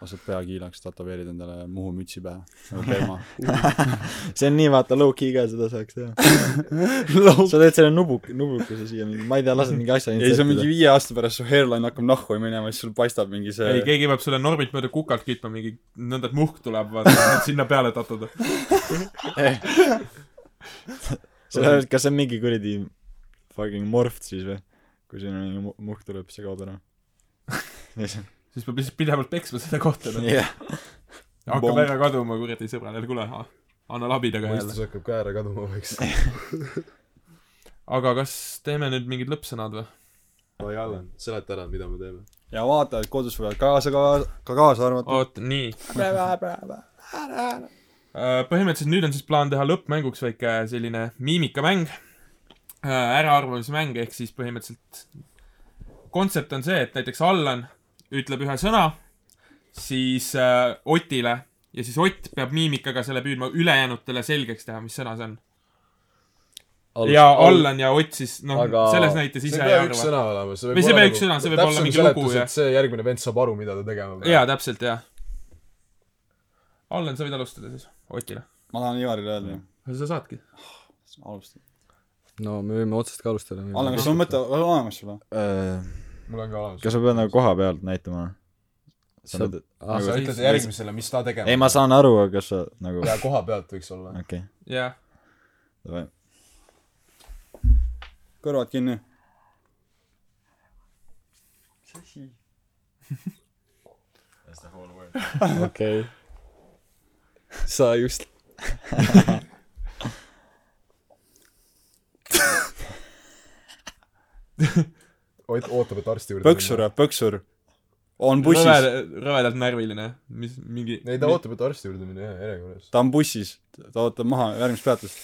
lased peakiilaks , tätoveerid endale Muhu mütsi pähe . [LAUGHS] see on teema . see on nii vaata low-key ka seda saaks teha [LAUGHS] sa teed selle nubuk- nubukese siia mingi ma ei tea lased mingi asja ei , see on mingi viie aasta pärast su hairline hakkab nahku minema ja siis sul paistab mingi see ei , keegi peab selle normilt mööda kukalt kütma , mingi nõnda , et muhk tuleb , vaata , sinna peale tatuda . sa lähed kas see on mingi kuradi fucking morft siis või kui sinna mingi mu- muhk tuleb siis see kaob [LAUGHS] ära Mis- siis peab lihtsalt pidevalt peksma selle kohta . noh. jah hakkab Bong. ära kaduma , kuradi sõbrale , kuule , anna labidaga jälle mõistus . hakkab ka ära kaduma vaikselt . aga kas teeme nüüd mingid lõppsõnad või ? oi , Allan , seleta ära , mida me teeme . ja vaatajad kodus võivad kaasa ka ka kaasa arvata oot , nii . põhimõtteliselt nüüd on siis plaan teha lõppmänguks väike selline miimikamäng , äraarvamismäng , ehk siis põhimõtteliselt kontsept on see , et näiteks Allan ütleb ühe sõna , siis äh, Otile ja siis Ott peab miimikaga selle püüdma ülejäänutele selgeks teha , mis sõna see on . ja . Allan ja Ott siis , noh Aga- , selles näites see ise ei ei pea üks arva . sõna olema , see Või võib see ei pea üks sõna, see võib olla täpsem mingi seletus, lugu, jah. et see järgmine vend saab aru , mida ta tegema peab . jaa , täpselt , jaa . Allan , sa võid alustada siis Otile . ma tahan Ivarile öelda sa saadki . alusta no me võime otsast ka alustada . Allan kas sul mõte on olemas sul või mul on ka olemas . kas sa pead nagu koha pealt näitama sa Sa- mõtled nagu- aa , sa sa- ütled järgmisele , mis ta tegema ei ma saan aru aga kas sa nagu ja koha pealt võiks olla . okei jah , davai kõrvad kinni okei . sa just . Ott ootab , et arsti juurde põksur või põksur on bussis rõve , rõvedalt närviline , mis mingi , minna . ei , ta ootab , et arsti juurde minna , jah , järjekorras . ta on bussis ta ootab maha järgmist peatust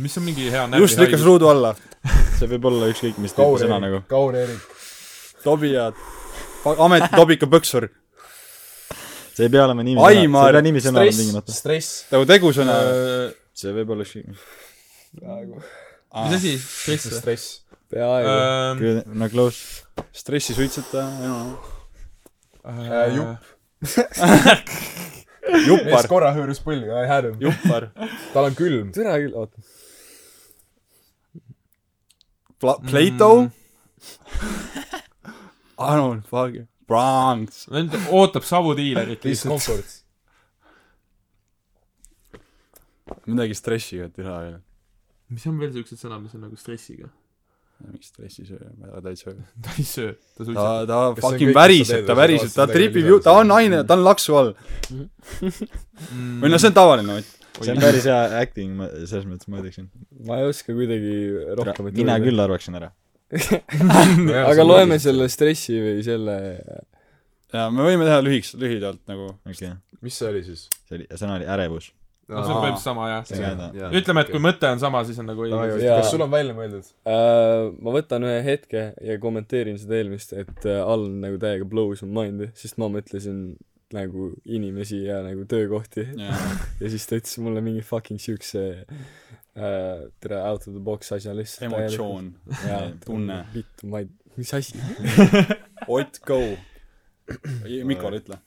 mis on mingi hea just lükkas närvihaigus . ruudu alla see võib olla ükskõik mis tüüpi sõna nagu Kaur-Erik , Kaur-Erik . Tobi ja fa- amet Tobika põksur see ei pea olema nimi Aimar, see ei pea nimi sõna olema stress , tingimata stress . nagu tegusõna see võib olla ükskõik mis mis asi , stress või ? Ähm, stress . peaaegu . Good- no close stressi suitsetaja Äh, jupp. mees juppar korra hõõrus põlvi , ei häälunud . juppar tal on külm . türa küll , oota . Pla- Plato [LAUGHS] I don't fucking Bronx vend ootab savu diilerit lihtsalt . Discomfort . midagi stressiga teha veel mis on veel siuksed sõnad , mis on nagu stressiga ? mingi stressisöö ma ei ole täitsa ta ei söö , ta ta suitsetab . ta Kas see on kõik, mis fucking sa väriseb teed ta või sa väriseb tahad seda ta tripib midagi ju ta lisada? on naine ta on laksu all Mm. või noh see on tavaline Ott see on päris hea acting , ma selles mõttes ma ütleksin . ma ei oska kuidagi rohkemat mina küll arvaksin ära . aga loeme . selle stressi või selle ja me võime teha lühiks lühidalt nagu okei , mis see oli siis ? see oli , sõna oli ärevus . no see on põhimõtteliselt sama jah . See on- ütleme , et kui mõte on sama , siis on nagu õige . Jaa. kas sul on välja mõeldud ? äh, ma võtan ühe hetke ja kommenteerin seda eelmist , et äh, all nagu täiega blows on mind'i , sest ma mõtlesin nagu inimesi ja nagu töökohti [LAUGHS] jaa ja siis ta ütles mulle mingi fucking siukse äh, tere out of the box asja lihtsalt emotsioon täielikult. [LAUGHS] tunne. jaa, vittu ma ei mis asi Ott go Mikol ütle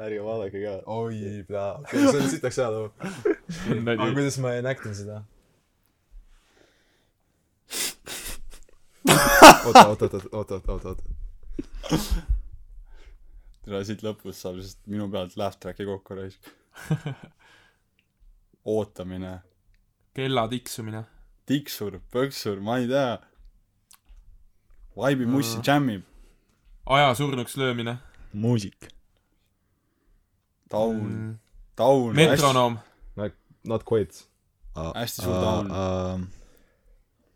ärge vaadake ka . oi , pea , okei , see on sitaks hea too . aga kuidas ma enact in seda ? oota , oota , oota , oota , oota , oota , oota . tule siit lõpust saab lihtsalt minu pealt laugh track'i kokku [LAUGHS] raisk ootamine kella tiksumine . tiksur põksur ma ei tea vaibi mussi džämmib aja surnuks löömine . muusik . taun taun Mm. metronoom . Not quite . Hästi suur taun.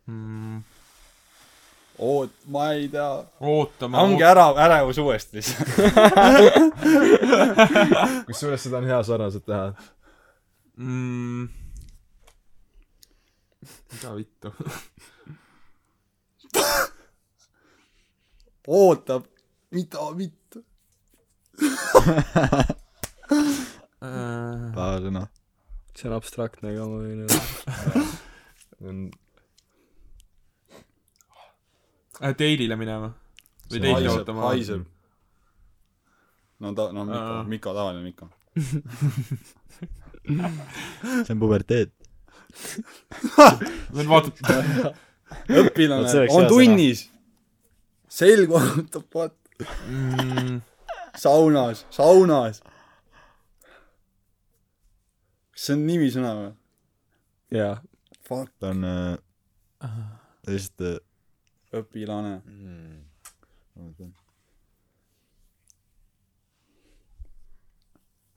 Mm. hästi- oot ma ei tea ootama . ongi ära ärevus uuesti lihtsalt kusjuures seda on hea sarnaselt teha . mm. . mida vittu ? [LAUGHS] ootab mida mitte paar noh. sõna . see on abstraktne ka ma võin öelda Date'ile Äh, minema ? või See date'i haiseb- ootama ? haiseb no ta no Miko Aa. Miko tavaline Miko see on puberteet . see on vaata , [LAUGHS] Vot see õpilane oleks on hea tunnis selg valutab vaat Mm. saunas saunas kas see on nimisõna või jaa fuck ta on äh, lihtsalt äh, õpilane oota.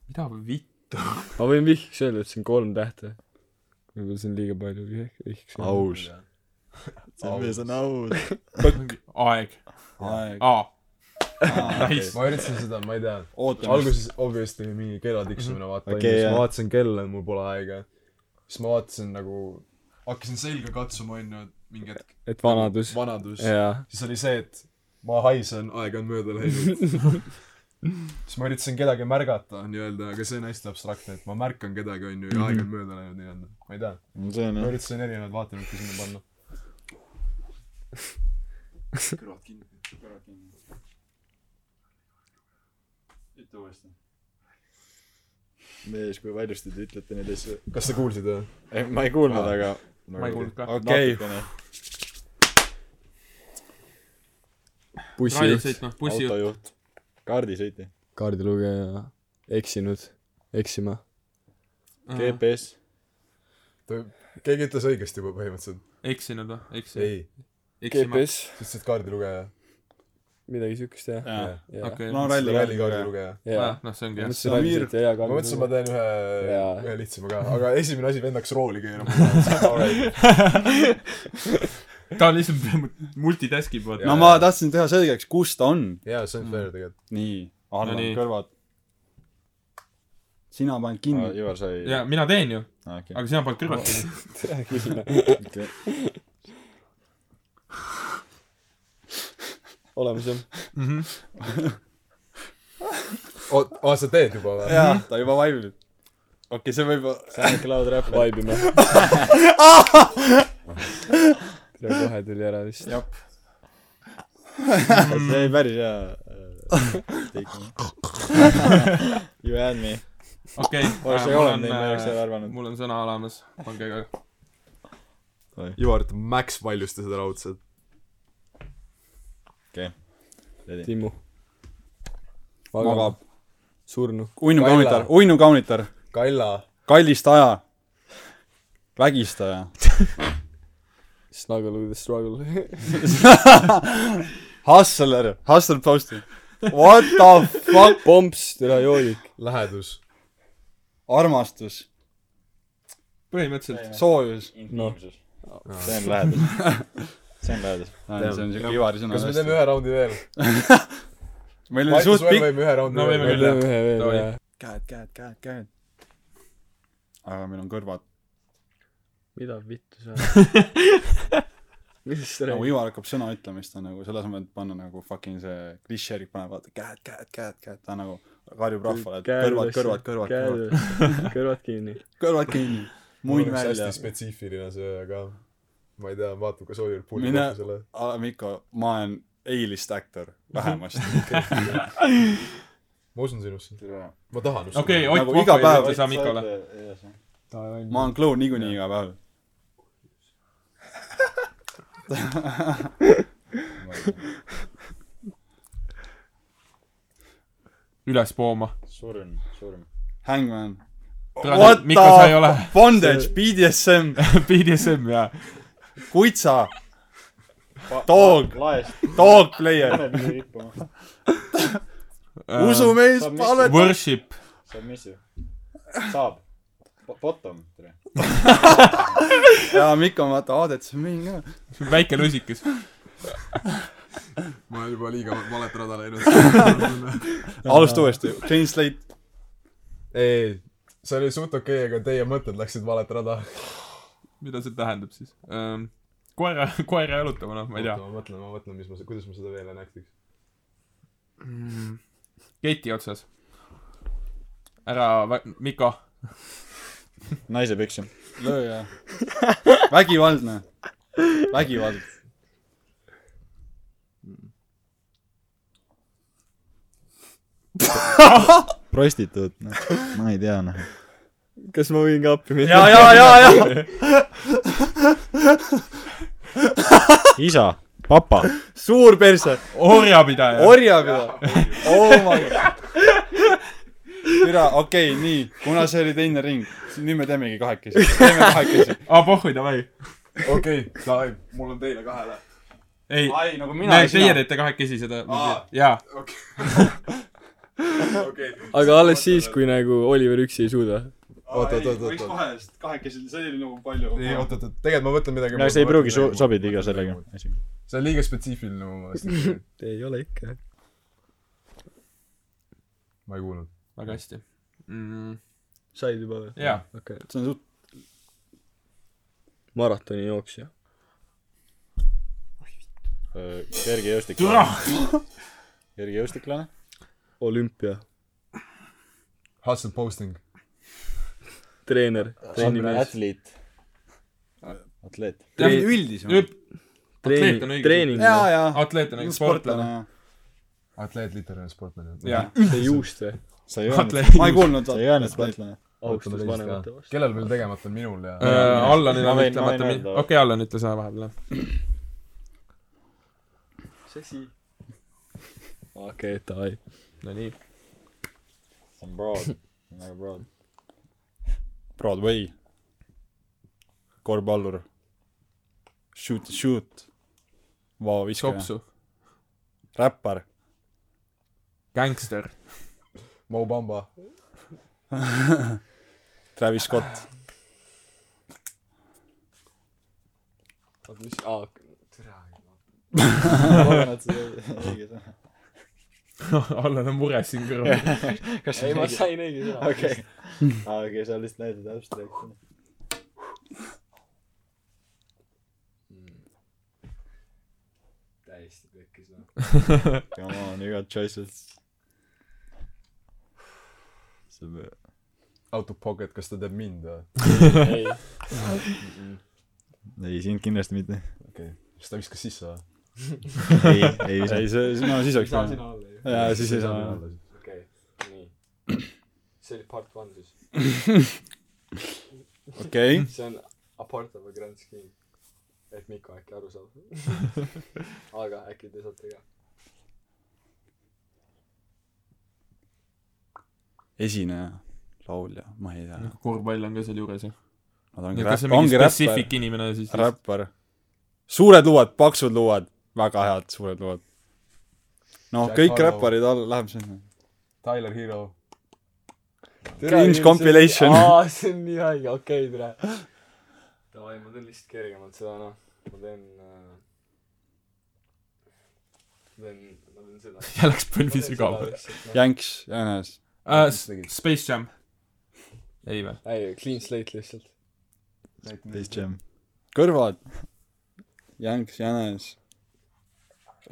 mida vittu ? ma võin vihkiks öelda et see on kolm tähte võibolla see on liiga palju vih- vihkiks öelda. aus . see on , see on aus . aeg . Ah. aeg aa , aa, nice . ma üritasin seda , ma ei tea . ootamine alguses obviously mingi kella tiksumine vaata Okei, okay, , siis jah. ma vaatasin kella , mul pole aega . siis ma vaatasin nagu , hakkasin selga katsuma onju , et mingi hetk . et vanadus vanadus . jaa siis oli see , et ma haisen , aeg on mööda läinud . [LAUGHS] siis ma üritasin kedagi märgata nii-öelda , aga see on hästi abstraktne , et ma märkan kedagi onju ja aeg on mööda läinud nii-öelda . ma ei tea , see on ma jah . üritasin erinevaid vaatenurki sinna panna . kõrvad kinni . ütle uuesti mees , kui valjusti te ütlete neid asju . kas sa kuulsid või ? ei , ma ei kuulnud , Aa. aga . ma ei kuulnud ka . okei rallit bussijuht sõitma , bussijuht . autojuht . kaardisõitja . kaardilugeja eksinud eksima GPS . keegi ütles õigesti juba põhimõtteliselt . eksinud või ? eksi- . ei , eksima . GPS sa ütlesid kaardilugeja . midagi siukest jah jaa jaa okei . no ralli ralli kaardilugeja kaardilugeja . jaa noh , see ongi ma jah . mõtlesin Samir. päriselt ja jaa ma mõtlesin , ma teen ühe Jaa. , ühe lihtsama ka , aga esimene asi , vend hakkas rooli [LAUGHS] keerama . ta on lihtsalt [LAUGHS] multitaskib , vaata no . ma tahtsin teha selgeks kus ta on jaa , see on fair tegelikult . nii arvad nii. kõrvad sina paned kinni Ivar sai . ja mina teen ju , okei . aga sina paned kõrvalt kinni . olemas jah oot , aa , sa teed juba või ? jaa ta juba vaibib okei see võib SoundCloud räpp . vaibima tere kohe tuli ära vist jah see oli päris hea äh, take . You had me . okei . Äh, oleks see ka olnud , ma ei oleks seda arvanud . mul on sõna olemas , pange ka . Ivar , Max valjustas seda raudselt . okei . Ledi. Timmu . magab . surnu . uinu Kaila. kaunitar , uinu kaunitar , Kaila . kallistaja , vägistaja , Snuggle with the struggle . hustler , hustler poster . What the fuck , pomps , türa [LAUGHS] joodik . lähedus . armastus , põhimõtteliselt . soojus . intiimsus . see on lähedus see on lähedus see on siuke Teame. ivari sõna kas me teeme . ühe raundi veel ? meil Might oli as suht well pikk , võime ühe raundi No veel võime me küll. veel . teeme ühe veel Davai. ja . käed , käed , käed , käed . aga meil on kõrvad . mida vittu sa ajad ? mis sa nagu Ivar hakkab sõna ütlema , siis ta nagu selle asemel , et panna nagu fucking see klišeerik paneb , vaata käed , käed , käed , käed , ta nagu karjub rahvale , et kõrvad , kõrvad , kõrvad , kõrvad , kõrvad . [LAUGHS] kõrvad kinni . kõrvad kinni , muin välja hästi . spetsiifiline see , aga ma ei tea , vaatab , kas Oliver Pulli mina kohta selle ., Mikko , ma olen A-list aktor , vähemasti . ma usun sinusse . ma tahan uskuda okei , Nagu Ott iga Vahva päev- ei ütle sa Mikole . ma olen kloun niikuinii iga päev . üles pooma . surm surm Hangman . What Mikko, the- sa ei ole- Bondage , [LAUGHS] BDSM , BDSM jaa . kutsa , Pa- Dog. laest dog player , paneb nii rippuma usumees , Saab mis- palve . äh, Worship . submissive saab Bo- bottom tere ja Mikko on vaata Aadets main ka . väike lusikas . ma olen juba liiga valet rada läinud . alusta uuesti , clean slate . [LAUGHS] ei , see oli suht okei , aga teie mõtted läksid valet rada . mida see tähendab siis ? koera , koera jalutama , noh , ma ei tea . ma mõtlen , ma mõtlen , mis ma , kuidas ma seda veel enactiks . keti otsas . ära , Mikko . naise püksu lööja . vägivaldne , vägivald . prostituut noh ma ei tea noh kas ma võin ka appi minna ? ja , ja , ja , ja . isa papa suur perse , orjapidaja . orjapidaja . oh my god . türa , okei okay, , nii , kuna see oli teine ring , nüüd me teemegi kahekesi , teeme kahekesi . aa , Ah, pohhui , davai . okei , [LAUGHS] davai , mul on teile kahele . ei , ai , nagu mina ja teie sina . teete kahekesi seda Aa. . jaa . okei . aga alles siis , kui nagu Oliver üksi ei suuda . oot , oot , oot , oot , oot . kahest , kahekesi , see oli nagu palju ei , oot , oot , oot , tegelikult ma mõtlen midagi no muud, see ei ma pruugi mõtlen so- midagi muud, sobida ma iga mõtlen midagi sellega muud. see on liiga spetsiifiline mu meelest . [LAUGHS] ei ole ikka . ma ei kuulnud . väga hästi mm, . said juba või ? jaa . okei okay. . see on suht- , maratonijooksja . Öö, kergejõustik türa . kergejõustiklane olümpia . Hustle posting . treener . trennimees . atleet atleet see on üldisem . atleet on treening , õige . treening , jaa , jaa . atleet on õige , Nagu sportlane .. atleet , literaal , sportlane . jaa , see juust või ? sa ei öelnud [LAUGHS] Atleet. ma ei kuulnud . sa ei öelnud sportlane austus vanemate vastu . kellel veel tegemata , minul ja Äh. Allanil Ma on võin- ma võin ütlemata , öelda. okei , Allan , ütle sa vahepeal . okei , davai . Nonii . see on broad väga broad Broadway . korvpallur . Shoot the shoot . vaoviskaja . sopsu . räppar . gängster . Mo Bamba . Travis Scott . [LAUGHS] oot , mis , aa , ma arvan et see oli õige sõna Noh, Allan on mures siin kõrval . kas ei ma sain õige sõna . okei [LAUGHS] aa okei sa lihtsalt näitasid abstraktsiooni täiesti pekkis noh . Come on, you got choices. Out of pocket , kas ta teeb mind või ? ei , ei , sind kindlasti mitte . okei , siis ta viskas sisse või ? ei , ei ei , see , no siis oleks saan parem . sina olla ju . jaa , siis ei saa . okei , nii . see oli part one siis . okei . see on a part of a grand scheme . [LAUGHS] et Mikko äkki aru saab . aga äkki te saate ka . esineja , laulja , ma ei tea . Nagu korvpall on ka seal juures ju . Nad ongi kas see räpp- , on mingi ongi räppar , spetsiifik inimene siis ? räppar . suured luuad , paksud luuad , väga head suured luuad . noh , Jack kõik Harlow. räpparid all , läheme sinna . Tyler Hero . Cringe compilation . aa , see on nii haige , okei , tere . Davai , ma teen lihtsalt kergemalt seda , noh . ma teen äh... , ma teen , ma teen [LAUGHS] seda . ja läks põlvi sügavale . Äh, Jänks , Jänes . Äh, Space Jam . ei või ? ei , clean slate lihtsalt . Space [LAUGHS] Jam . kõrvad . Jänks , Jänes .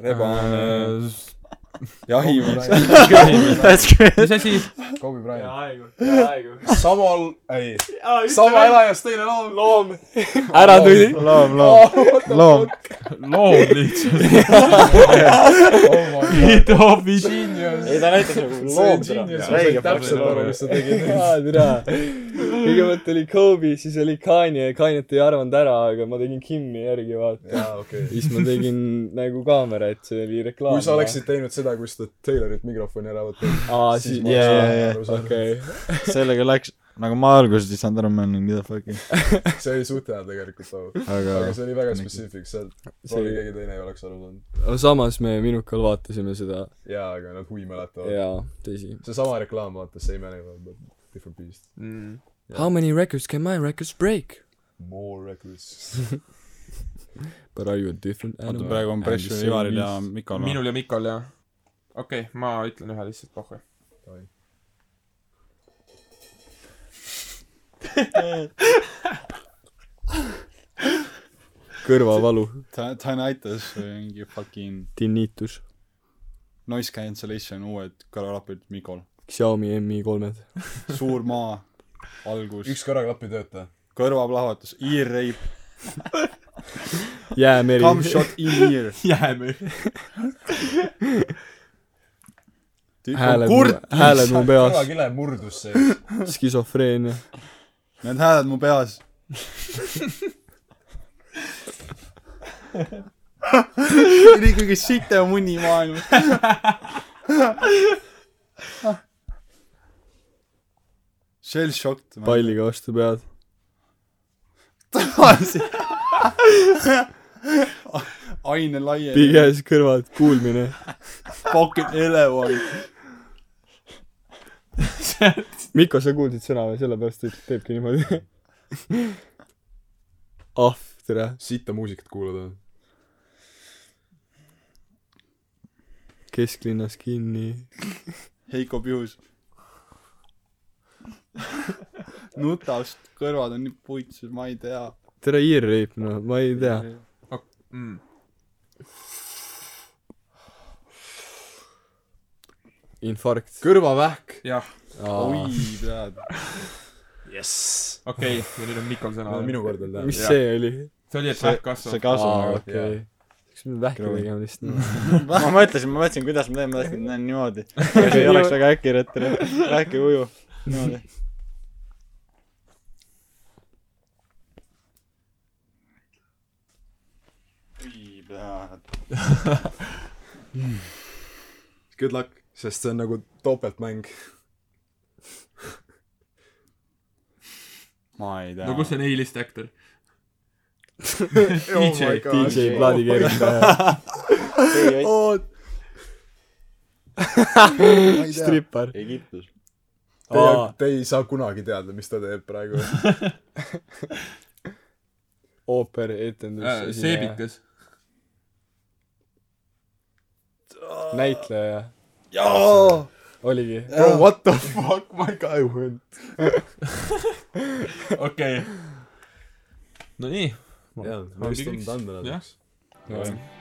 rebane . äh, jahimees . [LAUGHS] That's Äh, great . mis asi ? Kobe Bryant . aegu , aegu . samal , ei , sama . elajas teine loom . loom . ära tuli . loom , loom , loom . lood [LAUGHS] lihtsalt . Oh Genius . ei , ta näitas nagu see on loom seda . genius , ma räige sain täpselt aru , professionaal . mis sa tegid . [LAUGHS] jaa , tere . kõigepealt oli Kobe , siis oli Kanye , Kanye't ei arvanud ära , aga ma tegin Kimi järgi , vaata . jaa , okei okay. . siis ma tegin nagu kaamera , et see oli reklaam . kui sa oleksid teinud seda , kus ta Taylorit mikrofoni ära võtab , aa , siis siis ma jaa, oleks jaa, jaa. aru saanud . okei . sellega läks , nagu ma alguses ei saanud aru , ma olin mida fuck'i , see oli suht hea tegelikult , aga , aga aga see oli väga spetsiifiline , sealt See proovi oli- keegi teine ei oleks aru saanud . aga samas me minukal vaatasime seda jaa , aga noh, nad huvi mäletavad . jaa , tõsi . seesama reklaam , vaata , same animal but different beast . How many records can my records break ? More records . But are you a different [LAUGHS] oota , animal ? praegu on pressure Ivaril ja Mikol . minul ja Mikol jah . okei okay, , ma ütlen ühe lihtsalt pohhu . kõrvavalu . Tinnitus või äh, mingi fucking Tinnitus . noise cancellation uued kõrvarapid Mikol . Xiaomi Mi kolmed . suur maa , algus , üks kõrvaklapp ei tööta . kõrvaplahvatus , ear [LAUGHS] rape , jäämeri . come shot in ear . jääme . hääled , kurt , hääled mu peas . kõrvakile murdus sees . skisofreenia . need hääled mu peas . see oli kõige sitem uni maailmas . Shell shocked . palliga vastu pead . tagasi . [LAUGHS] aine laiem . piges kõrvad , kuulmine . Pocket elevant . Mikko , sa kuulsid sõna või sellepärast ta teebki niimoodi . ah , tere . sitta muusikat kuulada . kesklinnas kinni . Heiko Pihus . nutast , kõrvad on nii puitsus , ma ei tea . tere , ear-rape , no ma ei tea . Mm. infarkt . kõrvavähk . jah , oi , tead . jess . okei okay. , ja nüüd on Mikol sõna . minu kord on täna . mis Jah. see oli ? see oli , et vähk kasvab . see aa , kasvab nagu. jah. okei . kas me vähki Krõvi. tegema lihtsalt ? nagu . ma mõtlesin , ma mõtlesin , kuidas ma teen , ma tahtsin , et näen niimoodi . [LAUGHS] aga see ei oleks väga accurate , Ah, räägi uju . niimoodi . oi , tead . Good luck , sest see on nagu topeltmäng . ma ei tea . no kus on A-list aktor ? my DJ , God. [LAUGHS] DJ plaadi keerutaja , strippar . Egiptus . Te, Aa. te ei saa kunagi teada , mis ta teeb praegu . Äh, ooperieetendus . seebikas . näitleja , jaa . oligi . Bro , what the fuck , my guy went . okei . Nonii . [LAUGHS] jaa , me vist oleme andnud Jah. näiteks .